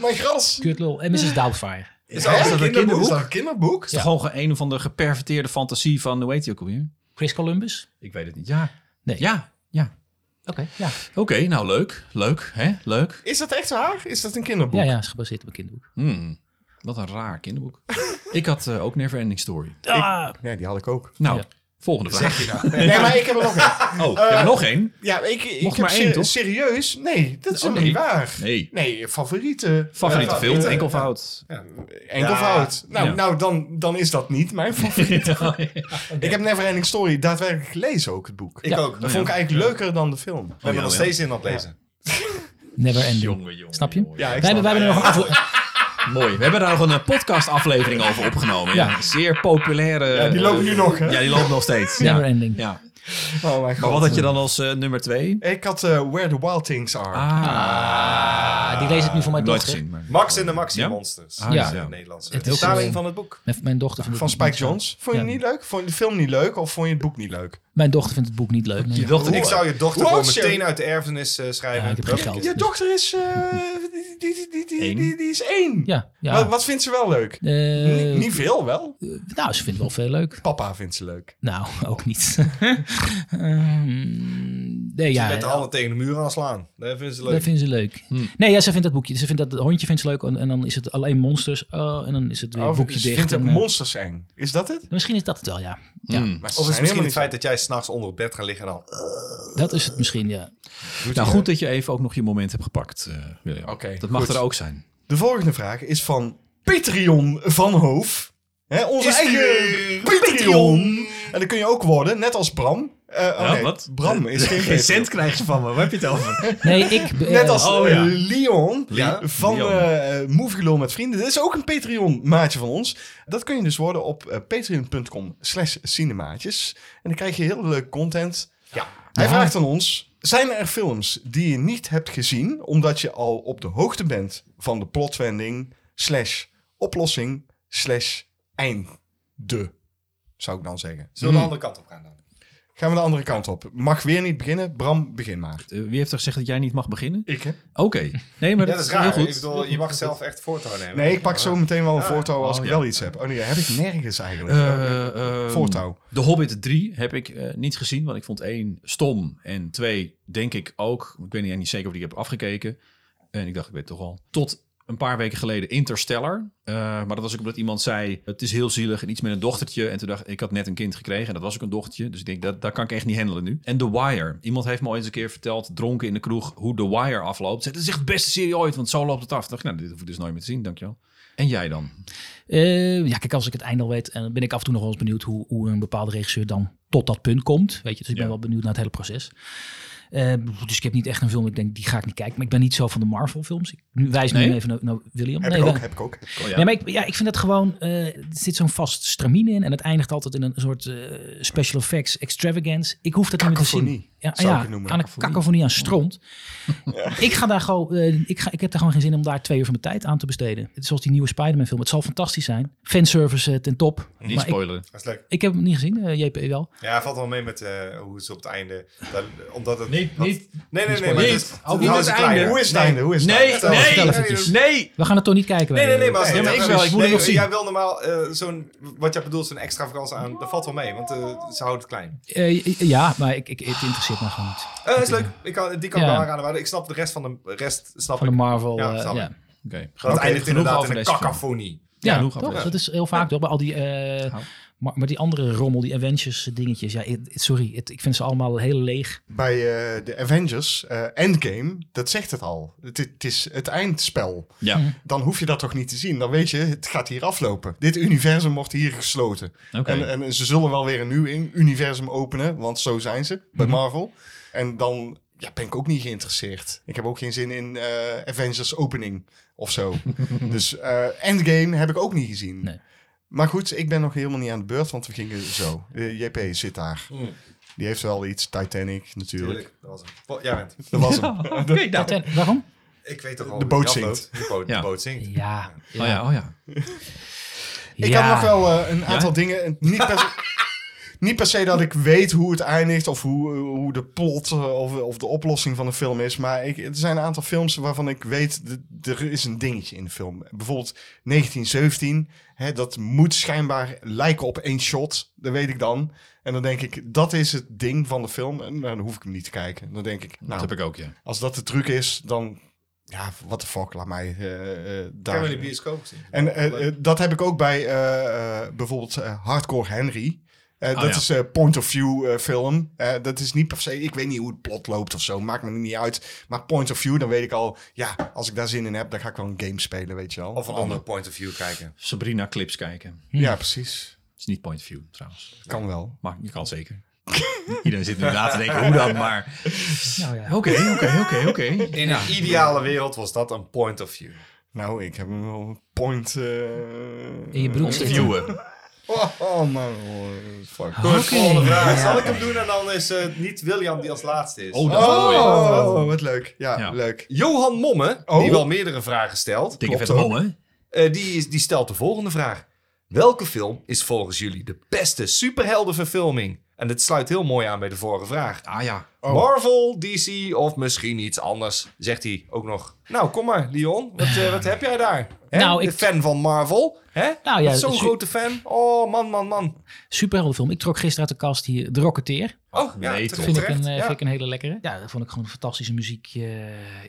[SPEAKER 3] Mijn gras!
[SPEAKER 2] Kut lul. En Mrs. Doubtfire.
[SPEAKER 1] Is
[SPEAKER 3] Hè?
[SPEAKER 1] dat
[SPEAKER 3] Is
[SPEAKER 1] een
[SPEAKER 3] dat een
[SPEAKER 1] kinderboek?
[SPEAKER 3] kinderboek? Is dat een kinderboek?
[SPEAKER 4] Is toch gewoon een van de geperverteerde fantasie van, hoe heet die ook alweer?
[SPEAKER 2] Chris Columbus.
[SPEAKER 4] Ik weet het niet. Ja.
[SPEAKER 2] Nee.
[SPEAKER 4] Ja, ja.
[SPEAKER 2] Oké, ja.
[SPEAKER 4] Oké, nou leuk. Leuk, hè? Leuk.
[SPEAKER 3] Is dat echt waar? Is dat een kinderboek?
[SPEAKER 2] Ja, ja, is gebaseerd op een kinderboek.
[SPEAKER 4] Hmm, Wat een raar kinderboek. ik had eh, ook Never Ending Story.
[SPEAKER 2] Ah,
[SPEAKER 3] Nee, die had ik ook.
[SPEAKER 4] Nou,
[SPEAKER 2] Ja.
[SPEAKER 4] volgende vraag.
[SPEAKER 3] Nee, maar ik heb er nog een.
[SPEAKER 4] Oh,
[SPEAKER 1] Eh,
[SPEAKER 4] ja, nog één?
[SPEAKER 3] Ja, ik, ik
[SPEAKER 4] Mocht
[SPEAKER 3] heb
[SPEAKER 4] maar één,
[SPEAKER 3] ser-
[SPEAKER 4] toch?
[SPEAKER 3] serieus. Nee, dat is
[SPEAKER 4] Oh,
[SPEAKER 3] helemaal
[SPEAKER 4] nee.
[SPEAKER 3] niet waar.
[SPEAKER 4] Nee.
[SPEAKER 3] Nee, favoriete.
[SPEAKER 4] Favoriete
[SPEAKER 1] Ja,
[SPEAKER 4] film,
[SPEAKER 1] favoriete,
[SPEAKER 4] enkelvoud.
[SPEAKER 3] Enkelvoud. Nou,
[SPEAKER 4] Ja.
[SPEAKER 3] nou dan, dan is dat niet mijn favoriet. Ik heb Neverending Story daadwerkelijk gelezen ook, het boek.
[SPEAKER 1] Ik
[SPEAKER 2] Ja.
[SPEAKER 1] ook.
[SPEAKER 3] Dat vond ik eigenlijk leuker dan de film.
[SPEAKER 1] We hebben nog steeds in aan het lezen.
[SPEAKER 2] Never Ending.
[SPEAKER 4] Jongen, jongen.
[SPEAKER 2] Snap je?
[SPEAKER 4] jongen.
[SPEAKER 3] Ja, ik
[SPEAKER 2] Wij hebben, wij
[SPEAKER 3] snap-
[SPEAKER 2] hebben er nog een afle-
[SPEAKER 4] Mooi. We hebben daar nog een podcast aflevering over opgenomen. Ja.
[SPEAKER 2] Ja.
[SPEAKER 4] Zeer populaire.
[SPEAKER 3] Ja, die loopt nu nog, hè?
[SPEAKER 4] Ja, die loopt nog steeds. Ja.
[SPEAKER 2] Never Ending.
[SPEAKER 4] Ja.
[SPEAKER 3] Oh mijn god.
[SPEAKER 4] Maar wat had je dan als eh, nummer twee?
[SPEAKER 3] Ik had eh, Where the Wild Things Are.
[SPEAKER 4] Ah,
[SPEAKER 2] Ah, die lees ik nu van mijn
[SPEAKER 4] nooit
[SPEAKER 2] dochter.
[SPEAKER 4] gezien. Maar...
[SPEAKER 1] Max en de Maxi
[SPEAKER 4] Ja?
[SPEAKER 1] Monsters.
[SPEAKER 4] Ah,
[SPEAKER 2] Ja.
[SPEAKER 1] Dat is
[SPEAKER 4] ja.
[SPEAKER 1] een Nederlandse
[SPEAKER 2] Het
[SPEAKER 1] het
[SPEAKER 2] is-
[SPEAKER 1] vertaling van het boek.
[SPEAKER 2] Mijn- Mijn dochter vindt
[SPEAKER 3] Van
[SPEAKER 2] het boek
[SPEAKER 3] Spike
[SPEAKER 2] niet zo-
[SPEAKER 3] Jones. Vond je
[SPEAKER 2] Ja.
[SPEAKER 3] het niet leuk? Vond je de film niet leuk of vond je het boek niet leuk?
[SPEAKER 2] Mijn dochter vindt het boek niet leuk. nee.
[SPEAKER 4] Je dochter
[SPEAKER 1] Ik zou je dochter gewoon
[SPEAKER 3] Roadshowing.
[SPEAKER 1] meteen uit de erfenis eh, schrijven.
[SPEAKER 2] Ja, ik heb geen geld.
[SPEAKER 3] Je dochter is. eh, die, die, die, die,
[SPEAKER 4] Eén.
[SPEAKER 3] die, die is één.
[SPEAKER 2] Ja, ja.
[SPEAKER 3] Wat, wat vindt ze wel leuk?
[SPEAKER 2] Eh,
[SPEAKER 3] Niet- niet veel, wel.
[SPEAKER 2] nou, ze vindt wel veel leuk.
[SPEAKER 3] Papa vindt ze leuk.
[SPEAKER 2] Nou, ook niet. Ehm, nee,
[SPEAKER 1] Je
[SPEAKER 2] ja.
[SPEAKER 1] bent er alle tegen de muur aan slaan. Dat vinden ze leuk.
[SPEAKER 2] Dat vinden ze leuk.
[SPEAKER 3] Hm.
[SPEAKER 2] Nee, ja, ze vindt dat boekje. Ze vindt dat, dat hondje vindt ze leuk. En, en dan is het alleen monsters. Oh, en dan is het weer
[SPEAKER 3] Of
[SPEAKER 2] boekje
[SPEAKER 3] ze
[SPEAKER 2] dicht.
[SPEAKER 3] vindt het Hm.
[SPEAKER 2] en, eh,
[SPEAKER 3] monsters eng. Is dat het?
[SPEAKER 2] misschien is dat het wel, ja. ja
[SPEAKER 4] Hmm.
[SPEAKER 3] Maar ze
[SPEAKER 1] Of is
[SPEAKER 3] zijn
[SPEAKER 1] het misschien
[SPEAKER 3] helemaal
[SPEAKER 1] het
[SPEAKER 3] niet
[SPEAKER 1] feit dat jij s'nachts onder het bed gaat liggen en dan... eh,
[SPEAKER 2] Dat is het misschien, ja.
[SPEAKER 4] Nou, goed dat je even ook nog je moment hebt gepakt, eh, William.
[SPEAKER 3] Oké,
[SPEAKER 4] dat mag
[SPEAKER 3] goed.
[SPEAKER 4] er ook zijn.
[SPEAKER 3] De volgende vraag is van Patreon van Hoof. Hè, onze
[SPEAKER 1] Is die
[SPEAKER 3] eigen
[SPEAKER 1] weer?
[SPEAKER 3] Patreon.
[SPEAKER 1] Patreon.
[SPEAKER 3] En dat kun je ook worden, net als Bram. Eh, oh nee, Bram is geen Patreon.
[SPEAKER 4] krijg je van me. Waar heb je het over?
[SPEAKER 2] Nee, ik... eh,
[SPEAKER 3] Net als
[SPEAKER 4] Oh, ja.
[SPEAKER 3] eh, Leon
[SPEAKER 1] Ja,
[SPEAKER 3] van
[SPEAKER 4] Leon.
[SPEAKER 3] eh Movie Lul met Vrienden. Dat is ook een Patreon-maatje van ons. Dat kun je dus worden op eh, patreon.com slash cinemaatjes. En dan krijg je heel leuk content. Ja. Hij vraagt aan ons... Zijn er films die je niet hebt gezien... omdat je al op de hoogte bent van de plotwending... slash oplossing slash einde? Zou ik dan zeggen.
[SPEAKER 1] Zullen
[SPEAKER 2] Hmm.
[SPEAKER 1] we de andere kant op gaan dan?
[SPEAKER 3] Gaan we de andere kant op. Mag weer niet beginnen. Bram, begin maar.
[SPEAKER 4] wie heeft er gezegd dat jij niet mag beginnen?
[SPEAKER 3] Ik, hè?
[SPEAKER 4] Oké. Nee, maar
[SPEAKER 1] Ja,
[SPEAKER 4] dat,
[SPEAKER 1] dat is
[SPEAKER 4] heel
[SPEAKER 1] raar.
[SPEAKER 4] goed.
[SPEAKER 1] Ik bedoel, je mag zelf echt voortouw nemen.
[SPEAKER 3] Nee, ik pak zo meteen wel een voortouw als
[SPEAKER 4] Oh,
[SPEAKER 3] ik
[SPEAKER 4] ja.
[SPEAKER 3] wel iets heb. Oh nee, heb ik nergens eigenlijk.
[SPEAKER 4] Eh, eh,
[SPEAKER 3] voortouw.
[SPEAKER 4] De Hobbit 3 heb ik eh, niet gezien, want ik vond één stom. En twee, denk ik ook, ik weet niet, niet zeker of ik die heb afgekeken. En ik dacht, ik weet het toch al. Tot een paar weken geleden Interstellar. Eh, maar dat was ook omdat iemand zei, het is heel zielig en iets met een dochtertje. En toen dacht ik, ik had net een kind gekregen en dat was ook een dochtertje. Dus ik denk, dat, dat kan ik echt niet handelen nu. En The Wire. Iemand heeft me ooit eens een keer verteld, dronken in de kroeg, hoe The Wire afloopt. Zei, dat is echt de beste serie ooit, want zo loopt het af. Toen dacht ik, nou, dit hoef ik dus nooit meer te zien, dankjewel. En jij dan?
[SPEAKER 2] Eh, ja, kijk, als ik het einde al weet, en dan ben ik af en toe nog wel eens benieuwd hoe, hoe een bepaalde regisseur dan tot dat punt komt. Weet je, dus ik ben
[SPEAKER 4] Ja.
[SPEAKER 2] wel benieuwd naar het hele proces. Eh, dus ik heb niet echt een film, dat ik denk, die ga ik niet kijken. Maar ik ben niet zo van de Marvel-films. Ik- Nu wijs me
[SPEAKER 4] Nee?
[SPEAKER 2] nu even naar, naar William.
[SPEAKER 3] heb,
[SPEAKER 2] nee,
[SPEAKER 3] ik
[SPEAKER 2] wel-
[SPEAKER 3] ook, heb ik ook, heb ik ook.
[SPEAKER 4] ja.
[SPEAKER 2] Nee, maar ik, ja, ik vind het gewoon, eh, er zit zo'n vast stramine in en het eindigt altijd in een soort eh, special effects extravagance. Ik hoef dat niet meer te zien.
[SPEAKER 3] Cacophonie.
[SPEAKER 2] ja,
[SPEAKER 3] Zou ik
[SPEAKER 2] ja,
[SPEAKER 3] het noemen?
[SPEAKER 2] aan een
[SPEAKER 3] Kakofonie.
[SPEAKER 2] kakofonie aan stront. Ik, ga daar gewoon, eh, ik, ga, ik heb daar gewoon geen zin om daar twee uur van mijn tijd aan te besteden. Het is zoals die nieuwe Spider-Man film. Het zal fantastisch zijn. Fanservice eh, ten top.
[SPEAKER 4] Niet
[SPEAKER 2] Maar ik,
[SPEAKER 4] spoileren.
[SPEAKER 1] Dat is leuk.
[SPEAKER 2] ik heb hem niet gezien, eh, JP wel.
[SPEAKER 1] Ja, valt wel mee met eh, hoe het op het einde. daar- omdat het,
[SPEAKER 4] Niet-
[SPEAKER 1] dat-
[SPEAKER 4] niet-
[SPEAKER 1] Nee, nee, nee.
[SPEAKER 4] niet
[SPEAKER 1] Maar
[SPEAKER 4] spoiler.
[SPEAKER 1] het is-
[SPEAKER 4] Niet
[SPEAKER 1] hou
[SPEAKER 4] het
[SPEAKER 1] eens
[SPEAKER 4] einde.
[SPEAKER 1] kleiner.
[SPEAKER 3] Hoe is het einde? Hoe is het
[SPEAKER 4] Nee,
[SPEAKER 1] Vertel,
[SPEAKER 4] nee,
[SPEAKER 2] vertel
[SPEAKER 4] nee,
[SPEAKER 1] eventjes.
[SPEAKER 4] nee.
[SPEAKER 2] We gaan het toch niet kijken.
[SPEAKER 1] Nee, nee, nee, maar, als-
[SPEAKER 3] Nee,
[SPEAKER 4] maar ik wel, ik moet
[SPEAKER 1] nee,
[SPEAKER 4] het nog
[SPEAKER 1] Jij wil normaal eh, zo'n, wat jij bedoelt, zo'n extra vakantie aan. Dat valt wel mee, want eh, ze houdt het klein.
[SPEAKER 2] Eh, ja, maar ik, ik, het interesseert me gewoon niet.
[SPEAKER 1] Eh, is leuk. Ik kan, die kan ik
[SPEAKER 2] Ja.
[SPEAKER 1] wel aanraden. Maar ik snap de rest van de rest. Snap
[SPEAKER 2] Van
[SPEAKER 1] ik.
[SPEAKER 2] de Marvel.
[SPEAKER 1] Ja,
[SPEAKER 2] eh,
[SPEAKER 1] snap ik.
[SPEAKER 2] ja.
[SPEAKER 4] Oké,
[SPEAKER 1] Dat
[SPEAKER 4] genoeg
[SPEAKER 1] eindigt inderdaad
[SPEAKER 4] over
[SPEAKER 1] in een
[SPEAKER 4] deze film.
[SPEAKER 1] cacophonie.
[SPEAKER 2] Ja,
[SPEAKER 4] genoeg
[SPEAKER 2] toch?
[SPEAKER 4] over.
[SPEAKER 2] Dat is heel vaak toch? Bij al die, eh, maar, maar die andere rommel, die Avengers dingetjes. Ja, ik- sorry, het- ik vind ze allemaal heel leeg.
[SPEAKER 3] Bij eh, de Avengers eh, Endgame, dat zegt het al. Het, het is het eindspel.
[SPEAKER 4] Ja,
[SPEAKER 3] Dan hoef je dat toch niet te zien. Dan weet je, het gaat hier aflopen. Dit universum wordt hier gesloten.
[SPEAKER 4] oké.
[SPEAKER 3] En, en ze zullen wel weer een nieuw in- universum openen, want zo zijn ze bij Marvel. En dan ja, ben ik ook niet geïnteresseerd. Ik heb ook geen zin in eh, Avengers opening of zo. dus eh, Endgame heb ik ook niet gezien.
[SPEAKER 2] Nee.
[SPEAKER 3] Maar goed, ik ben nog helemaal niet aan de beurt, want we gingen zo. Eh, JP zit daar. Die heeft wel iets, Titanic natuurlijk.
[SPEAKER 1] Tuurlijk. Dat was hem. Vol- Jij bent.
[SPEAKER 3] Dat was hem.
[SPEAKER 4] Oké, nou.
[SPEAKER 2] Ten- waarom?
[SPEAKER 1] Ik weet toch al.
[SPEAKER 3] De
[SPEAKER 1] wie
[SPEAKER 3] boot
[SPEAKER 1] dat
[SPEAKER 3] zinkt.
[SPEAKER 1] loopt. De boot,
[SPEAKER 4] Ja.
[SPEAKER 1] de boot zinkt.
[SPEAKER 2] Ja.
[SPEAKER 4] Oh ja, oh ja.
[SPEAKER 3] Ik
[SPEAKER 2] Ja.
[SPEAKER 3] heb nog wel eh, een aantal dingen. Niet per, se, niet per se dat ik weet hoe het eindigt of hoe, hoe de plot eh, of, of de oplossing van de film is. Maar ik, er zijn een aantal films waarvan ik weet, d- er is een dingetje in de film. Bijvoorbeeld 1917, hè, dat moet schijnbaar lijken op één shot. Dat weet ik dan. En dan denk ik, dat is het ding van de film. En dan hoef ik hem niet te kijken. Dan denk ik,
[SPEAKER 4] Dat
[SPEAKER 3] nou,
[SPEAKER 4] heb ik ook, ja.
[SPEAKER 3] als dat de truc is, dan... Ja, what the fuck, laat mij eh, eh,
[SPEAKER 1] Ik
[SPEAKER 3] daar...
[SPEAKER 1] heb hem in de bioscoop gezien.
[SPEAKER 3] En eh,
[SPEAKER 1] Leuk.
[SPEAKER 3] eh, dat heb ik ook bij eh, eh, bijvoorbeeld eh, Hardcore Henry. Eh,
[SPEAKER 1] Oh,
[SPEAKER 4] Ah,
[SPEAKER 3] dat
[SPEAKER 4] ja.
[SPEAKER 3] is eh point of view eh, film. Eh, dat is niet per se. Ik weet niet hoe het plot loopt of zo. Maakt me niet uit. Maar point of view, dan weet ik al. Ja, als ik daar zin in heb, dan ga ik wel een game spelen, weet je wel.
[SPEAKER 1] of een ander point of view kijken.
[SPEAKER 4] Sabrina clips kijken.
[SPEAKER 1] Hm.
[SPEAKER 3] Ja, precies.
[SPEAKER 4] Het is niet point of view, trouwens.
[SPEAKER 3] Kan wel.
[SPEAKER 4] Maar je kan zeker. Iedereen zit nu na te denken, hoe dan, maar...
[SPEAKER 2] Nou ja.
[SPEAKER 4] Oké, oké, oké, oké.
[SPEAKER 1] In een ideale wereld was dat een point of view.
[SPEAKER 3] Nou, ik heb hem wel een point. eh,
[SPEAKER 2] In je broek zitten.
[SPEAKER 4] Viewen.
[SPEAKER 3] Oh, oh, man. Oh, fuck.
[SPEAKER 1] Goed, volgende vraag.
[SPEAKER 2] Ja.
[SPEAKER 1] Zal ik hem doen en dan is het niet William die als laatste is.
[SPEAKER 4] Oh, dat is mooi.
[SPEAKER 3] Oh, wat leuk. Ja,
[SPEAKER 4] Ja.
[SPEAKER 3] leuk.
[SPEAKER 1] Johan Momme,
[SPEAKER 3] Oh.
[SPEAKER 1] die wel meerdere vragen stelt,
[SPEAKER 4] Dikke vette
[SPEAKER 3] ook.
[SPEAKER 4] mom, hè?
[SPEAKER 1] eh, die, is, die stelt de volgende vraag. Welke film is volgens jullie de beste superheldenverfilming? En dit sluit heel mooi aan bij de vorige vraag.
[SPEAKER 4] Ah ja.
[SPEAKER 1] Marvel, DC of misschien iets anders, zegt hij ook nog. Nou, kom maar, Leon. Wat, eh, wat heb jij daar? Hè?
[SPEAKER 2] Nou,
[SPEAKER 1] de
[SPEAKER 2] ik-
[SPEAKER 1] fan van Marvel. Hè?
[SPEAKER 2] Nou ja,
[SPEAKER 1] Zo'n
[SPEAKER 2] su-
[SPEAKER 1] grote fan. Oh, man, man, man.
[SPEAKER 2] Superheldenfilm. Ik trok gisteren uit de kast hier De Rocketeer.
[SPEAKER 1] Oh, ja,
[SPEAKER 4] nee,
[SPEAKER 1] terecht.
[SPEAKER 4] toch.
[SPEAKER 2] Vind ik, een, eh,
[SPEAKER 1] Ja.
[SPEAKER 2] vind ik een hele lekkere. Ja, dat vond ik gewoon fantastische muziek. eh,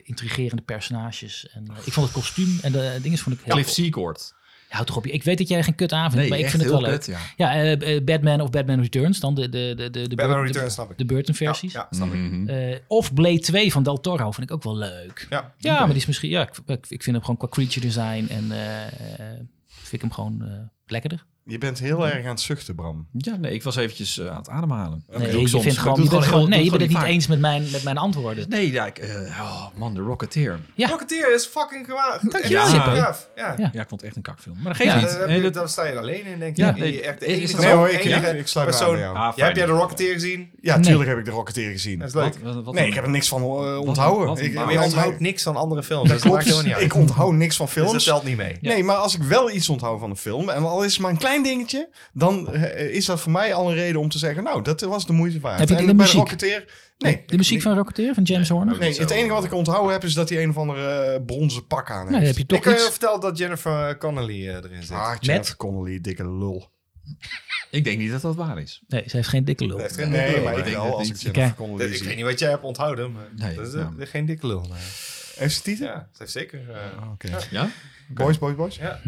[SPEAKER 2] intrigerende personages. En, eh, ik vond het kostuum en de eh, dingen vond ik heel...
[SPEAKER 4] Cliff Seacord.
[SPEAKER 2] Ja, houd toch op. je- Ik weet dat jij geen kut aan vindt,
[SPEAKER 4] Nee,
[SPEAKER 2] maar ik
[SPEAKER 4] echt
[SPEAKER 2] vind het
[SPEAKER 4] heel
[SPEAKER 2] wel leuk.
[SPEAKER 4] kut, ja.
[SPEAKER 2] Ja, eh, eh, Batman of Batman Returns. Dan de, de, de, de, de,
[SPEAKER 1] Batman
[SPEAKER 2] Bur-
[SPEAKER 1] Returns,
[SPEAKER 2] de,
[SPEAKER 1] snap ik.
[SPEAKER 2] de Burton versies.
[SPEAKER 1] Ja, ja, snap ik.
[SPEAKER 4] Mhm.
[SPEAKER 2] Eh, of Blade 2 van Del Toro vind ik ook wel leuk.
[SPEAKER 1] Ja.
[SPEAKER 2] Ja, maar die is misschien. Ja, ik, ik, ik vind hem gewoon qua creature design en eh, eh, vind ik hem gewoon eh, lekkerder.
[SPEAKER 3] Je bent
[SPEAKER 1] Hm.
[SPEAKER 3] heel erg aan het zuchten, Bram.
[SPEAKER 4] Ja, nee, ik was eventjes eh, aan het ademhalen. Dat
[SPEAKER 2] Nee,
[SPEAKER 4] doe ik
[SPEAKER 2] je
[SPEAKER 4] soms,
[SPEAKER 2] vindt
[SPEAKER 4] maar
[SPEAKER 2] gewoon,
[SPEAKER 4] ik
[SPEAKER 2] je
[SPEAKER 4] doe
[SPEAKER 2] bent
[SPEAKER 4] het
[SPEAKER 2] gewoon, nee, je
[SPEAKER 4] doe
[SPEAKER 2] bent
[SPEAKER 4] het
[SPEAKER 2] het niet
[SPEAKER 4] gewoon
[SPEAKER 2] eens met mijn, met mijn antwoorden.
[SPEAKER 4] vaak. Nee, ja, ik, eh, oh man, de Rocketeer.
[SPEAKER 2] Ja.
[SPEAKER 1] Rocketeer is fucking gewaagd.
[SPEAKER 2] Dankjewel,
[SPEAKER 1] Ja,
[SPEAKER 4] Sippo.
[SPEAKER 1] gaaf. Ja.
[SPEAKER 2] Ja.
[SPEAKER 4] Ja, ik vond het echt een kakfilm. Maar dat geeft
[SPEAKER 2] Ja,
[SPEAKER 1] Ja,
[SPEAKER 4] niet.
[SPEAKER 1] daar heb
[SPEAKER 4] Nee,
[SPEAKER 1] je-
[SPEAKER 4] dat-
[SPEAKER 1] daar sta je alleen in, denk ik.
[SPEAKER 4] Ja,
[SPEAKER 1] Die
[SPEAKER 4] nee,
[SPEAKER 1] echt de
[SPEAKER 4] is- is
[SPEAKER 1] enige,
[SPEAKER 4] dat
[SPEAKER 3] Nee
[SPEAKER 4] zo?
[SPEAKER 3] hoor, ik,
[SPEAKER 1] enige
[SPEAKER 3] ik, ik sluit me aan
[SPEAKER 1] persoon.
[SPEAKER 3] bij jou.
[SPEAKER 4] Ah, fijn.
[SPEAKER 1] heb jij de Rocketeer gezien?
[SPEAKER 3] Ja,
[SPEAKER 2] Nee.
[SPEAKER 3] tuurlijk heb ik de Rocketeer gezien.
[SPEAKER 1] Dat is
[SPEAKER 4] Wat-
[SPEAKER 1] leuk.
[SPEAKER 4] wat- wat-
[SPEAKER 3] Nee, ik heb er niks van eh, onthouden.
[SPEAKER 4] wat een
[SPEAKER 3] ik,
[SPEAKER 4] baas.
[SPEAKER 1] maar je
[SPEAKER 4] Ja,
[SPEAKER 1] onthoudt niks van andere films. Dat maakt helemaal
[SPEAKER 3] Klopt,
[SPEAKER 1] niet uit.
[SPEAKER 3] ik onthoud niks van
[SPEAKER 1] Dus
[SPEAKER 3] films.
[SPEAKER 1] dat telt niet mee.
[SPEAKER 3] Nee, maar als ik wel iets onthoud van een film, en al is het maar een klein dingetje, dan eh, is dat voor mij al een reden om te zeggen, nou, dat was de moeite waard.
[SPEAKER 2] Heb je
[SPEAKER 3] en
[SPEAKER 2] het in de
[SPEAKER 3] bij
[SPEAKER 2] muziek?
[SPEAKER 3] Rocketeer, nee.
[SPEAKER 2] De muziek van Rocketeer van James Horner.
[SPEAKER 3] Nee, het enige wat ik onthouden heb, is dat hij een of andere eh, bronzen pak aan heeft.
[SPEAKER 2] Nou, dan heb je
[SPEAKER 1] Ik
[SPEAKER 2] toch
[SPEAKER 1] kan je
[SPEAKER 2] iets.
[SPEAKER 1] vertellen dat Jennifer Connelly eh, erin zit.
[SPEAKER 3] Ah, Jeff Connolly, dikke lul.
[SPEAKER 4] Ik denk niet dat dat waar is.
[SPEAKER 2] Nee, ze heeft geen dikke lul.
[SPEAKER 1] Dat heeft geen
[SPEAKER 3] Nee,
[SPEAKER 1] dikke lul.
[SPEAKER 3] maar ik
[SPEAKER 4] denk
[SPEAKER 3] wel,
[SPEAKER 4] dat
[SPEAKER 3] als ik
[SPEAKER 4] niet.
[SPEAKER 3] Jennifer
[SPEAKER 2] Oké.
[SPEAKER 3] Connolly
[SPEAKER 1] Dat- Ik
[SPEAKER 3] zie.
[SPEAKER 1] weet niet wat jij hebt onthouden, maar
[SPEAKER 4] Nee,
[SPEAKER 1] dat is
[SPEAKER 4] nou.
[SPEAKER 1] dat is geen dikke lul. nee.
[SPEAKER 3] Heeft ze titel?
[SPEAKER 1] Ja, ze heeft zeker... eh,
[SPEAKER 3] Oké.
[SPEAKER 4] Ja?
[SPEAKER 3] Boys, boys, boys.
[SPEAKER 1] ja.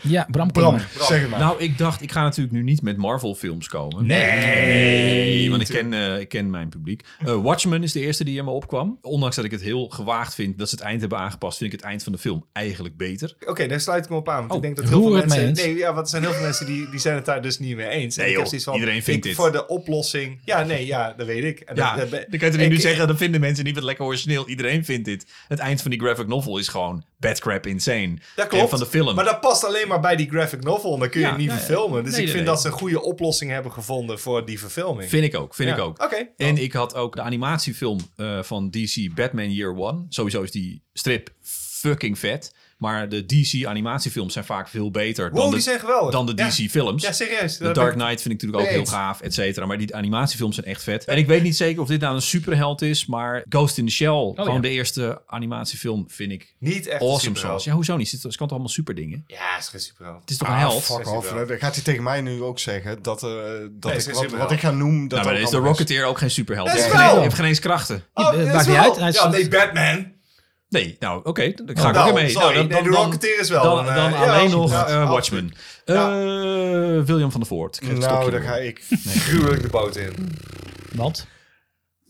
[SPEAKER 2] Ja, Bram kom
[SPEAKER 3] Bram,
[SPEAKER 2] maar.
[SPEAKER 3] zeg het maar.
[SPEAKER 4] Nou, ik dacht, ik ga natuurlijk nu niet met Marvel-films komen. Nee. want ik ken, eh, ik ken mijn publiek. Eh, Watchmen is de eerste die in me opkwam. Ondanks dat ik het heel gewaagd vind dat ze het eind hebben aangepast, vind ik het eind van de film eigenlijk beter.
[SPEAKER 1] Oké, daar sluit ik me op aan. Want
[SPEAKER 4] Oh,
[SPEAKER 1] ik denk dat heel veel
[SPEAKER 2] roer het
[SPEAKER 1] mensen...
[SPEAKER 2] mee eens.
[SPEAKER 1] Nee, ja, want er zijn heel veel mensen die, die zijn het daar dus niet mee eens. En
[SPEAKER 4] Nee,
[SPEAKER 1] ik heb
[SPEAKER 4] joh,
[SPEAKER 1] zoiets van,
[SPEAKER 4] iedereen vindt
[SPEAKER 1] ik,
[SPEAKER 4] dit.
[SPEAKER 1] Voor de oplossing... Ja, nee, ja, dat weet ik. En dat- dat ben- ik-
[SPEAKER 4] dat vinden mensen niet wat lekker origineel. Iedereen vindt dit. Het eind van die graphic novel is gewoon bad crap insane.
[SPEAKER 1] Dat klopt,
[SPEAKER 4] een film.
[SPEAKER 1] Maar dat past alleen maar bij die graphic novel. Dan kun je
[SPEAKER 4] Ja,
[SPEAKER 1] het niet
[SPEAKER 4] nee,
[SPEAKER 1] verfilmen. Dus
[SPEAKER 4] nee,
[SPEAKER 1] ik
[SPEAKER 4] nee,
[SPEAKER 1] vind
[SPEAKER 4] nee.
[SPEAKER 1] dat ze een goede oplossing hebben gevonden voor die verfilming.
[SPEAKER 4] Vind ik ook, vind
[SPEAKER 1] Ja.
[SPEAKER 4] ik ook.
[SPEAKER 1] Oké.
[SPEAKER 4] En ik had ook de animatiefilm eh, van DC Batman Year One. Sowieso is die strip fucking vet. Maar de DC animatiefilms zijn vaak veel beter
[SPEAKER 1] Wow,
[SPEAKER 4] dan,
[SPEAKER 1] die
[SPEAKER 4] de,
[SPEAKER 1] zijn geweldig.
[SPEAKER 4] dan de
[SPEAKER 1] Ja.
[SPEAKER 4] DC films.
[SPEAKER 1] Ja, serieus.
[SPEAKER 4] De Dark Knight vind ik natuurlijk ook
[SPEAKER 1] Nee,
[SPEAKER 4] heel
[SPEAKER 1] eens.
[SPEAKER 4] gaaf, et cetera. Maar die animatiefilms zijn echt vet. En ik weet niet zeker of dit nou een superheld is, maar Ghost in the Shell, gewoon
[SPEAKER 2] ja.
[SPEAKER 4] de eerste animatiefilm, vind ik
[SPEAKER 1] Oh, Niet echt
[SPEAKER 4] awesome
[SPEAKER 1] zo.
[SPEAKER 4] zoals. Ja, hoezo niet? Het kan toch allemaal superdingen?
[SPEAKER 1] Ja, is geen superheld.
[SPEAKER 4] Het is toch een held?
[SPEAKER 3] Fuck
[SPEAKER 1] Is hij
[SPEAKER 3] off.
[SPEAKER 1] wel.
[SPEAKER 3] Dan gaat hij tegen mij nu ook zeggen dat, eh, dat
[SPEAKER 1] is
[SPEAKER 3] ik,
[SPEAKER 1] geen
[SPEAKER 3] wat,
[SPEAKER 1] superheld.
[SPEAKER 3] wat ik ga noemen... Dat
[SPEAKER 4] nou, maar dan
[SPEAKER 3] ook
[SPEAKER 4] is de
[SPEAKER 3] allemaal
[SPEAKER 4] Rocketeer ook geen superheld.
[SPEAKER 1] Dat
[SPEAKER 4] Hij
[SPEAKER 1] is
[SPEAKER 4] heeft geen-
[SPEAKER 1] wel.
[SPEAKER 4] hij heeft geen eens krachten.
[SPEAKER 1] Oh,
[SPEAKER 2] eh,
[SPEAKER 1] dat
[SPEAKER 2] maakt
[SPEAKER 1] is
[SPEAKER 2] niet
[SPEAKER 1] wel-
[SPEAKER 2] uit. Hij is-
[SPEAKER 1] Ja, nee, Batman.
[SPEAKER 4] Nee, nou oké, dan ga ik
[SPEAKER 1] Nou,
[SPEAKER 4] ook weer mee.
[SPEAKER 1] sorry,
[SPEAKER 4] nou,
[SPEAKER 1] nee, de Rocketeer is wel
[SPEAKER 4] Dan,
[SPEAKER 1] een, eh,
[SPEAKER 4] dan
[SPEAKER 1] ja,
[SPEAKER 4] alleen
[SPEAKER 1] absoluut.
[SPEAKER 4] nog
[SPEAKER 1] Ja,
[SPEAKER 4] eh,
[SPEAKER 1] absoluut.
[SPEAKER 4] Watchmen. Eh, William van der Voort. Ik geef het
[SPEAKER 3] Nou,
[SPEAKER 4] stokje
[SPEAKER 3] daar
[SPEAKER 4] weer.
[SPEAKER 3] ga ik.
[SPEAKER 1] Gruwelijk de boot in.
[SPEAKER 2] Want?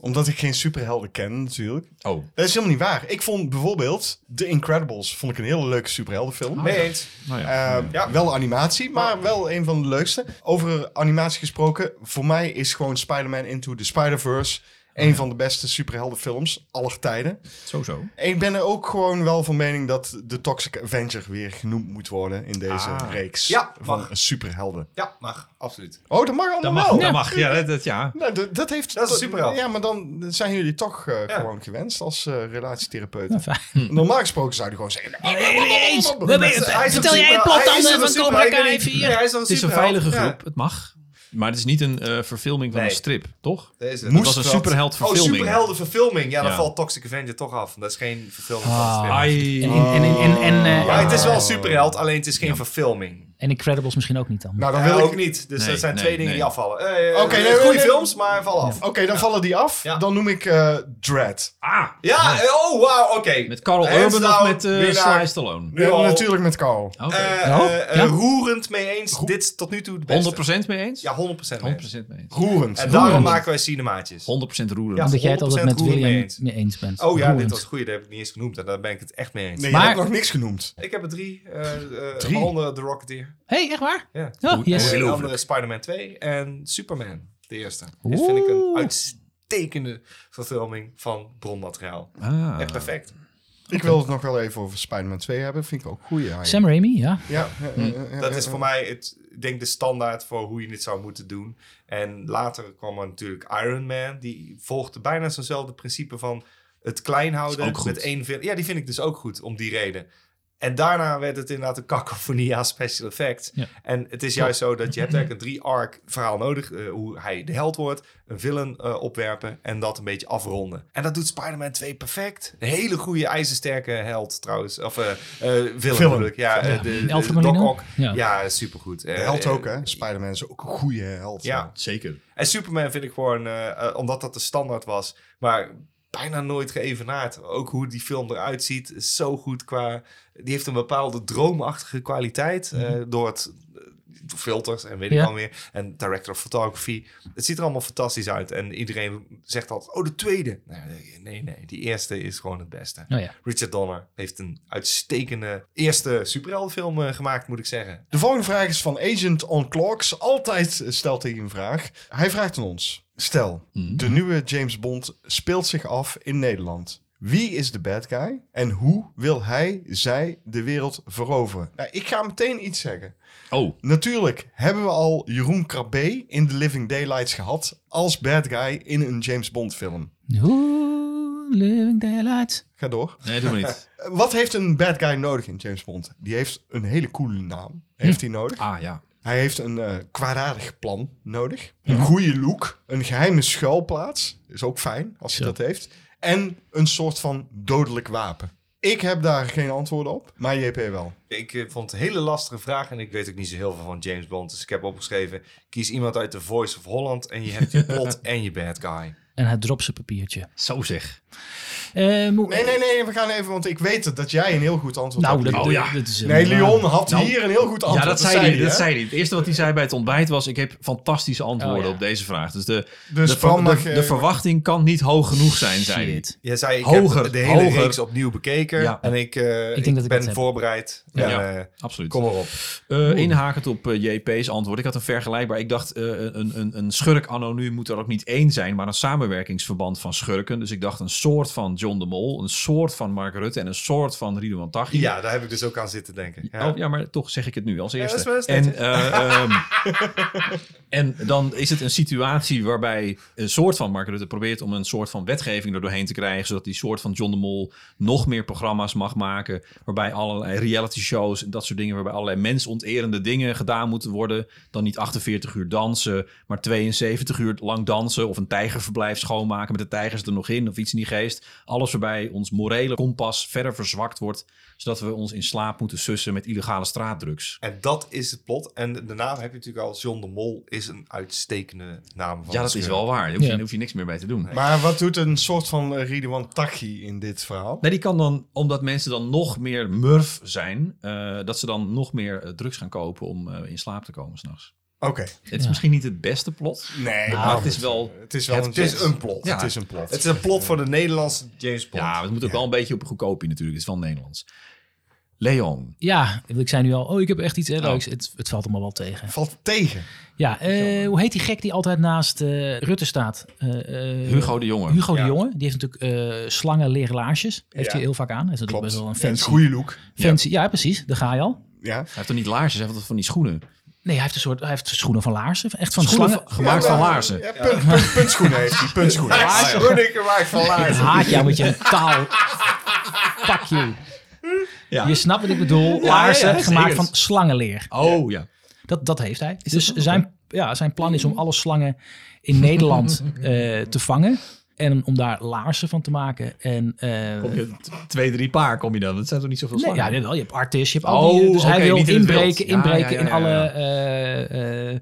[SPEAKER 3] Omdat ik geen superhelden ken, natuurlijk.
[SPEAKER 4] Oh,
[SPEAKER 3] Dat is helemaal niet waar. Ik vond bijvoorbeeld The Incredibles vond ik een hele leuke superheldenfilm.
[SPEAKER 1] Mee eens.
[SPEAKER 4] nou ja. Oh.
[SPEAKER 3] Eh,
[SPEAKER 1] Ja.
[SPEAKER 3] Wel animatie, maar wel een van de leukste. Over animatie gesproken, voor mij is gewoon Spider-Man Into the Spider-Verse
[SPEAKER 4] Oh,
[SPEAKER 3] een van de beste superheldenfilms aller tijden.
[SPEAKER 4] sowieso.
[SPEAKER 3] Ik ben er ook gewoon wel van mening dat de Toxic Avenger weer genoemd moet worden in deze
[SPEAKER 4] Ah.
[SPEAKER 3] reeks
[SPEAKER 1] Ja,
[SPEAKER 3] van
[SPEAKER 1] mag.
[SPEAKER 3] superhelden.
[SPEAKER 1] Ja, mag. Absoluut.
[SPEAKER 3] Oh, dat mag allemaal
[SPEAKER 1] nou,
[SPEAKER 4] Dat mag,
[SPEAKER 3] wel.
[SPEAKER 4] dat mag. Ja, dat, dat- ja.
[SPEAKER 3] Nou, dat, dat heeft...
[SPEAKER 1] Dat is een superheld.
[SPEAKER 3] Ja, maar dan zijn jullie toch eh,
[SPEAKER 1] Ja.
[SPEAKER 3] gewoon gewenst als eh relatietherapeuten.
[SPEAKER 2] fijn.
[SPEAKER 3] Normaal gesproken zouden jullie gewoon zeggen...
[SPEAKER 1] Hij is
[SPEAKER 2] Vertel
[SPEAKER 1] een
[SPEAKER 2] jij het
[SPEAKER 1] super-
[SPEAKER 2] plot
[SPEAKER 1] hij
[SPEAKER 2] dan
[SPEAKER 1] is
[SPEAKER 2] eh,
[SPEAKER 1] een
[SPEAKER 2] van
[SPEAKER 1] super-
[SPEAKER 2] Cobra
[SPEAKER 1] ik weet
[SPEAKER 2] Kai
[SPEAKER 1] niet.
[SPEAKER 2] 4?
[SPEAKER 1] Ja, hij toch
[SPEAKER 4] Het is een
[SPEAKER 1] superheld?
[SPEAKER 4] veilige
[SPEAKER 1] Ja,
[SPEAKER 4] groep, het mag. Maar het is niet een eh, verfilming van
[SPEAKER 1] Nee.
[SPEAKER 4] een strip, toch?
[SPEAKER 1] dat is het.
[SPEAKER 4] Het was een
[SPEAKER 1] Oh,
[SPEAKER 4] superheldverfilming.
[SPEAKER 1] superheldenverfilming. Ja, dan
[SPEAKER 4] Ja.
[SPEAKER 1] valt Toxic Avenger toch af. Dat is geen verfilming van
[SPEAKER 2] Ah.
[SPEAKER 1] de strip.
[SPEAKER 4] Ai.
[SPEAKER 2] En, in- en, in- en, en, eh,
[SPEAKER 1] Ja, het is wel een superheld, alleen het is geen verfilming.
[SPEAKER 2] en Incredibles misschien ook niet dan.
[SPEAKER 3] Nou, dan
[SPEAKER 1] Dat
[SPEAKER 3] wil
[SPEAKER 1] wil
[SPEAKER 3] ik
[SPEAKER 1] ook niet. Dus
[SPEAKER 4] Nee,
[SPEAKER 1] dat zijn
[SPEAKER 4] nee,
[SPEAKER 1] twee dingen
[SPEAKER 4] nee.
[SPEAKER 1] die afvallen. Eh, eh,
[SPEAKER 3] Oké, nee,
[SPEAKER 1] goede
[SPEAKER 3] nee, nee.
[SPEAKER 1] films, maar vallen af.
[SPEAKER 3] Oké, dan vallen die af.
[SPEAKER 1] Ja.
[SPEAKER 3] Dan noem ik eh Dread.
[SPEAKER 4] Ah,
[SPEAKER 1] Ja, eh, oh wauw, oké.
[SPEAKER 4] met Carl
[SPEAKER 1] Hands
[SPEAKER 4] Urban of
[SPEAKER 1] down,
[SPEAKER 4] met eh
[SPEAKER 1] winnaar.
[SPEAKER 4] Sly Stallone?
[SPEAKER 1] Nu al.
[SPEAKER 3] Natuurlijk met Carl.
[SPEAKER 4] Oké,
[SPEAKER 1] Eh, eh,
[SPEAKER 2] Nou,
[SPEAKER 1] eh,
[SPEAKER 2] ja.
[SPEAKER 1] Roerend mee eens. Dit is tot nu toe het beste.
[SPEAKER 4] 100% mee eens?
[SPEAKER 1] Ja, 100% mee eens.
[SPEAKER 4] 100% mee eens.
[SPEAKER 3] Roerend.
[SPEAKER 1] En daarom
[SPEAKER 3] Roerend.
[SPEAKER 1] maken wij cinemaatjes.
[SPEAKER 4] 100% roerend.
[SPEAKER 1] Ja.
[SPEAKER 2] Omdat jij het altijd met
[SPEAKER 1] 100% roerend
[SPEAKER 2] William
[SPEAKER 1] mee
[SPEAKER 2] mee
[SPEAKER 1] eens.
[SPEAKER 2] eens, bent.
[SPEAKER 1] Oh ja, dit
[SPEAKER 2] Roerend.
[SPEAKER 1] was het goede. Dat heb ik niet eens genoemd. En daar ben ik het echt mee eens.
[SPEAKER 3] Nee,
[SPEAKER 2] Maar-
[SPEAKER 3] je hebt nog niks genoemd.
[SPEAKER 1] Ik heb er drie. eh eh
[SPEAKER 3] Drie?
[SPEAKER 1] Waaronder The Rocketeer.
[SPEAKER 2] hey, echt waar?
[SPEAKER 1] Ja.
[SPEAKER 2] Oh, yes.
[SPEAKER 1] En de
[SPEAKER 4] Ongelooflijk.
[SPEAKER 1] andere Spider-Man 2. En Superman, de eerste. Dit vind ik een
[SPEAKER 2] Oeh.
[SPEAKER 1] uitstekende verfilming van bronmateriaal.
[SPEAKER 4] Ah.
[SPEAKER 1] Echt perfect.
[SPEAKER 3] Ik wil het nog wel even over Spider-Man 2 hebben. Vind ik ook goed. Ja,
[SPEAKER 2] Sam Raimi, ja.
[SPEAKER 3] ja, eh, eh, eh,
[SPEAKER 1] Dat
[SPEAKER 3] eh,
[SPEAKER 1] is voor mij, het, ik denk, de standaard voor hoe je dit zou moeten doen. En later kwam er natuurlijk Iron Man. Die volgde bijna zo'nzelfde principe van het klein
[SPEAKER 4] Is
[SPEAKER 1] houden.
[SPEAKER 4] ook goed.
[SPEAKER 1] Met één film. Ja, die vind ik dus ook goed, om die reden. En daarna werd het inderdaad een cacophonie aan special effects.
[SPEAKER 2] Ja.
[SPEAKER 1] En het is juist zo dat je hebt eigenlijk een drie-arc verhaal nodig. eh, hoe hij de held wordt, een villain eh, opwerpen en dat een beetje afronden. En dat doet Spider-Man 2 perfect. Een hele goede ijzersterke held trouwens. Of eh eh villain,
[SPEAKER 3] Film.
[SPEAKER 1] bedoel ik. Ja, eh, de, de,
[SPEAKER 2] Alfred
[SPEAKER 1] de Doc
[SPEAKER 2] Molina?
[SPEAKER 1] Ock.
[SPEAKER 2] Ja.
[SPEAKER 1] Ja, supergoed. Eh,
[SPEAKER 3] De held ook, hè? Spider-Man is ook een goede held.
[SPEAKER 1] Ja.
[SPEAKER 4] Zeker.
[SPEAKER 1] En eh, Superman vind ik gewoon, eh, eh, omdat dat de standaard was, maar bijna nooit geëvenaard. Ook hoe die film eruit ziet, is zo goed qua... Die heeft een bepaalde droomachtige kwaliteit eh, door het eh, filters en weet ik
[SPEAKER 2] Mhm. Ja.
[SPEAKER 1] wel meer. En director of photography. Het ziet er allemaal fantastisch uit. En iedereen zegt altijd, oh, de tweede. Nee, nee, nee. Die eerste is gewoon het beste.
[SPEAKER 2] Oh ja.
[SPEAKER 1] Richard Donner heeft een uitstekende eerste superheldenfilm eh, gemaakt, moet ik zeggen.
[SPEAKER 3] De volgende vraag is van Agent on Clocks. Altijd eh, stelt hij een vraag. Hij vraagt aan ons. Stel, de nieuwe James Bond speelt zich af in Nederland. Wie is de bad guy? En hoe wil hij, zij, de wereld veroveren? Nou, ik ga meteen iets zeggen.
[SPEAKER 4] Oh,
[SPEAKER 3] Natuurlijk hebben we al Jeroen Krabbe in The Living Daylights gehad als bad guy in een James Bond film.
[SPEAKER 2] Ooh, living daylight.
[SPEAKER 3] Ga door.
[SPEAKER 4] nee, doe maar niet.
[SPEAKER 3] Eh, Wat heeft een bad guy nodig in James Bond? Die heeft een hele coole naam. Heeft hij nodig?
[SPEAKER 4] Ah ja.
[SPEAKER 3] Hij heeft een eh kwaadaardig plan nodig.
[SPEAKER 4] Mhm.
[SPEAKER 3] Een goede look. Een geheime schuilplaats. Is ook fijn als hij
[SPEAKER 2] Ja.
[SPEAKER 3] dat heeft. En een soort van dodelijk wapen. Ik heb daar geen antwoorden op, maar JP wel.
[SPEAKER 1] Ik eh, vond het een hele lastige vraag en ik weet ook niet zo heel veel van James Bond. Dus ik heb opgeschreven, kies iemand uit The Voice of Holland en je hebt je plot en je bad guy.
[SPEAKER 2] En hij dropt zijn papiertje.
[SPEAKER 4] Zo zeg.
[SPEAKER 2] Eh,
[SPEAKER 4] Nou,
[SPEAKER 2] moet-
[SPEAKER 3] Nee, nee, nee, we gaan even, want ik weet dat jij een heel goed antwoord
[SPEAKER 2] Nou,
[SPEAKER 3] hebt.
[SPEAKER 2] dat,
[SPEAKER 4] Oh ja.
[SPEAKER 2] dat is... eh,
[SPEAKER 3] Nee, Leon had
[SPEAKER 4] Nou,
[SPEAKER 3] hier een heel goed antwoord.
[SPEAKER 4] ja, dat zei hij.
[SPEAKER 3] hè?
[SPEAKER 4] Dat zei hij. Het eerste wat hij zei bij het ontbijt was: Ik heb fantastische antwoorden
[SPEAKER 2] Oh, ja.
[SPEAKER 4] op deze vraag. Dus de,
[SPEAKER 3] Dus
[SPEAKER 4] de, ver-
[SPEAKER 3] Bram mag,
[SPEAKER 4] de,
[SPEAKER 3] eh,
[SPEAKER 4] de verwachting kan niet hoog genoeg zijn, zei hij.
[SPEAKER 2] Shit.
[SPEAKER 1] Jij zei, ik
[SPEAKER 4] Hoger,
[SPEAKER 1] heb de hele
[SPEAKER 4] hoger.
[SPEAKER 1] reeks opnieuw bekeken
[SPEAKER 4] Ja.
[SPEAKER 1] en ik, eh, ik,
[SPEAKER 2] denk dat ik dat
[SPEAKER 1] ben
[SPEAKER 2] heb.
[SPEAKER 1] voorbereid.
[SPEAKER 4] Ja.
[SPEAKER 1] Ja.
[SPEAKER 4] Absoluut.
[SPEAKER 1] kom erop.
[SPEAKER 4] Eh, inhakend op eh, JP's antwoord. Ik had een vergelijkbaar. Ik dacht, eh, een, een, een schurk anoniem moet er ook niet één zijn, maar een samenwerkingsverband van schurken. Dus ik dacht een soort van John de Mol, een soort van Mark Rutte en een soort van Ridouan Taghi.
[SPEAKER 1] Ja, daar heb ik dus ook aan zitten denken. Ja.
[SPEAKER 4] Oh, ja, maar toch zeg ik het nu als
[SPEAKER 1] dat is
[SPEAKER 4] eerste.
[SPEAKER 1] wel eens
[SPEAKER 4] en,
[SPEAKER 1] netjes.
[SPEAKER 4] eh, ehm, en dan is het een situatie waarbij een soort van Mark Rutte probeert om een soort van wetgeving er doorheen te krijgen. Zodat die soort van John de Mol nog meer programma's mag maken. Waarbij allerlei reality shows en dat soort dingen. Waarbij allerlei mensonterende dingen gedaan moeten worden. Dan niet 48 uur dansen, maar 72 uur lang dansen. Of een tijgerverblijf schoonmaken met de tijgers er nog in. Of iets in die geest. Alles waarbij ons morele kompas verder verzwakt wordt. Zodat we ons in slaap moeten sussen met illegale straatdrugs.
[SPEAKER 1] En dat is het plot. En de naam heb je natuurlijk al. John de Mol is een uitstekende naam. Van
[SPEAKER 4] Ja, dat
[SPEAKER 1] de
[SPEAKER 4] is
[SPEAKER 1] schurk.
[SPEAKER 4] wel waar. Daar hoef je,
[SPEAKER 2] Ja.
[SPEAKER 4] daar hoef je niks meer bij te doen.
[SPEAKER 3] Maar wat doet een soort van eh, Ridwan Taghi in dit verhaal?
[SPEAKER 4] Nee, die kan dan, omdat mensen dan nog meer murf zijn, eh, dat ze dan nog meer eh, drugs gaan kopen om eh, in slaap te komen s'nachts.
[SPEAKER 3] Oké.
[SPEAKER 4] Het is misschien niet het beste plot,
[SPEAKER 3] Nee,
[SPEAKER 4] maar het is wel...
[SPEAKER 3] het is wel
[SPEAKER 4] Nou, het
[SPEAKER 3] een,
[SPEAKER 1] Het is een plot.
[SPEAKER 4] Ja.
[SPEAKER 3] Het is een plot.
[SPEAKER 1] Het is een plot voor de Nederlandse James Bond.
[SPEAKER 4] Ja, maar het moet ook wel een beetje op een goedkoopje natuurlijk. Het is wel Nederlands. Leon.
[SPEAKER 2] Ja, ik zei nu al, oh, ik heb echt iets heel leuks. Het, het valt allemaal wel tegen.
[SPEAKER 3] Valt tegen.
[SPEAKER 2] Ja, eh, hoe heet die gek die altijd naast eh, Rutte staat? Eh, eh,
[SPEAKER 4] Hugo de Jonge.
[SPEAKER 2] Hugo de
[SPEAKER 1] Ja.
[SPEAKER 2] Jonge. Die heeft natuurlijk eh slangen leerlaarsjes. Heeft hij heel vaak aan. Dat is natuurlijk best wel een
[SPEAKER 3] En het
[SPEAKER 2] fancy.
[SPEAKER 3] goede look.
[SPEAKER 2] fancy ja. precies. Daar ga je al.
[SPEAKER 3] Ja.
[SPEAKER 4] Hij heeft toch niet laarsjes, hij heeft toch van die schoenen.
[SPEAKER 2] Nee, hij heeft een soort hij heeft schoenen van laarzen. Echt van
[SPEAKER 4] Schoenen
[SPEAKER 2] slangen.
[SPEAKER 4] van- gemaakt
[SPEAKER 3] Ja,
[SPEAKER 4] van
[SPEAKER 3] maar-
[SPEAKER 4] laarzen.
[SPEAKER 3] Ja, punt, punt, puntschoenen heeft hij. Puntschoenen.
[SPEAKER 1] Laarzen. Hoor ik gemaakt van
[SPEAKER 2] Ik
[SPEAKER 1] laarzen.
[SPEAKER 2] haat jou met je taal. Fuck you. Je snapt wat ik bedoel. Laarzen
[SPEAKER 4] ja, ja,
[SPEAKER 2] gemaakt
[SPEAKER 4] zeker.
[SPEAKER 2] van slangenleer.
[SPEAKER 4] Oh ja.
[SPEAKER 2] Dat, dat heeft hij. dus zijn, ja, zijn plan is om alle slangen in Nederland eh, te vangen. En om daar laarzen van te maken. En, eh,
[SPEAKER 4] Kom je t- twee, drie paar kom je dan. Dat zijn toch niet zoveel
[SPEAKER 2] nee,
[SPEAKER 4] slangen?
[SPEAKER 2] ja, dit wel. Je hebt artis, je hebt al die...
[SPEAKER 4] Oh,
[SPEAKER 2] Dus hij
[SPEAKER 4] oké,
[SPEAKER 2] wil
[SPEAKER 4] niet in het
[SPEAKER 2] inbreken,
[SPEAKER 4] wild. Ja,
[SPEAKER 2] inbreken
[SPEAKER 4] ja, ja,
[SPEAKER 2] in alle
[SPEAKER 4] ja, ja.
[SPEAKER 2] eh, eh,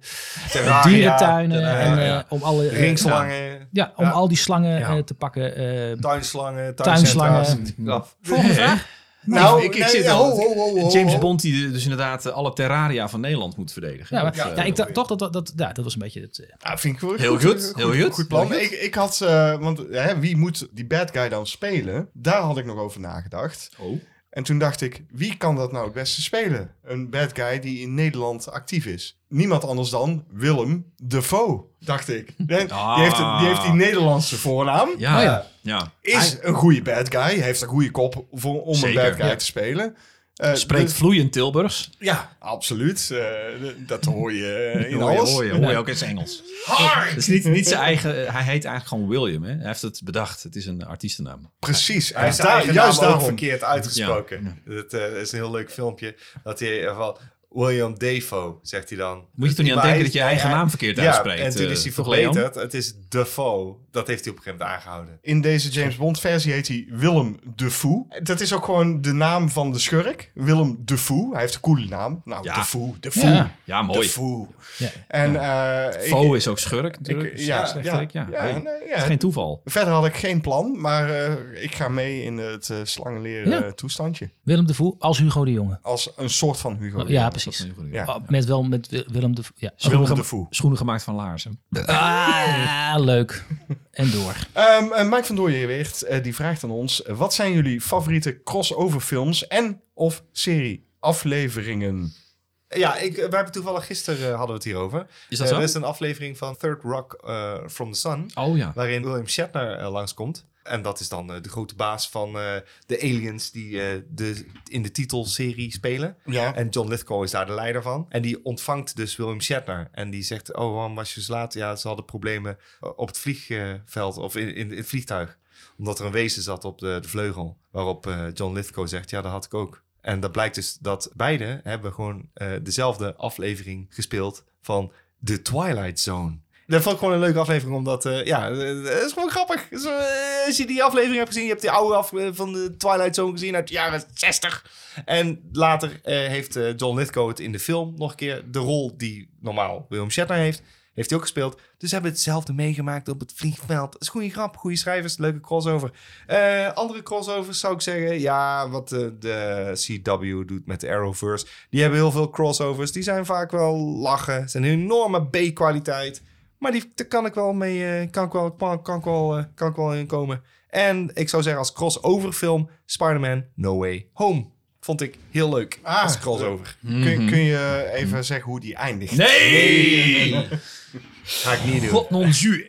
[SPEAKER 1] Terraria,
[SPEAKER 2] dierentuinen.
[SPEAKER 1] terraria,
[SPEAKER 2] en, eh,
[SPEAKER 1] ja.
[SPEAKER 2] om alle, eh,
[SPEAKER 1] Ringslangen,
[SPEAKER 2] Ja, om
[SPEAKER 1] Ja.
[SPEAKER 2] al die slangen
[SPEAKER 1] Ja.
[SPEAKER 2] eh, te pakken. eh,
[SPEAKER 1] tuinslangen,
[SPEAKER 2] Tuinslangen.
[SPEAKER 1] tuinslangen.
[SPEAKER 2] volgende vraag.
[SPEAKER 3] Nou,
[SPEAKER 4] ik, ik
[SPEAKER 3] nee,
[SPEAKER 4] zit
[SPEAKER 3] ho,
[SPEAKER 4] al-
[SPEAKER 3] ho, ho, ho,
[SPEAKER 4] James
[SPEAKER 3] ho.
[SPEAKER 4] Bond die dus inderdaad eh, alle terraria van Nederland moet verdedigen.
[SPEAKER 2] Ja, maar,
[SPEAKER 4] Dat,
[SPEAKER 2] ja,
[SPEAKER 4] eh,
[SPEAKER 2] ik dacht toch dat dat, dat, ja, dat was een beetje het... eh,
[SPEAKER 3] Ja, vind ik wel
[SPEAKER 4] Heel goed, heel goed.
[SPEAKER 3] Goed plan.
[SPEAKER 4] Heel
[SPEAKER 3] Ik, ik had, eh, want hè, wie moet die bad guy dan spelen? Daar had ik nog over nagedacht.
[SPEAKER 4] Oh.
[SPEAKER 3] En toen dacht ik, wie kan dat nou het beste spelen? Een bad guy die in Nederland actief is. Niemand anders dan Willem Defoe, dacht ik. Nee,
[SPEAKER 4] Ah.
[SPEAKER 3] Die, heeft een- die heeft die Nederlandse voornaam.
[SPEAKER 4] Ja,
[SPEAKER 2] Oh
[SPEAKER 4] ja.
[SPEAKER 2] ja.
[SPEAKER 3] Is een goede bad guy. Heeft een goede kop voor, om
[SPEAKER 4] Zeker,
[SPEAKER 3] een bad guy
[SPEAKER 4] ja.
[SPEAKER 3] te spelen. Eh,
[SPEAKER 4] Spreekt
[SPEAKER 3] dus-
[SPEAKER 4] vloeiend Tilburgs.
[SPEAKER 3] ja, absoluut. Eh, d- dat hoor je eh, in
[SPEAKER 4] Hoor je,
[SPEAKER 3] alles.
[SPEAKER 4] hoor je, hoor je ook eens Engels. Het is niet, niet zijn eigen... eh, Hij heet eigenlijk gewoon William. Hè? Hij heeft het bedacht. Het is een artiestennaam.
[SPEAKER 3] Precies.
[SPEAKER 1] Hij is
[SPEAKER 3] En daar-
[SPEAKER 1] juist
[SPEAKER 3] juist
[SPEAKER 1] daar
[SPEAKER 3] daarom.
[SPEAKER 1] verkeerd uitgesproken. Dat eh, is een heel leuk filmpje. Dat hij eh, van William Defoe zegt hij dan.
[SPEAKER 4] Moet je toch niet aan
[SPEAKER 1] Maar
[SPEAKER 4] denken
[SPEAKER 1] hij-
[SPEAKER 4] dat je je eigen
[SPEAKER 1] hij-
[SPEAKER 4] naam verkeerd
[SPEAKER 1] ja,
[SPEAKER 4] uitspreekt.
[SPEAKER 1] en toen
[SPEAKER 4] eh,
[SPEAKER 1] is hij
[SPEAKER 4] toch, Leon?
[SPEAKER 1] verbeterd. Het is Defoe. Dat heeft hij op een gegeven moment aangehouden.
[SPEAKER 3] In deze James Bond versie heet hij Willem de Fou. Dat is ook gewoon de naam van de schurk. Willem de Fou. Hij heeft een coole naam. Nou,
[SPEAKER 4] Ja.
[SPEAKER 3] de Fou. De Fou.
[SPEAKER 2] Ja.
[SPEAKER 4] Ja,
[SPEAKER 3] De
[SPEAKER 4] mooi.
[SPEAKER 3] Fou.
[SPEAKER 2] Ja.
[SPEAKER 3] En eh, ik-
[SPEAKER 4] Faux is ook schurk natuurlijk.
[SPEAKER 3] ik-
[SPEAKER 4] Dus
[SPEAKER 3] ja,
[SPEAKER 4] slechterik, ja.
[SPEAKER 3] ja,
[SPEAKER 4] Hey,
[SPEAKER 3] nee,
[SPEAKER 4] het
[SPEAKER 3] ja.
[SPEAKER 4] is geen toeval.
[SPEAKER 3] verder had ik geen plan, maar eh, ik ga mee in het eh, slangenleren
[SPEAKER 2] Ja.
[SPEAKER 3] eh, toestandje.
[SPEAKER 2] Willem de Voe als Hugo de Jonge.
[SPEAKER 3] Als een soort van Hugo.
[SPEAKER 2] ja,
[SPEAKER 3] de Jonge.
[SPEAKER 4] Oh, Dat is
[SPEAKER 2] precies.
[SPEAKER 4] een goede.
[SPEAKER 3] Ja.
[SPEAKER 2] Oh, Met wel met Wi- Willem de Voe. Ja,
[SPEAKER 3] Willem
[SPEAKER 2] schoenen
[SPEAKER 3] de Fou.
[SPEAKER 4] Schoenen gemaakt van laarzen.
[SPEAKER 2] Ah, leuk. En door.
[SPEAKER 3] Ehm, eh, Mike van Dooyeweert eh, die vraagt aan ons: eh, wat zijn jullie favoriete crossover films en of serie afleveringen?
[SPEAKER 1] Ja, ik, we hebben toevallig gisteren eh, hadden we het hierover.
[SPEAKER 4] Is dat
[SPEAKER 1] Eh,
[SPEAKER 4] zo?
[SPEAKER 1] Er is een aflevering van Third Rock eh, from the Sun.
[SPEAKER 4] Oh ja.
[SPEAKER 1] waarin William Shatner eh, langskomt. En dat is dan eh, de grote baas van eh, de aliens die eh, de, in de titelserie spelen.
[SPEAKER 3] Ja.
[SPEAKER 1] En John Lithgow is daar de leider van. En die ontvangt dus William Shatner. En die zegt, oh, waarom was je zo laat? Ja, ze hadden problemen eh, op het vliegveld of in, in, in het vliegtuig. Omdat er een wezen zat op de, de vleugel. Waarop eh, John Lithgow zegt, ja, dat had ik ook. En dat blijkt dus dat beide hebben gewoon eh, dezelfde aflevering gespeeld van The Twilight Zone. Dat vond ik gewoon een leuke aflevering, omdat... eh, ja, eh, het is gewoon grappig. Dus, eh, als je die aflevering hebt gezien... je hebt die oude af eh, van de Twilight Zone gezien uit de jaren 60. En later eh, heeft eh, John Lithgow het in de film nog een keer... de rol die normaal William Shatner heeft, heeft hij ook gespeeld. Dus ze hebben hetzelfde meegemaakt op het vliegveld. Dat is goede grap, goede schrijvers, leuke crossover. Eh, andere crossovers zou ik zeggen... ja, wat eh, de CW doet met de Arrowverse... die hebben heel veel crossovers. Die zijn vaak wel lachen. Zijn een enorme B-kwaliteit... Maar die, daar kan ik wel mee, eh, kan ik wel, kan, kan ik wel, eh, kan ik wel in komen. En ik zou zeggen als crossover film, Spider-Man No Way Home. Vond ik heel leuk
[SPEAKER 3] Ah,
[SPEAKER 1] als crossover.
[SPEAKER 4] Mhm.
[SPEAKER 3] Kun, kun je even zeggen hoe die eindigt?
[SPEAKER 4] Nee!
[SPEAKER 1] Ga ik niet doen.
[SPEAKER 4] God non jus.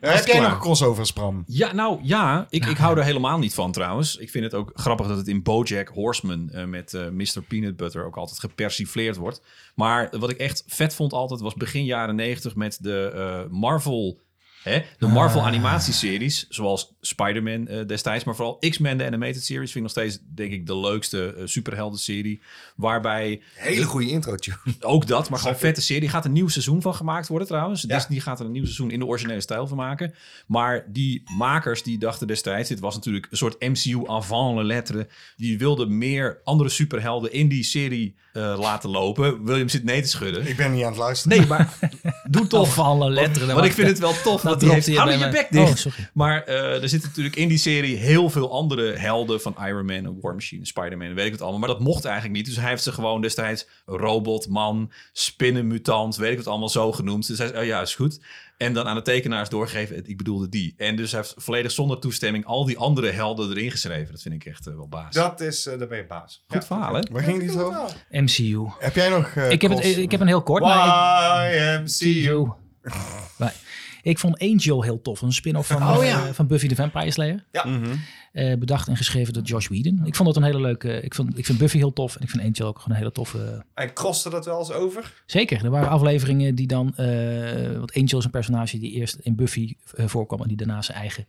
[SPEAKER 3] Eh, heb jij
[SPEAKER 4] klaar.
[SPEAKER 3] nog crossovers, Bram?
[SPEAKER 4] Ja, nou ja, ik, ik hou er helemaal niet van trouwens. Ik vind het ook grappig dat het in BoJack Horseman eh, met eh Mr. Peanut Butter ook altijd gepersifleerd wordt. Maar wat ik echt vet vond altijd was begin jaren negentig met de eh, Marvel... Hè? De Marvel animatieseries, zoals Spider-Man eh, destijds, maar vooral X-Men, de animated series, vind ik nog steeds, denk ik, de leukste eh, superhelden-serie. Waarbij
[SPEAKER 1] Hele goede intro, tune.
[SPEAKER 4] ook dat, maar gewoon vette serie. Gaat een nieuw seizoen van gemaakt worden trouwens. Disney gaat er een nieuw seizoen in de originele stijl van maken. Maar die makers die dachten destijds... dit was natuurlijk een soort MCU avant la lettre. Die wilden meer andere superhelden in die serie eh, laten lopen. William zit nee te schudden.
[SPEAKER 3] Ik ben niet aan het luisteren.
[SPEAKER 4] Nee, maar doe toch.
[SPEAKER 2] Van alle letteren.
[SPEAKER 4] Want ik vind het wel tof.
[SPEAKER 2] dat
[SPEAKER 4] Dat die
[SPEAKER 2] dropte
[SPEAKER 4] heeft,
[SPEAKER 2] je
[SPEAKER 4] hou
[SPEAKER 2] bij
[SPEAKER 4] je
[SPEAKER 2] mij.
[SPEAKER 4] bek dicht.
[SPEAKER 2] Oh, sorry.
[SPEAKER 4] Maar eh, er zitten natuurlijk in die serie heel veel andere helden van Iron Man, War Machine, Spider-Man, en weet ik het allemaal. Maar dat mocht eigenlijk niet. Dus hij heeft ze gewoon destijds robot, man, spinnenmutant, weet ik het allemaal zo genoemd. Dus hij zei, oh ja, is goed. En dan aan de tekenaars doorgegeven, het- ik bedoelde die. En dus hij heeft volledig zonder toestemming al die andere helden erin geschreven. Dat vind ik echt eh, wel baas.
[SPEAKER 1] Dat is eh, daar ben je baas.
[SPEAKER 4] goed verhaal, hè?
[SPEAKER 3] Waar ging dit over?
[SPEAKER 2] MCU.
[SPEAKER 3] Heb jij nog eh,
[SPEAKER 2] Ik heb, het,
[SPEAKER 3] cross-
[SPEAKER 2] ik heb een heel kort. maar ik-
[SPEAKER 1] YMCU.
[SPEAKER 2] Yo. Wij- Ik vond Angel heel tof. Een spin-off van,
[SPEAKER 4] Oh,
[SPEAKER 2] eh, van Buffy the Vampire Slayer.
[SPEAKER 1] Ja.
[SPEAKER 2] Eh, bedacht en geschreven door Josh Whedon. Ik vond dat een hele leuke... Ik, vond, ik vind Buffy heel tof. En ik vind Angel ook gewoon een hele toffe...
[SPEAKER 1] En croste dat wel eens over?
[SPEAKER 2] Zeker, er waren afleveringen die dan... eh, want Angel is een personage die eerst in Buffy eh, voorkwam... en die daarna zijn eigen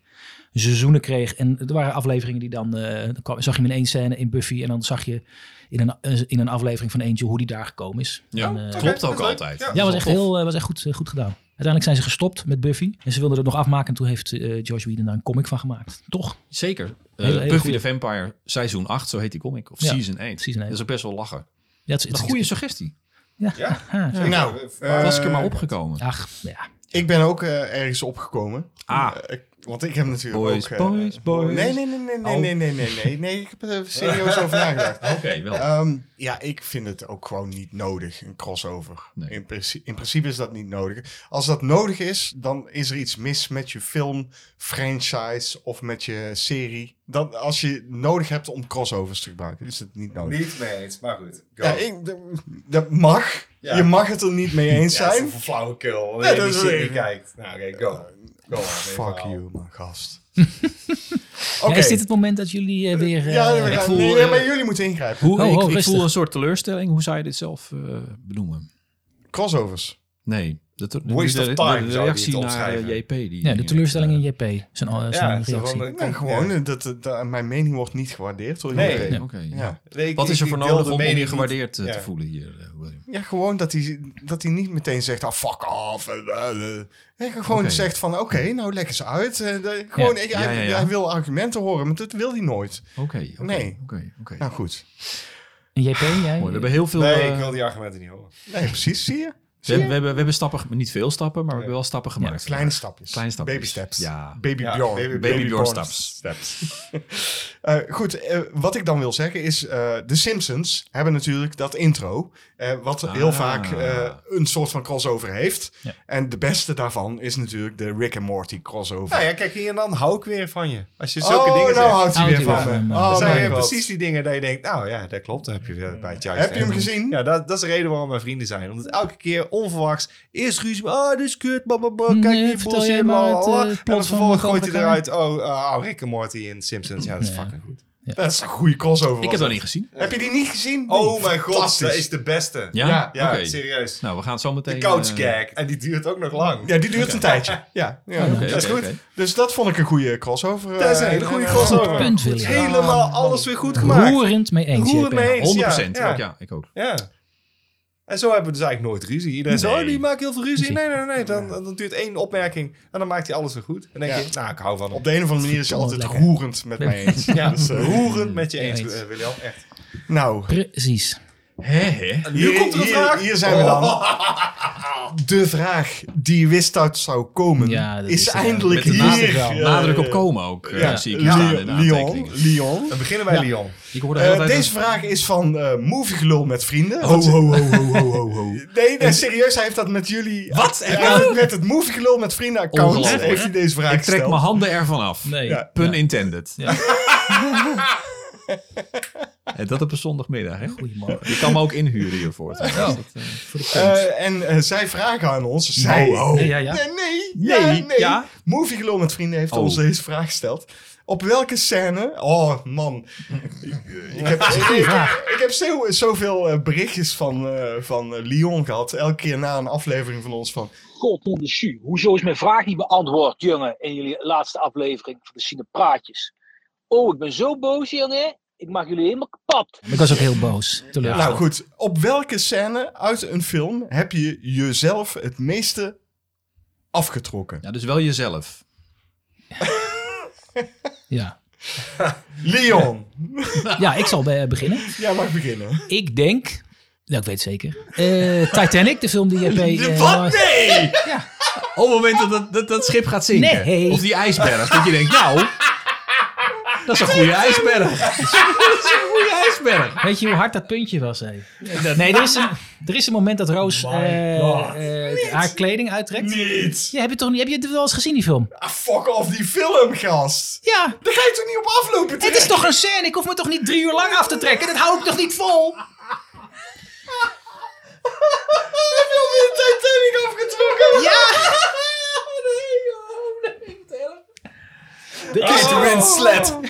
[SPEAKER 2] seizoenen kreeg. En er waren afleveringen die dan... eh, dan kwam, zag je hem in één scène in Buffy... en dan zag je in een, eh, in een aflevering van Angel hoe die daar gekomen is.
[SPEAKER 4] Ja,
[SPEAKER 2] En, eh,
[SPEAKER 4] klopt ook
[SPEAKER 1] dat is leuk.
[SPEAKER 4] altijd.
[SPEAKER 1] Ja.
[SPEAKER 4] Dat is
[SPEAKER 2] Ja, was
[SPEAKER 4] wel
[SPEAKER 2] echt,
[SPEAKER 4] tof.
[SPEAKER 2] heel, eh, was echt goed, eh, goed gedaan. Uiteindelijk zijn ze gestopt met Buffy. En ze wilden het nog afmaken. En toen heeft eh Josh Whedon daar een comic van gemaakt. Toch?
[SPEAKER 4] Zeker. Eh,
[SPEAKER 2] Hele- hele
[SPEAKER 4] Buffy
[SPEAKER 2] goeie.
[SPEAKER 4] the Vampire, seizoen 8, zo heet die comic. Of
[SPEAKER 2] Ja,
[SPEAKER 4] season 8.
[SPEAKER 2] season eight.
[SPEAKER 4] Dat is ook best wel lachen.
[SPEAKER 2] Ja, het, is-
[SPEAKER 4] Een
[SPEAKER 2] het,
[SPEAKER 4] goede suggestie.
[SPEAKER 1] Ja.
[SPEAKER 2] Aha.
[SPEAKER 3] Nou, eh,
[SPEAKER 4] was ik er maar opgekomen.
[SPEAKER 2] Ach, ja.
[SPEAKER 3] Ik ben ook eh, ergens opgekomen.
[SPEAKER 4] Ah.
[SPEAKER 3] Eh, ik- want ik heb natuurlijk
[SPEAKER 4] Boys,
[SPEAKER 3] ook... eh,
[SPEAKER 4] boys, boys.
[SPEAKER 3] Nee, nee, nee, nee, nee,
[SPEAKER 4] Oh.
[SPEAKER 3] nee, nee, nee, nee, nee. Ik heb er even serieus over nagedacht.
[SPEAKER 4] Oké, wel.
[SPEAKER 3] Ehm, ja, ik vind het ook gewoon niet nodig, een crossover.
[SPEAKER 4] Nee.
[SPEAKER 3] In, princi- in principe is dat niet nodig. Als dat nodig is, dan is er iets mis met je film, franchise of met je serie. Dan, als je nodig hebt om crossovers te gebruiken, is het niet nodig.
[SPEAKER 1] Niet mee eens, maar goed. Go.
[SPEAKER 3] Ja, ik, d- dat mag.
[SPEAKER 1] Ja.
[SPEAKER 3] Je mag het er niet mee eens
[SPEAKER 1] Ja, dat is
[SPEAKER 3] zijn.
[SPEAKER 1] een flauwekul.
[SPEAKER 3] Ja,
[SPEAKER 1] Wanneer je
[SPEAKER 3] dat
[SPEAKER 1] die
[SPEAKER 3] is
[SPEAKER 1] serie
[SPEAKER 3] even-
[SPEAKER 1] kijkt. Nou, oké, go. go. on, even
[SPEAKER 3] Fuck
[SPEAKER 1] verhaal.
[SPEAKER 3] you, mijn gast. Oké.
[SPEAKER 2] Ja, Is dit het moment dat jullie eh, weer... eh,
[SPEAKER 3] Ja, nee, we
[SPEAKER 4] ik
[SPEAKER 3] gaan-
[SPEAKER 4] voel,
[SPEAKER 3] nee, nee,
[SPEAKER 4] eh,
[SPEAKER 3] maar jullie moeten ingrijpen.
[SPEAKER 4] Hoe,
[SPEAKER 2] Oh,
[SPEAKER 4] ik
[SPEAKER 2] oh,
[SPEAKER 4] ik
[SPEAKER 2] rustig.
[SPEAKER 4] voel een soort teleurstelling. Hoe zou je dit zelf eh, benoemen?
[SPEAKER 3] Crossovers.
[SPEAKER 4] Nee. De, de,
[SPEAKER 1] Waste of time zou je het
[SPEAKER 4] reactie naar
[SPEAKER 1] omschrijven.
[SPEAKER 4] eh, JP. Die,
[SPEAKER 2] ja, de teleurstelling in JP. Zijn, al- zijn
[SPEAKER 1] Ja, het is
[SPEAKER 2] reactie.
[SPEAKER 1] gewoon, eh,
[SPEAKER 3] Nou,
[SPEAKER 1] kom-
[SPEAKER 3] gewoon, eh, dat, dat- mijn mening wordt niet gewaardeerd door
[SPEAKER 1] Nee.
[SPEAKER 3] iedereen.
[SPEAKER 4] Ja,
[SPEAKER 3] Ja.
[SPEAKER 4] oké, ja.
[SPEAKER 3] Ja.
[SPEAKER 1] Ik-
[SPEAKER 4] Wat
[SPEAKER 1] ik-
[SPEAKER 4] is er
[SPEAKER 1] ik
[SPEAKER 4] voor
[SPEAKER 1] deel
[SPEAKER 4] nodig
[SPEAKER 1] de
[SPEAKER 4] om, om
[SPEAKER 1] mening
[SPEAKER 4] je
[SPEAKER 1] niet.
[SPEAKER 4] gewaardeerd eh,
[SPEAKER 1] Ja.
[SPEAKER 4] te voelen hier, eh, William?
[SPEAKER 3] gewoon dat hij, dat hij niet meteen zegt, ah, fuck off. en, eh, eh. Hij gewoon
[SPEAKER 4] Oké.
[SPEAKER 3] zegt van, oké, nou leg eens uit. En, eh, gewoon, ik- hij,
[SPEAKER 4] Ja, ja, ja.
[SPEAKER 3] hij wil argumenten horen, maar dat wil hij nooit.
[SPEAKER 4] Oké, oké,
[SPEAKER 3] Nee.
[SPEAKER 4] oké, oké.
[SPEAKER 3] Nou goed.
[SPEAKER 2] En JP, jij?
[SPEAKER 4] Mooi, we hebben heel veel...
[SPEAKER 1] Nee,
[SPEAKER 4] eh,
[SPEAKER 1] ik wil die argumenten niet horen.
[SPEAKER 3] Nee, precies, zie je?
[SPEAKER 4] we, hebben, we, hebben, we hebben stappen, ge- niet veel stappen, maar we hebben wel stappen gemaakt.
[SPEAKER 3] Kleine stapjes.
[SPEAKER 4] Kleine stapjes.
[SPEAKER 3] Baby steps.
[SPEAKER 4] Ja.
[SPEAKER 3] Baby
[SPEAKER 1] Ja,
[SPEAKER 3] Bjorn.
[SPEAKER 1] baby-
[SPEAKER 4] Baby
[SPEAKER 1] baby
[SPEAKER 4] Bjorn
[SPEAKER 1] born
[SPEAKER 4] staps.
[SPEAKER 3] Eh, goed, eh, wat ik dan wil zeggen is, eh de Simpsons hebben natuurlijk dat intro, eh, wat heel
[SPEAKER 4] Ah.
[SPEAKER 3] vaak eh, een soort van crossover heeft.
[SPEAKER 2] Ja.
[SPEAKER 3] En de beste daarvan is natuurlijk de Rick en Morty crossover.
[SPEAKER 1] Nou ja, kijk, hier en dan hou ik weer van je. Als je zulke
[SPEAKER 3] Oh,
[SPEAKER 1] dingen
[SPEAKER 3] nou
[SPEAKER 1] zegt.
[SPEAKER 3] houdt hij
[SPEAKER 2] Houdt
[SPEAKER 3] weer
[SPEAKER 2] hij
[SPEAKER 3] van
[SPEAKER 2] weer van
[SPEAKER 3] me.
[SPEAKER 2] me.
[SPEAKER 3] Oh,
[SPEAKER 1] Dat zijn
[SPEAKER 3] mijn
[SPEAKER 1] weer
[SPEAKER 3] god.
[SPEAKER 1] precies die dingen dat je denkt, nou ja, dat klopt. Dan heb je weer bij het juiste.
[SPEAKER 3] Heb je hem
[SPEAKER 1] helemaal.
[SPEAKER 3] gezien?
[SPEAKER 1] Ja, dat, dat is de reden waarom mijn vrienden zijn. Omdat elke keer onverwachts, eerst ruzie, ah, dit is kut, blablabla, kijk
[SPEAKER 2] Nee,
[SPEAKER 1] die
[SPEAKER 2] vertel
[SPEAKER 1] bullshit,
[SPEAKER 2] jij maar het,
[SPEAKER 1] blablabla.
[SPEAKER 2] eh,
[SPEAKER 1] En
[SPEAKER 2] plot
[SPEAKER 1] dan
[SPEAKER 2] van
[SPEAKER 1] vervolgens gooit hij
[SPEAKER 2] Cobra
[SPEAKER 1] eruit, oh, eh, oh, Rick en Morty in Simpsons. Ja, dat is
[SPEAKER 2] Ja.
[SPEAKER 1] fucking goed.
[SPEAKER 3] Dat is een goede crossover.
[SPEAKER 4] Ik
[SPEAKER 3] was
[SPEAKER 4] heb dat
[SPEAKER 3] het.
[SPEAKER 4] niet gezien.
[SPEAKER 3] Heb je die niet gezien?
[SPEAKER 1] Oh mijn god,
[SPEAKER 3] Fantastisch.
[SPEAKER 1] dat is de beste.
[SPEAKER 4] Ja?
[SPEAKER 3] Ja,
[SPEAKER 1] Ja,
[SPEAKER 4] Oké.
[SPEAKER 1] serieus.
[SPEAKER 4] Nou, we gaan het zo meteen...
[SPEAKER 1] De couch
[SPEAKER 4] eh,
[SPEAKER 1] gag. En die duurt ook nog lang.
[SPEAKER 3] Ja, die duurt een tijdje. Ja, ja.
[SPEAKER 4] oké,
[SPEAKER 3] dat is
[SPEAKER 4] oké,
[SPEAKER 3] goed.
[SPEAKER 4] oké.
[SPEAKER 3] Dus dat vond ik een goede crossover.
[SPEAKER 1] Dat is een
[SPEAKER 3] eh,
[SPEAKER 1] hele goede
[SPEAKER 3] eh,
[SPEAKER 1] crossover.
[SPEAKER 2] punt, William.
[SPEAKER 1] Helemaal alles weer goed gemaakt.
[SPEAKER 2] Roerend mee eens,
[SPEAKER 1] Roerend
[SPEAKER 2] JP.
[SPEAKER 1] mee eens.
[SPEAKER 4] 100
[SPEAKER 1] Ja, ja.
[SPEAKER 4] Ook, ja, ik ook.
[SPEAKER 1] Ja. En zo hebben we dus eigenlijk nooit ruzie. Iedereen zegt,
[SPEAKER 4] Nee.
[SPEAKER 1] oh, die maakt heel veel ruzie. Nee, nee, nee. nee. Dan, dan duurt één opmerking en dan maakt hij alles weer goed. En dan denk
[SPEAKER 3] Ja.
[SPEAKER 1] je, nou, ik hou van hem.
[SPEAKER 3] Op de een of andere manier is je altijd
[SPEAKER 2] Lekker.
[SPEAKER 3] roerend met mij eens.
[SPEAKER 1] Ja,
[SPEAKER 3] Dus, eh,
[SPEAKER 1] roerend met je eens,
[SPEAKER 2] Eens.
[SPEAKER 1] eh, William. Echt.
[SPEAKER 3] nou,
[SPEAKER 2] Precies.
[SPEAKER 4] Hé, hé.
[SPEAKER 1] Nu komt er een
[SPEAKER 3] hier,
[SPEAKER 1] vraag. Oh.
[SPEAKER 3] Hier zijn we dan. De vraag die je wist dat zou komen,
[SPEAKER 2] Ja, dat
[SPEAKER 3] is,
[SPEAKER 2] is, eh,
[SPEAKER 3] eindelijk
[SPEAKER 4] Met de nadruk,
[SPEAKER 3] hier. eh,
[SPEAKER 4] nadruk op komen ook, eh,
[SPEAKER 3] Ja,
[SPEAKER 4] zie ik hier staan in de
[SPEAKER 3] Leon, Lyon.
[SPEAKER 4] aantekeningen.
[SPEAKER 3] Lyon.
[SPEAKER 1] Dan beginnen bij Lyon.
[SPEAKER 4] Ik hoorde de hele
[SPEAKER 3] Eh,
[SPEAKER 4] tijd Oh,
[SPEAKER 3] deze
[SPEAKER 4] een-
[SPEAKER 3] vraag is van eh Moviegelul met vrienden.
[SPEAKER 4] Ho,
[SPEAKER 3] Dat-
[SPEAKER 4] ho, ho, ho, ho, ho, ho.
[SPEAKER 3] Nee, nee, serieus, hij heeft dat met jullie...
[SPEAKER 4] Wat?
[SPEAKER 3] Ja, hij heeft met het Moviegelul met vrienden account
[SPEAKER 4] Ongelooflijk.
[SPEAKER 3] heeft hij deze vraag
[SPEAKER 4] Ik trek
[SPEAKER 3] gesteld.
[SPEAKER 4] mijn handen ervan af.
[SPEAKER 2] Nee.
[SPEAKER 3] Ja.
[SPEAKER 4] Pun intended. En dat op een zondagmiddag, hè?
[SPEAKER 2] Goedemorgen.
[SPEAKER 4] Je kan me ook inhuren hiervoor. Ja.
[SPEAKER 3] Eh, en eh, zij vragen aan ons. Zij,
[SPEAKER 2] Ja, ja, ja.
[SPEAKER 3] Nee, nee,
[SPEAKER 4] oh. Nee,
[SPEAKER 3] ja, nee.
[SPEAKER 4] ja.
[SPEAKER 3] Movie Gelul met Vrienden heeft
[SPEAKER 4] Oh.
[SPEAKER 3] ons deze vraag gesteld. Op welke scène... Oh, man. ik, heb, ik, ik heb zo, zoveel eh, berichtjes van, eh, van eh, Lyon gehad. Elke keer na een aflevering van ons van...
[SPEAKER 8] Goddomme Su, hoezo is mijn vraag niet beantwoord, jongen, in jullie laatste aflevering van de Cinepraatjes? Oh, ik ben zo boos, jongen. Ik mag jullie helemaal kapot.
[SPEAKER 2] Ik was ook heel boos. Teleurgesteld.
[SPEAKER 3] Nou goed, op welke scène uit een film heb je jezelf het meeste afgetrokken?
[SPEAKER 4] Ja, dus wel jezelf.
[SPEAKER 2] Ja.
[SPEAKER 3] Leon,
[SPEAKER 2] ja, ik zal eh, beginnen.
[SPEAKER 3] jij mag beginnen.
[SPEAKER 2] Ik denk... Nou, ik weet het zeker. Eh, Titanic, de film die JP... eh,
[SPEAKER 4] Wat? Nee! Op het moment dat dat, dat dat schip gaat zinken.
[SPEAKER 2] Nee.
[SPEAKER 4] Of die ijsberg. Dat je denkt, nou... Dat is een goede ijsberg. Dat is een goede ijsberg.
[SPEAKER 2] Weet je hoe hard dat puntje was? Hé? Nee, er is, een, er is een moment dat Roos eh, eh, haar kleding uittrekt.
[SPEAKER 3] Niet.
[SPEAKER 2] Ja, heb, je toch, niet- heb je het wel eens gezien, die film?
[SPEAKER 3] Ah, fuck off die film, gast.
[SPEAKER 2] Ja,
[SPEAKER 3] Daar ga je toch niet op aflopen,
[SPEAKER 2] het is
[SPEAKER 3] terecht?
[SPEAKER 2] toch een scène? Ik hoef me toch niet drie uur lang af te trekken? Dat hou ik toch niet vol?
[SPEAKER 3] Hij wil weer de Titanic afgetrokken.
[SPEAKER 2] Ja! Er is
[SPEAKER 3] Mr. Slap.
[SPEAKER 2] Oh.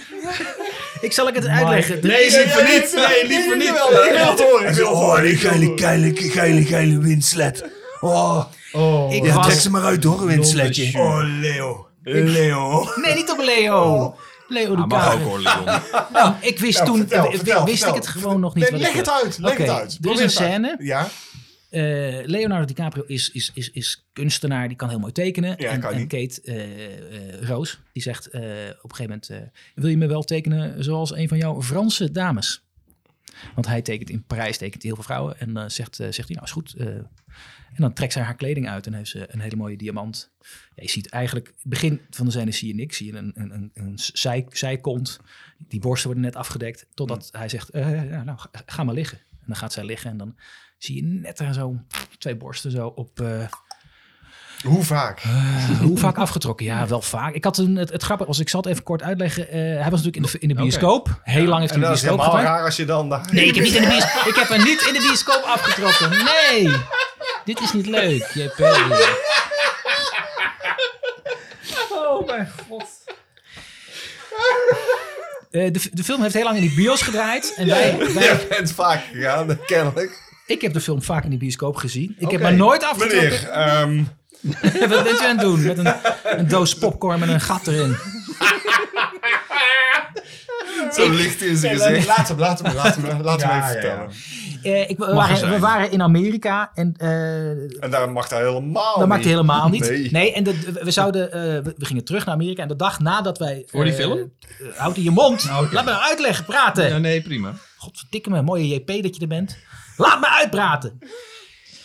[SPEAKER 2] Ik zal ik het uitleggen. Er is-
[SPEAKER 3] liever niet. Nee, liever niet. Ik wil het horen. Ik wil het horen.
[SPEAKER 9] die geile, geile, geile, geile windslet. Oh,
[SPEAKER 2] ik
[SPEAKER 9] ja, trek
[SPEAKER 2] was...
[SPEAKER 9] ze maar uit hoor, een windsledje. Oh, Leo. Leo.
[SPEAKER 2] Nee, niet op Leo. Leo de
[SPEAKER 4] Ah, Mag ook
[SPEAKER 2] Kale.
[SPEAKER 4] hoor, Leon.
[SPEAKER 2] Nou, ik wist
[SPEAKER 3] Nou,
[SPEAKER 2] toen...
[SPEAKER 3] vertel,
[SPEAKER 2] eh, wist
[SPEAKER 3] vertel,
[SPEAKER 2] ik
[SPEAKER 3] vertel.
[SPEAKER 2] het gewoon nog niet.
[SPEAKER 3] Nee,
[SPEAKER 2] wat
[SPEAKER 3] leg
[SPEAKER 2] ik
[SPEAKER 3] het
[SPEAKER 2] wil.
[SPEAKER 3] uit. Leg
[SPEAKER 2] Oké,
[SPEAKER 3] het uit.
[SPEAKER 2] Er is
[SPEAKER 3] Probeer
[SPEAKER 2] een
[SPEAKER 3] het uit.
[SPEAKER 2] scène.
[SPEAKER 3] Ja,
[SPEAKER 2] Eh, Leonardo DiCaprio is, is, is, is kunstenaar, die kan heel mooi tekenen.
[SPEAKER 3] Ja,
[SPEAKER 2] en,
[SPEAKER 3] kan
[SPEAKER 2] en
[SPEAKER 3] niet.
[SPEAKER 2] Kate eh, eh, Roos, die zegt eh, op een gegeven moment... eh, wil je me wel tekenen zoals een van jouw Franse dames? Want hij tekent in Parijs tekent hij heel veel vrouwen. En dan zegt, eh, zegt hij, nou is goed. eh. en dan trekt zij haar kleding uit en heeft ze een hele mooie diamant. Ja, je ziet eigenlijk, het begin van de scène zie je niks. Zie je een, een, een, een zij, zijkont. Die borsten worden net afgedekt. Totdat
[SPEAKER 3] Mm.
[SPEAKER 2] hij zegt, eh, ja, nou, ga, ga maar liggen. En dan gaat zij liggen en dan zie je net daar zo twee borsten zo op... eh,
[SPEAKER 3] hoe vaak?
[SPEAKER 2] eh, hoe vaak afgetrokken? Ja, wel vaak. Ik had een, het, het grappige, als ik zal het even kort uitleggen. eh, hij was natuurlijk in de, in de bioscoop. Heel lang heeft
[SPEAKER 1] En
[SPEAKER 2] hij in de
[SPEAKER 1] dat is
[SPEAKER 2] bioscoop
[SPEAKER 1] helemaal
[SPEAKER 2] gedaan.
[SPEAKER 1] raar als je dan daar...
[SPEAKER 2] Nee, ik heb, niet in de bios- ik heb hem niet in de bioscoop afgetrokken. Nee, dit is niet leuk, JP. Oh mijn god. Eh, de, de film heeft heel lang in de bios gedraaid. En wij, wij-
[SPEAKER 1] Je bent vaak gegaan, kennelijk.
[SPEAKER 2] ik heb de film vaak in de bioscoop gezien. Ik heb
[SPEAKER 1] Oké.
[SPEAKER 2] maar nooit afgetrokken.
[SPEAKER 1] Meneer, ehm,
[SPEAKER 2] Wat bent u aan het doen? Met een, een doos popcorn met een gat erin.
[SPEAKER 1] zo licht in zijn gezicht.
[SPEAKER 3] Laat hem, laat hem, laat hem, laat hem even vertellen.
[SPEAKER 2] Eh, ik, we,
[SPEAKER 4] er
[SPEAKER 2] waren,
[SPEAKER 4] zijn.
[SPEAKER 2] we waren in Amerika en eh,
[SPEAKER 1] En daar mag hij helemaal
[SPEAKER 2] dat maakt
[SPEAKER 1] niet.
[SPEAKER 2] helemaal niet. Oh, Nee,
[SPEAKER 1] Nee.
[SPEAKER 2] en dat- we, zouden, eh, we, we gingen terug naar Amerika en de dag nadat wij...
[SPEAKER 4] Voor die
[SPEAKER 2] eh,
[SPEAKER 4] film?
[SPEAKER 2] eh, houd in je mond. Laat me nou uitleggen, praten.
[SPEAKER 4] Ja, nee, prima.
[SPEAKER 2] Godverdikke me, mooie JP dat je er bent. Laat me uitpraten.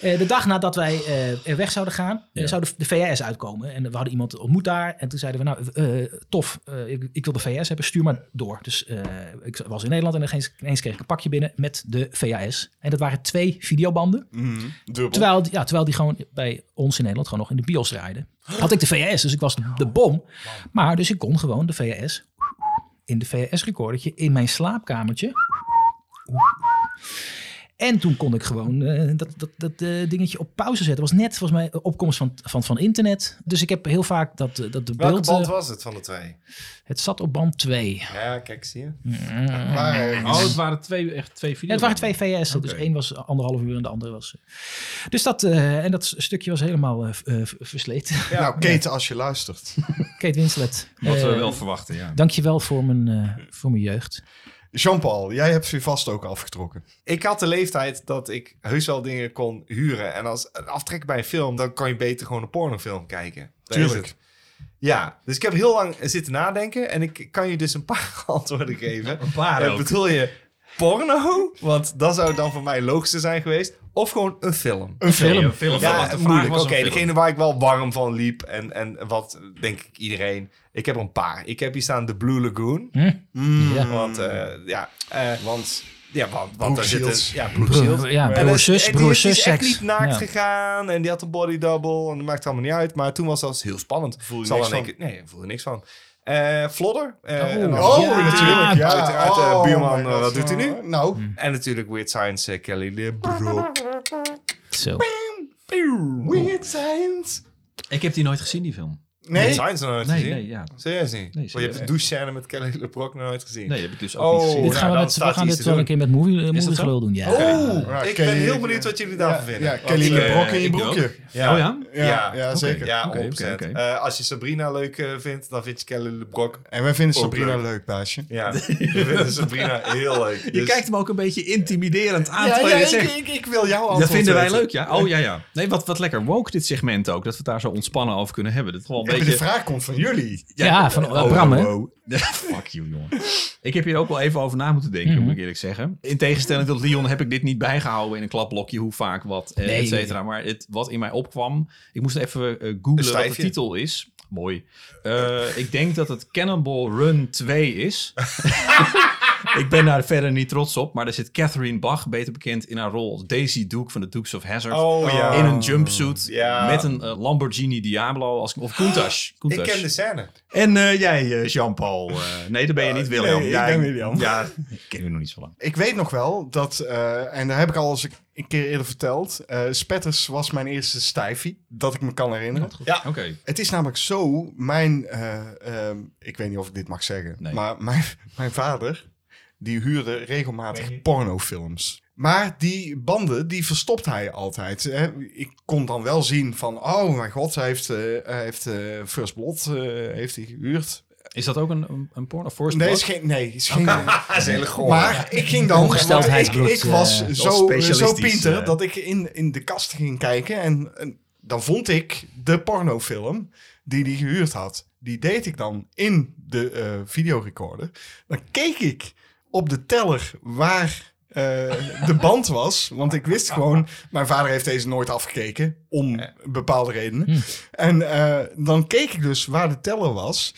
[SPEAKER 2] Eh, de dag nadat wij eh, er weg zouden gaan, eh, zou de, de VS uitkomen. En we hadden iemand ontmoet daar. En toen zeiden we, nou, eh, tof, eh, ik, ik wil de VS hebben, stuur maar door. Dus eh, ik was in Nederland en ineens, ineens kreeg ik een pakje binnen met de VS. En dat waren twee videobanden.
[SPEAKER 3] Mhm, Dubbel.
[SPEAKER 2] Terwijl, die- ja, terwijl die gewoon bij ons in Nederland gewoon nog in de bios draaiden. Had ik de VS, dus ik was de bom. Maar dus ik kon gewoon de VS in de VS-recordertje in mijn slaapkamertje. En toen kon ik gewoon eh, dat, dat, dat eh, dingetje op pauze zetten. was net volgens mij de opkomst van, van, van internet. Dus ik heb heel vaak dat, eh, dat de
[SPEAKER 1] Welke
[SPEAKER 2] beeld...
[SPEAKER 1] band
[SPEAKER 2] eh,
[SPEAKER 1] was het van de twee?
[SPEAKER 2] het zat op band 2.
[SPEAKER 1] Ja, kijk, zie je.
[SPEAKER 3] Maar, eh,
[SPEAKER 4] Oh, het waren twee, echt twee
[SPEAKER 2] Ja,
[SPEAKER 4] video's.
[SPEAKER 2] het waren twee VS. Dus
[SPEAKER 4] Oké.
[SPEAKER 2] één was anderhalf uur en de andere was... Dus dat, eh, en dat stukje was helemaal eh, v- eh, v- versleten.
[SPEAKER 3] Nou, Kate, als je luistert.
[SPEAKER 2] Kate Winslet.
[SPEAKER 4] Wat we
[SPEAKER 2] eh,
[SPEAKER 4] wel verwachten, ja.
[SPEAKER 2] Dankjewel voor mijn, eh, voor mijn jeugd.
[SPEAKER 3] Jean-Paul, jij hebt ze vast ook afgetrokken.
[SPEAKER 1] Ik had de leeftijd dat ik heus wel dingen kon huren. En als een aftrek bij een film, dan kan je beter gewoon een pornofilm kijken. Daar is
[SPEAKER 3] Tuurlijk.
[SPEAKER 1] het. Ja, dus ik heb heel lang zitten nadenken. En ik kan je dus een paar antwoorden geven. Een
[SPEAKER 4] paar ook.
[SPEAKER 1] Bedoel je porno? Want dat zou dan voor mij logischer zijn geweest. Of gewoon een film.
[SPEAKER 3] Een film.
[SPEAKER 4] Een film.
[SPEAKER 1] Ja,
[SPEAKER 4] Want de vraag
[SPEAKER 1] moeilijk.
[SPEAKER 4] was
[SPEAKER 1] Oké,
[SPEAKER 4] een film.
[SPEAKER 1] degene waar ik wel warm van liep en, en wat denk ik iedereen. Ik heb er een paar. Ik heb hier staan de Blue Lagoon.
[SPEAKER 4] Hmm.
[SPEAKER 2] Ja.
[SPEAKER 1] Want eh, ja, eh, want ja, want, want
[SPEAKER 3] Brooke
[SPEAKER 1] daar zit
[SPEAKER 3] Shields.
[SPEAKER 1] een, ja, Brooke Shields.
[SPEAKER 2] Broer, ja,
[SPEAKER 1] En
[SPEAKER 2] broer,
[SPEAKER 1] dat-
[SPEAKER 2] zus,
[SPEAKER 1] en die
[SPEAKER 2] broer,
[SPEAKER 1] is- die
[SPEAKER 2] zus,
[SPEAKER 1] is echt
[SPEAKER 2] seks.
[SPEAKER 1] niet naakt
[SPEAKER 2] Ja.
[SPEAKER 1] gegaan en die had een body double en dat maakt allemaal niet uit. Maar toen was dat heel spannend.
[SPEAKER 3] Voel je
[SPEAKER 1] Zal
[SPEAKER 3] niks
[SPEAKER 1] dan
[SPEAKER 3] van?
[SPEAKER 1] denken, Nee, ik voel er niks van. Eh, Eh, Flodder. eh,
[SPEAKER 2] Oh.
[SPEAKER 1] en dan-
[SPEAKER 2] Oh,
[SPEAKER 1] Ja.
[SPEAKER 2] natuurlijk,
[SPEAKER 3] ja.
[SPEAKER 1] Uiteraard, eh,
[SPEAKER 3] Oh,
[SPEAKER 1] buurman,
[SPEAKER 3] my
[SPEAKER 1] eh,
[SPEAKER 3] God.
[SPEAKER 1] wat doet hij nu?
[SPEAKER 3] Nou,
[SPEAKER 1] En natuurlijk Weird Science, eh, Kelly LeBrook.
[SPEAKER 2] Zo.
[SPEAKER 3] Weird Science.
[SPEAKER 4] Ik heb die nooit gezien, die film.
[SPEAKER 1] Weird
[SPEAKER 3] Nee,
[SPEAKER 1] Science nog nooit
[SPEAKER 4] Nee,
[SPEAKER 1] gezien?
[SPEAKER 4] nee, ja.
[SPEAKER 1] Serieus niet?
[SPEAKER 4] Nee,
[SPEAKER 1] Want je hebt de
[SPEAKER 4] serieus.
[SPEAKER 1] douchescène met Kelly LeBrock nog nooit gezien?
[SPEAKER 4] Nee, heb ik dus ook
[SPEAKER 1] Oh.
[SPEAKER 4] niet gezien.
[SPEAKER 2] Dit gaan
[SPEAKER 1] nou,
[SPEAKER 2] we,
[SPEAKER 1] dan
[SPEAKER 2] met, we
[SPEAKER 1] staat
[SPEAKER 2] gaan
[SPEAKER 1] iets
[SPEAKER 2] dit
[SPEAKER 1] te
[SPEAKER 2] wel een
[SPEAKER 1] doen.
[SPEAKER 2] keer met movie, eh, movie
[SPEAKER 4] dat zo?
[SPEAKER 2] gelul doen. Ja.
[SPEAKER 3] Ja,
[SPEAKER 1] ik
[SPEAKER 3] Kelly-
[SPEAKER 1] ben heel benieuwd wat jullie daarvan
[SPEAKER 3] ja,
[SPEAKER 1] vinden.
[SPEAKER 3] ja,
[SPEAKER 1] Want
[SPEAKER 3] Kelly
[SPEAKER 1] ik, eh,
[SPEAKER 3] LeBrock in je
[SPEAKER 4] ik
[SPEAKER 3] broekje.
[SPEAKER 1] Ja.
[SPEAKER 4] Oh ja?
[SPEAKER 3] Ja, ja, zeker.
[SPEAKER 1] Ja, 100%.
[SPEAKER 4] Oké, oké, oké.
[SPEAKER 1] Eh, als je Sabrina leuk eh, vindt, dan vind je Kelly LeBrock.
[SPEAKER 3] En wij vinden
[SPEAKER 1] Ook
[SPEAKER 3] Sabrina
[SPEAKER 1] leuk.
[SPEAKER 3] leuk, baasje.
[SPEAKER 1] Ja, we vinden Sabrina heel leuk.
[SPEAKER 4] Je
[SPEAKER 1] Dus-
[SPEAKER 4] kijkt hem ook een beetje intimiderend aan. terwijl je zegt,
[SPEAKER 3] wil jouw antwoord
[SPEAKER 4] dat vinden wij
[SPEAKER 3] weten.
[SPEAKER 4] leuk, ja. Oh ja, ja. Nee, wat, wat lekker woke dit segment ook. Dat we het daar zo ontspannen over kunnen hebben. Dat is wel
[SPEAKER 3] Ja,
[SPEAKER 4] een
[SPEAKER 3] maar
[SPEAKER 4] beetje...
[SPEAKER 3] De vraag komt van jullie.
[SPEAKER 2] Ja, van eh,
[SPEAKER 3] Oh,
[SPEAKER 2] Bram, hè?
[SPEAKER 4] Brammen. Fuck you, jongen. Ik heb hier ook wel even over na moeten denken, moet ik eerlijk zeggen. In tegenstelling tot Leon heb ik dit niet bijgehouden in een klapblokje, hoe vaak wat, eh,
[SPEAKER 2] Nee.
[SPEAKER 4] et cetera. Maar het, wat in mij opkwam, ik moest even eh, googlen wat de
[SPEAKER 1] stijfje.
[SPEAKER 4] titel is. Mooi. Eh, ik denk dat het Cannonball Run 2 is. ik ben daar verder niet trots op, maar er zit Catherine Bach, beter bekend in haar rol als Daisy Duke van de Dukes of Hazzard.
[SPEAKER 1] Oh ja.
[SPEAKER 4] In een jumpsuit
[SPEAKER 1] Ja.
[SPEAKER 4] met een eh, Lamborghini Diablo als, of Countach.
[SPEAKER 1] ik ken de scène.
[SPEAKER 4] En eh, jij, eh, Jean-Paul. eh, nee, dat ben je niet, William.
[SPEAKER 3] nee, ik
[SPEAKER 4] ja,
[SPEAKER 3] ben William.
[SPEAKER 4] Ja, ik ken u nog niet zo lang.
[SPEAKER 3] Ik weet nog wel dat, eh, en daar heb ik al eens een keer eerder verteld. eh, Spetters was mijn eerste stijfie, dat ik me kan herinneren.
[SPEAKER 4] Oké.
[SPEAKER 3] Het is namelijk zo, mijn, eh, ehm, ik weet niet of ik dit mag zeggen,
[SPEAKER 4] Nee.
[SPEAKER 3] maar mijn, mijn vader, die huurde regelmatig pornofilms. Maar die banden, die verstopt hij altijd. Hè? Ik kon dan wel zien van, oh mijn god, hij heeft, eh, hij heeft eh, First Blood eh, heeft hij gehuurd.
[SPEAKER 4] Is dat ook een, een, een porno? Force
[SPEAKER 3] Nee, is geen, nee, is geen,
[SPEAKER 1] Ah, is een hele
[SPEAKER 4] Oh,
[SPEAKER 1] goor.
[SPEAKER 3] Maar ik ging dan.
[SPEAKER 2] Ongesteldheid
[SPEAKER 3] ik,
[SPEAKER 2] bloed,
[SPEAKER 3] ik was
[SPEAKER 2] eh,
[SPEAKER 4] wel
[SPEAKER 3] zo,
[SPEAKER 4] specialistisch,
[SPEAKER 3] zo pinter
[SPEAKER 4] eh.
[SPEAKER 3] dat ik in, in de kast ging kijken. En, en dan vond ik de pornofilm die hij gehuurd had. Die deed ik dan in de eh, videorecorder. Dan keek ik op de teller waar. eh, de band was, want ik wist gewoon, mijn vader heeft deze nooit afgekeken om bepaalde redenen.
[SPEAKER 2] Hm.
[SPEAKER 3] En eh, dan keek ik dus waar de teller was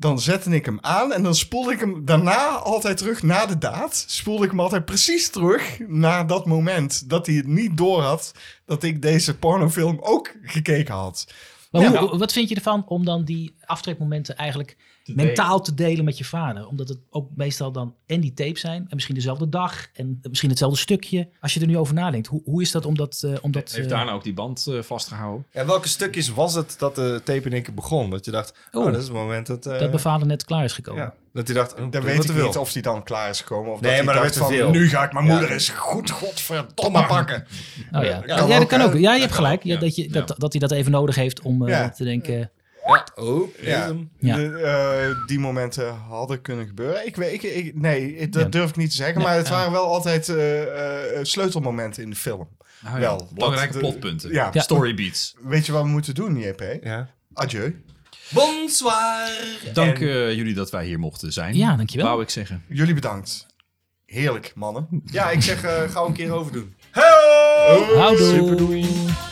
[SPEAKER 3] dan zette ik hem aan en dan spoelde ik hem daarna altijd terug na de daad. Spoelde ik hem altijd precies terug naar dat moment dat hij het niet door had dat ik deze pornofilm ook gekeken had.
[SPEAKER 2] Maar
[SPEAKER 3] Ja.
[SPEAKER 2] hoe, wat vind je ervan om dan die aftrekmomenten eigenlijk mentaal te delen met je vader? Omdat het ook meestal dan en die tape zijn en misschien dezelfde dag en misschien hetzelfde stukje. Als je er nu over nadenkt, hoe, hoe is dat omdat... eh omdat
[SPEAKER 4] Heeft
[SPEAKER 2] eh,
[SPEAKER 4] daarna ook die band eh, vastgehouden?
[SPEAKER 1] En welke stukjes was het dat de tape in één keer begon? Dat je dacht, oh,
[SPEAKER 2] Oh.
[SPEAKER 1] dat is het moment dat... eh,
[SPEAKER 2] dat mijn vader net klaar is gekomen.
[SPEAKER 1] ja, dat hij dacht, oh,
[SPEAKER 3] Dan weet ik niet of hij dan klaar is gekomen. Of
[SPEAKER 1] Nee,
[SPEAKER 3] dat
[SPEAKER 1] maar
[SPEAKER 3] hij
[SPEAKER 1] dat
[SPEAKER 3] dacht
[SPEAKER 1] werd
[SPEAKER 3] van,
[SPEAKER 1] te veel.
[SPEAKER 3] nu ga ik mijn
[SPEAKER 1] Ja.
[SPEAKER 3] moeder eens goed godverdomme pakken.
[SPEAKER 2] Oh, ja.
[SPEAKER 3] kan
[SPEAKER 2] ja,
[SPEAKER 3] ook,
[SPEAKER 2] dat kan
[SPEAKER 3] hè?
[SPEAKER 2] ook. Ja, je hebt gelijk.
[SPEAKER 4] ook,
[SPEAKER 2] Ja,
[SPEAKER 4] ja.
[SPEAKER 2] dat, je, dat, dat hij dat even nodig heeft om eh,
[SPEAKER 3] Ja.
[SPEAKER 2] te denken...
[SPEAKER 1] Oh,
[SPEAKER 3] Ja.
[SPEAKER 1] ja.
[SPEAKER 2] Ja.
[SPEAKER 3] De, eh, die momenten hadden kunnen gebeuren. Ik weet, ik, ik- nee, ik- dat
[SPEAKER 2] Ja.
[SPEAKER 3] durf ik niet te zeggen. maar het waren wel altijd eh, eh, sleutelmomenten in de film.
[SPEAKER 4] Nou ja.
[SPEAKER 3] Wel, dat-
[SPEAKER 4] Belangrijke
[SPEAKER 3] de-
[SPEAKER 4] plotpunten.
[SPEAKER 3] ja.
[SPEAKER 2] Ja.
[SPEAKER 4] Story beats.
[SPEAKER 3] Weet je wat we moeten doen, JP?
[SPEAKER 1] Ja.
[SPEAKER 3] Adieu.
[SPEAKER 1] Bonsoir!
[SPEAKER 4] Dank eh, jullie dat wij hier mochten zijn.
[SPEAKER 2] Ja, dankjewel.
[SPEAKER 4] Wou ik zeggen.
[SPEAKER 3] Jullie bedankt. Heerlijk, mannen.
[SPEAKER 1] Ja, ik zeg, eh, gauw een keer overdoen.
[SPEAKER 2] Houdoe!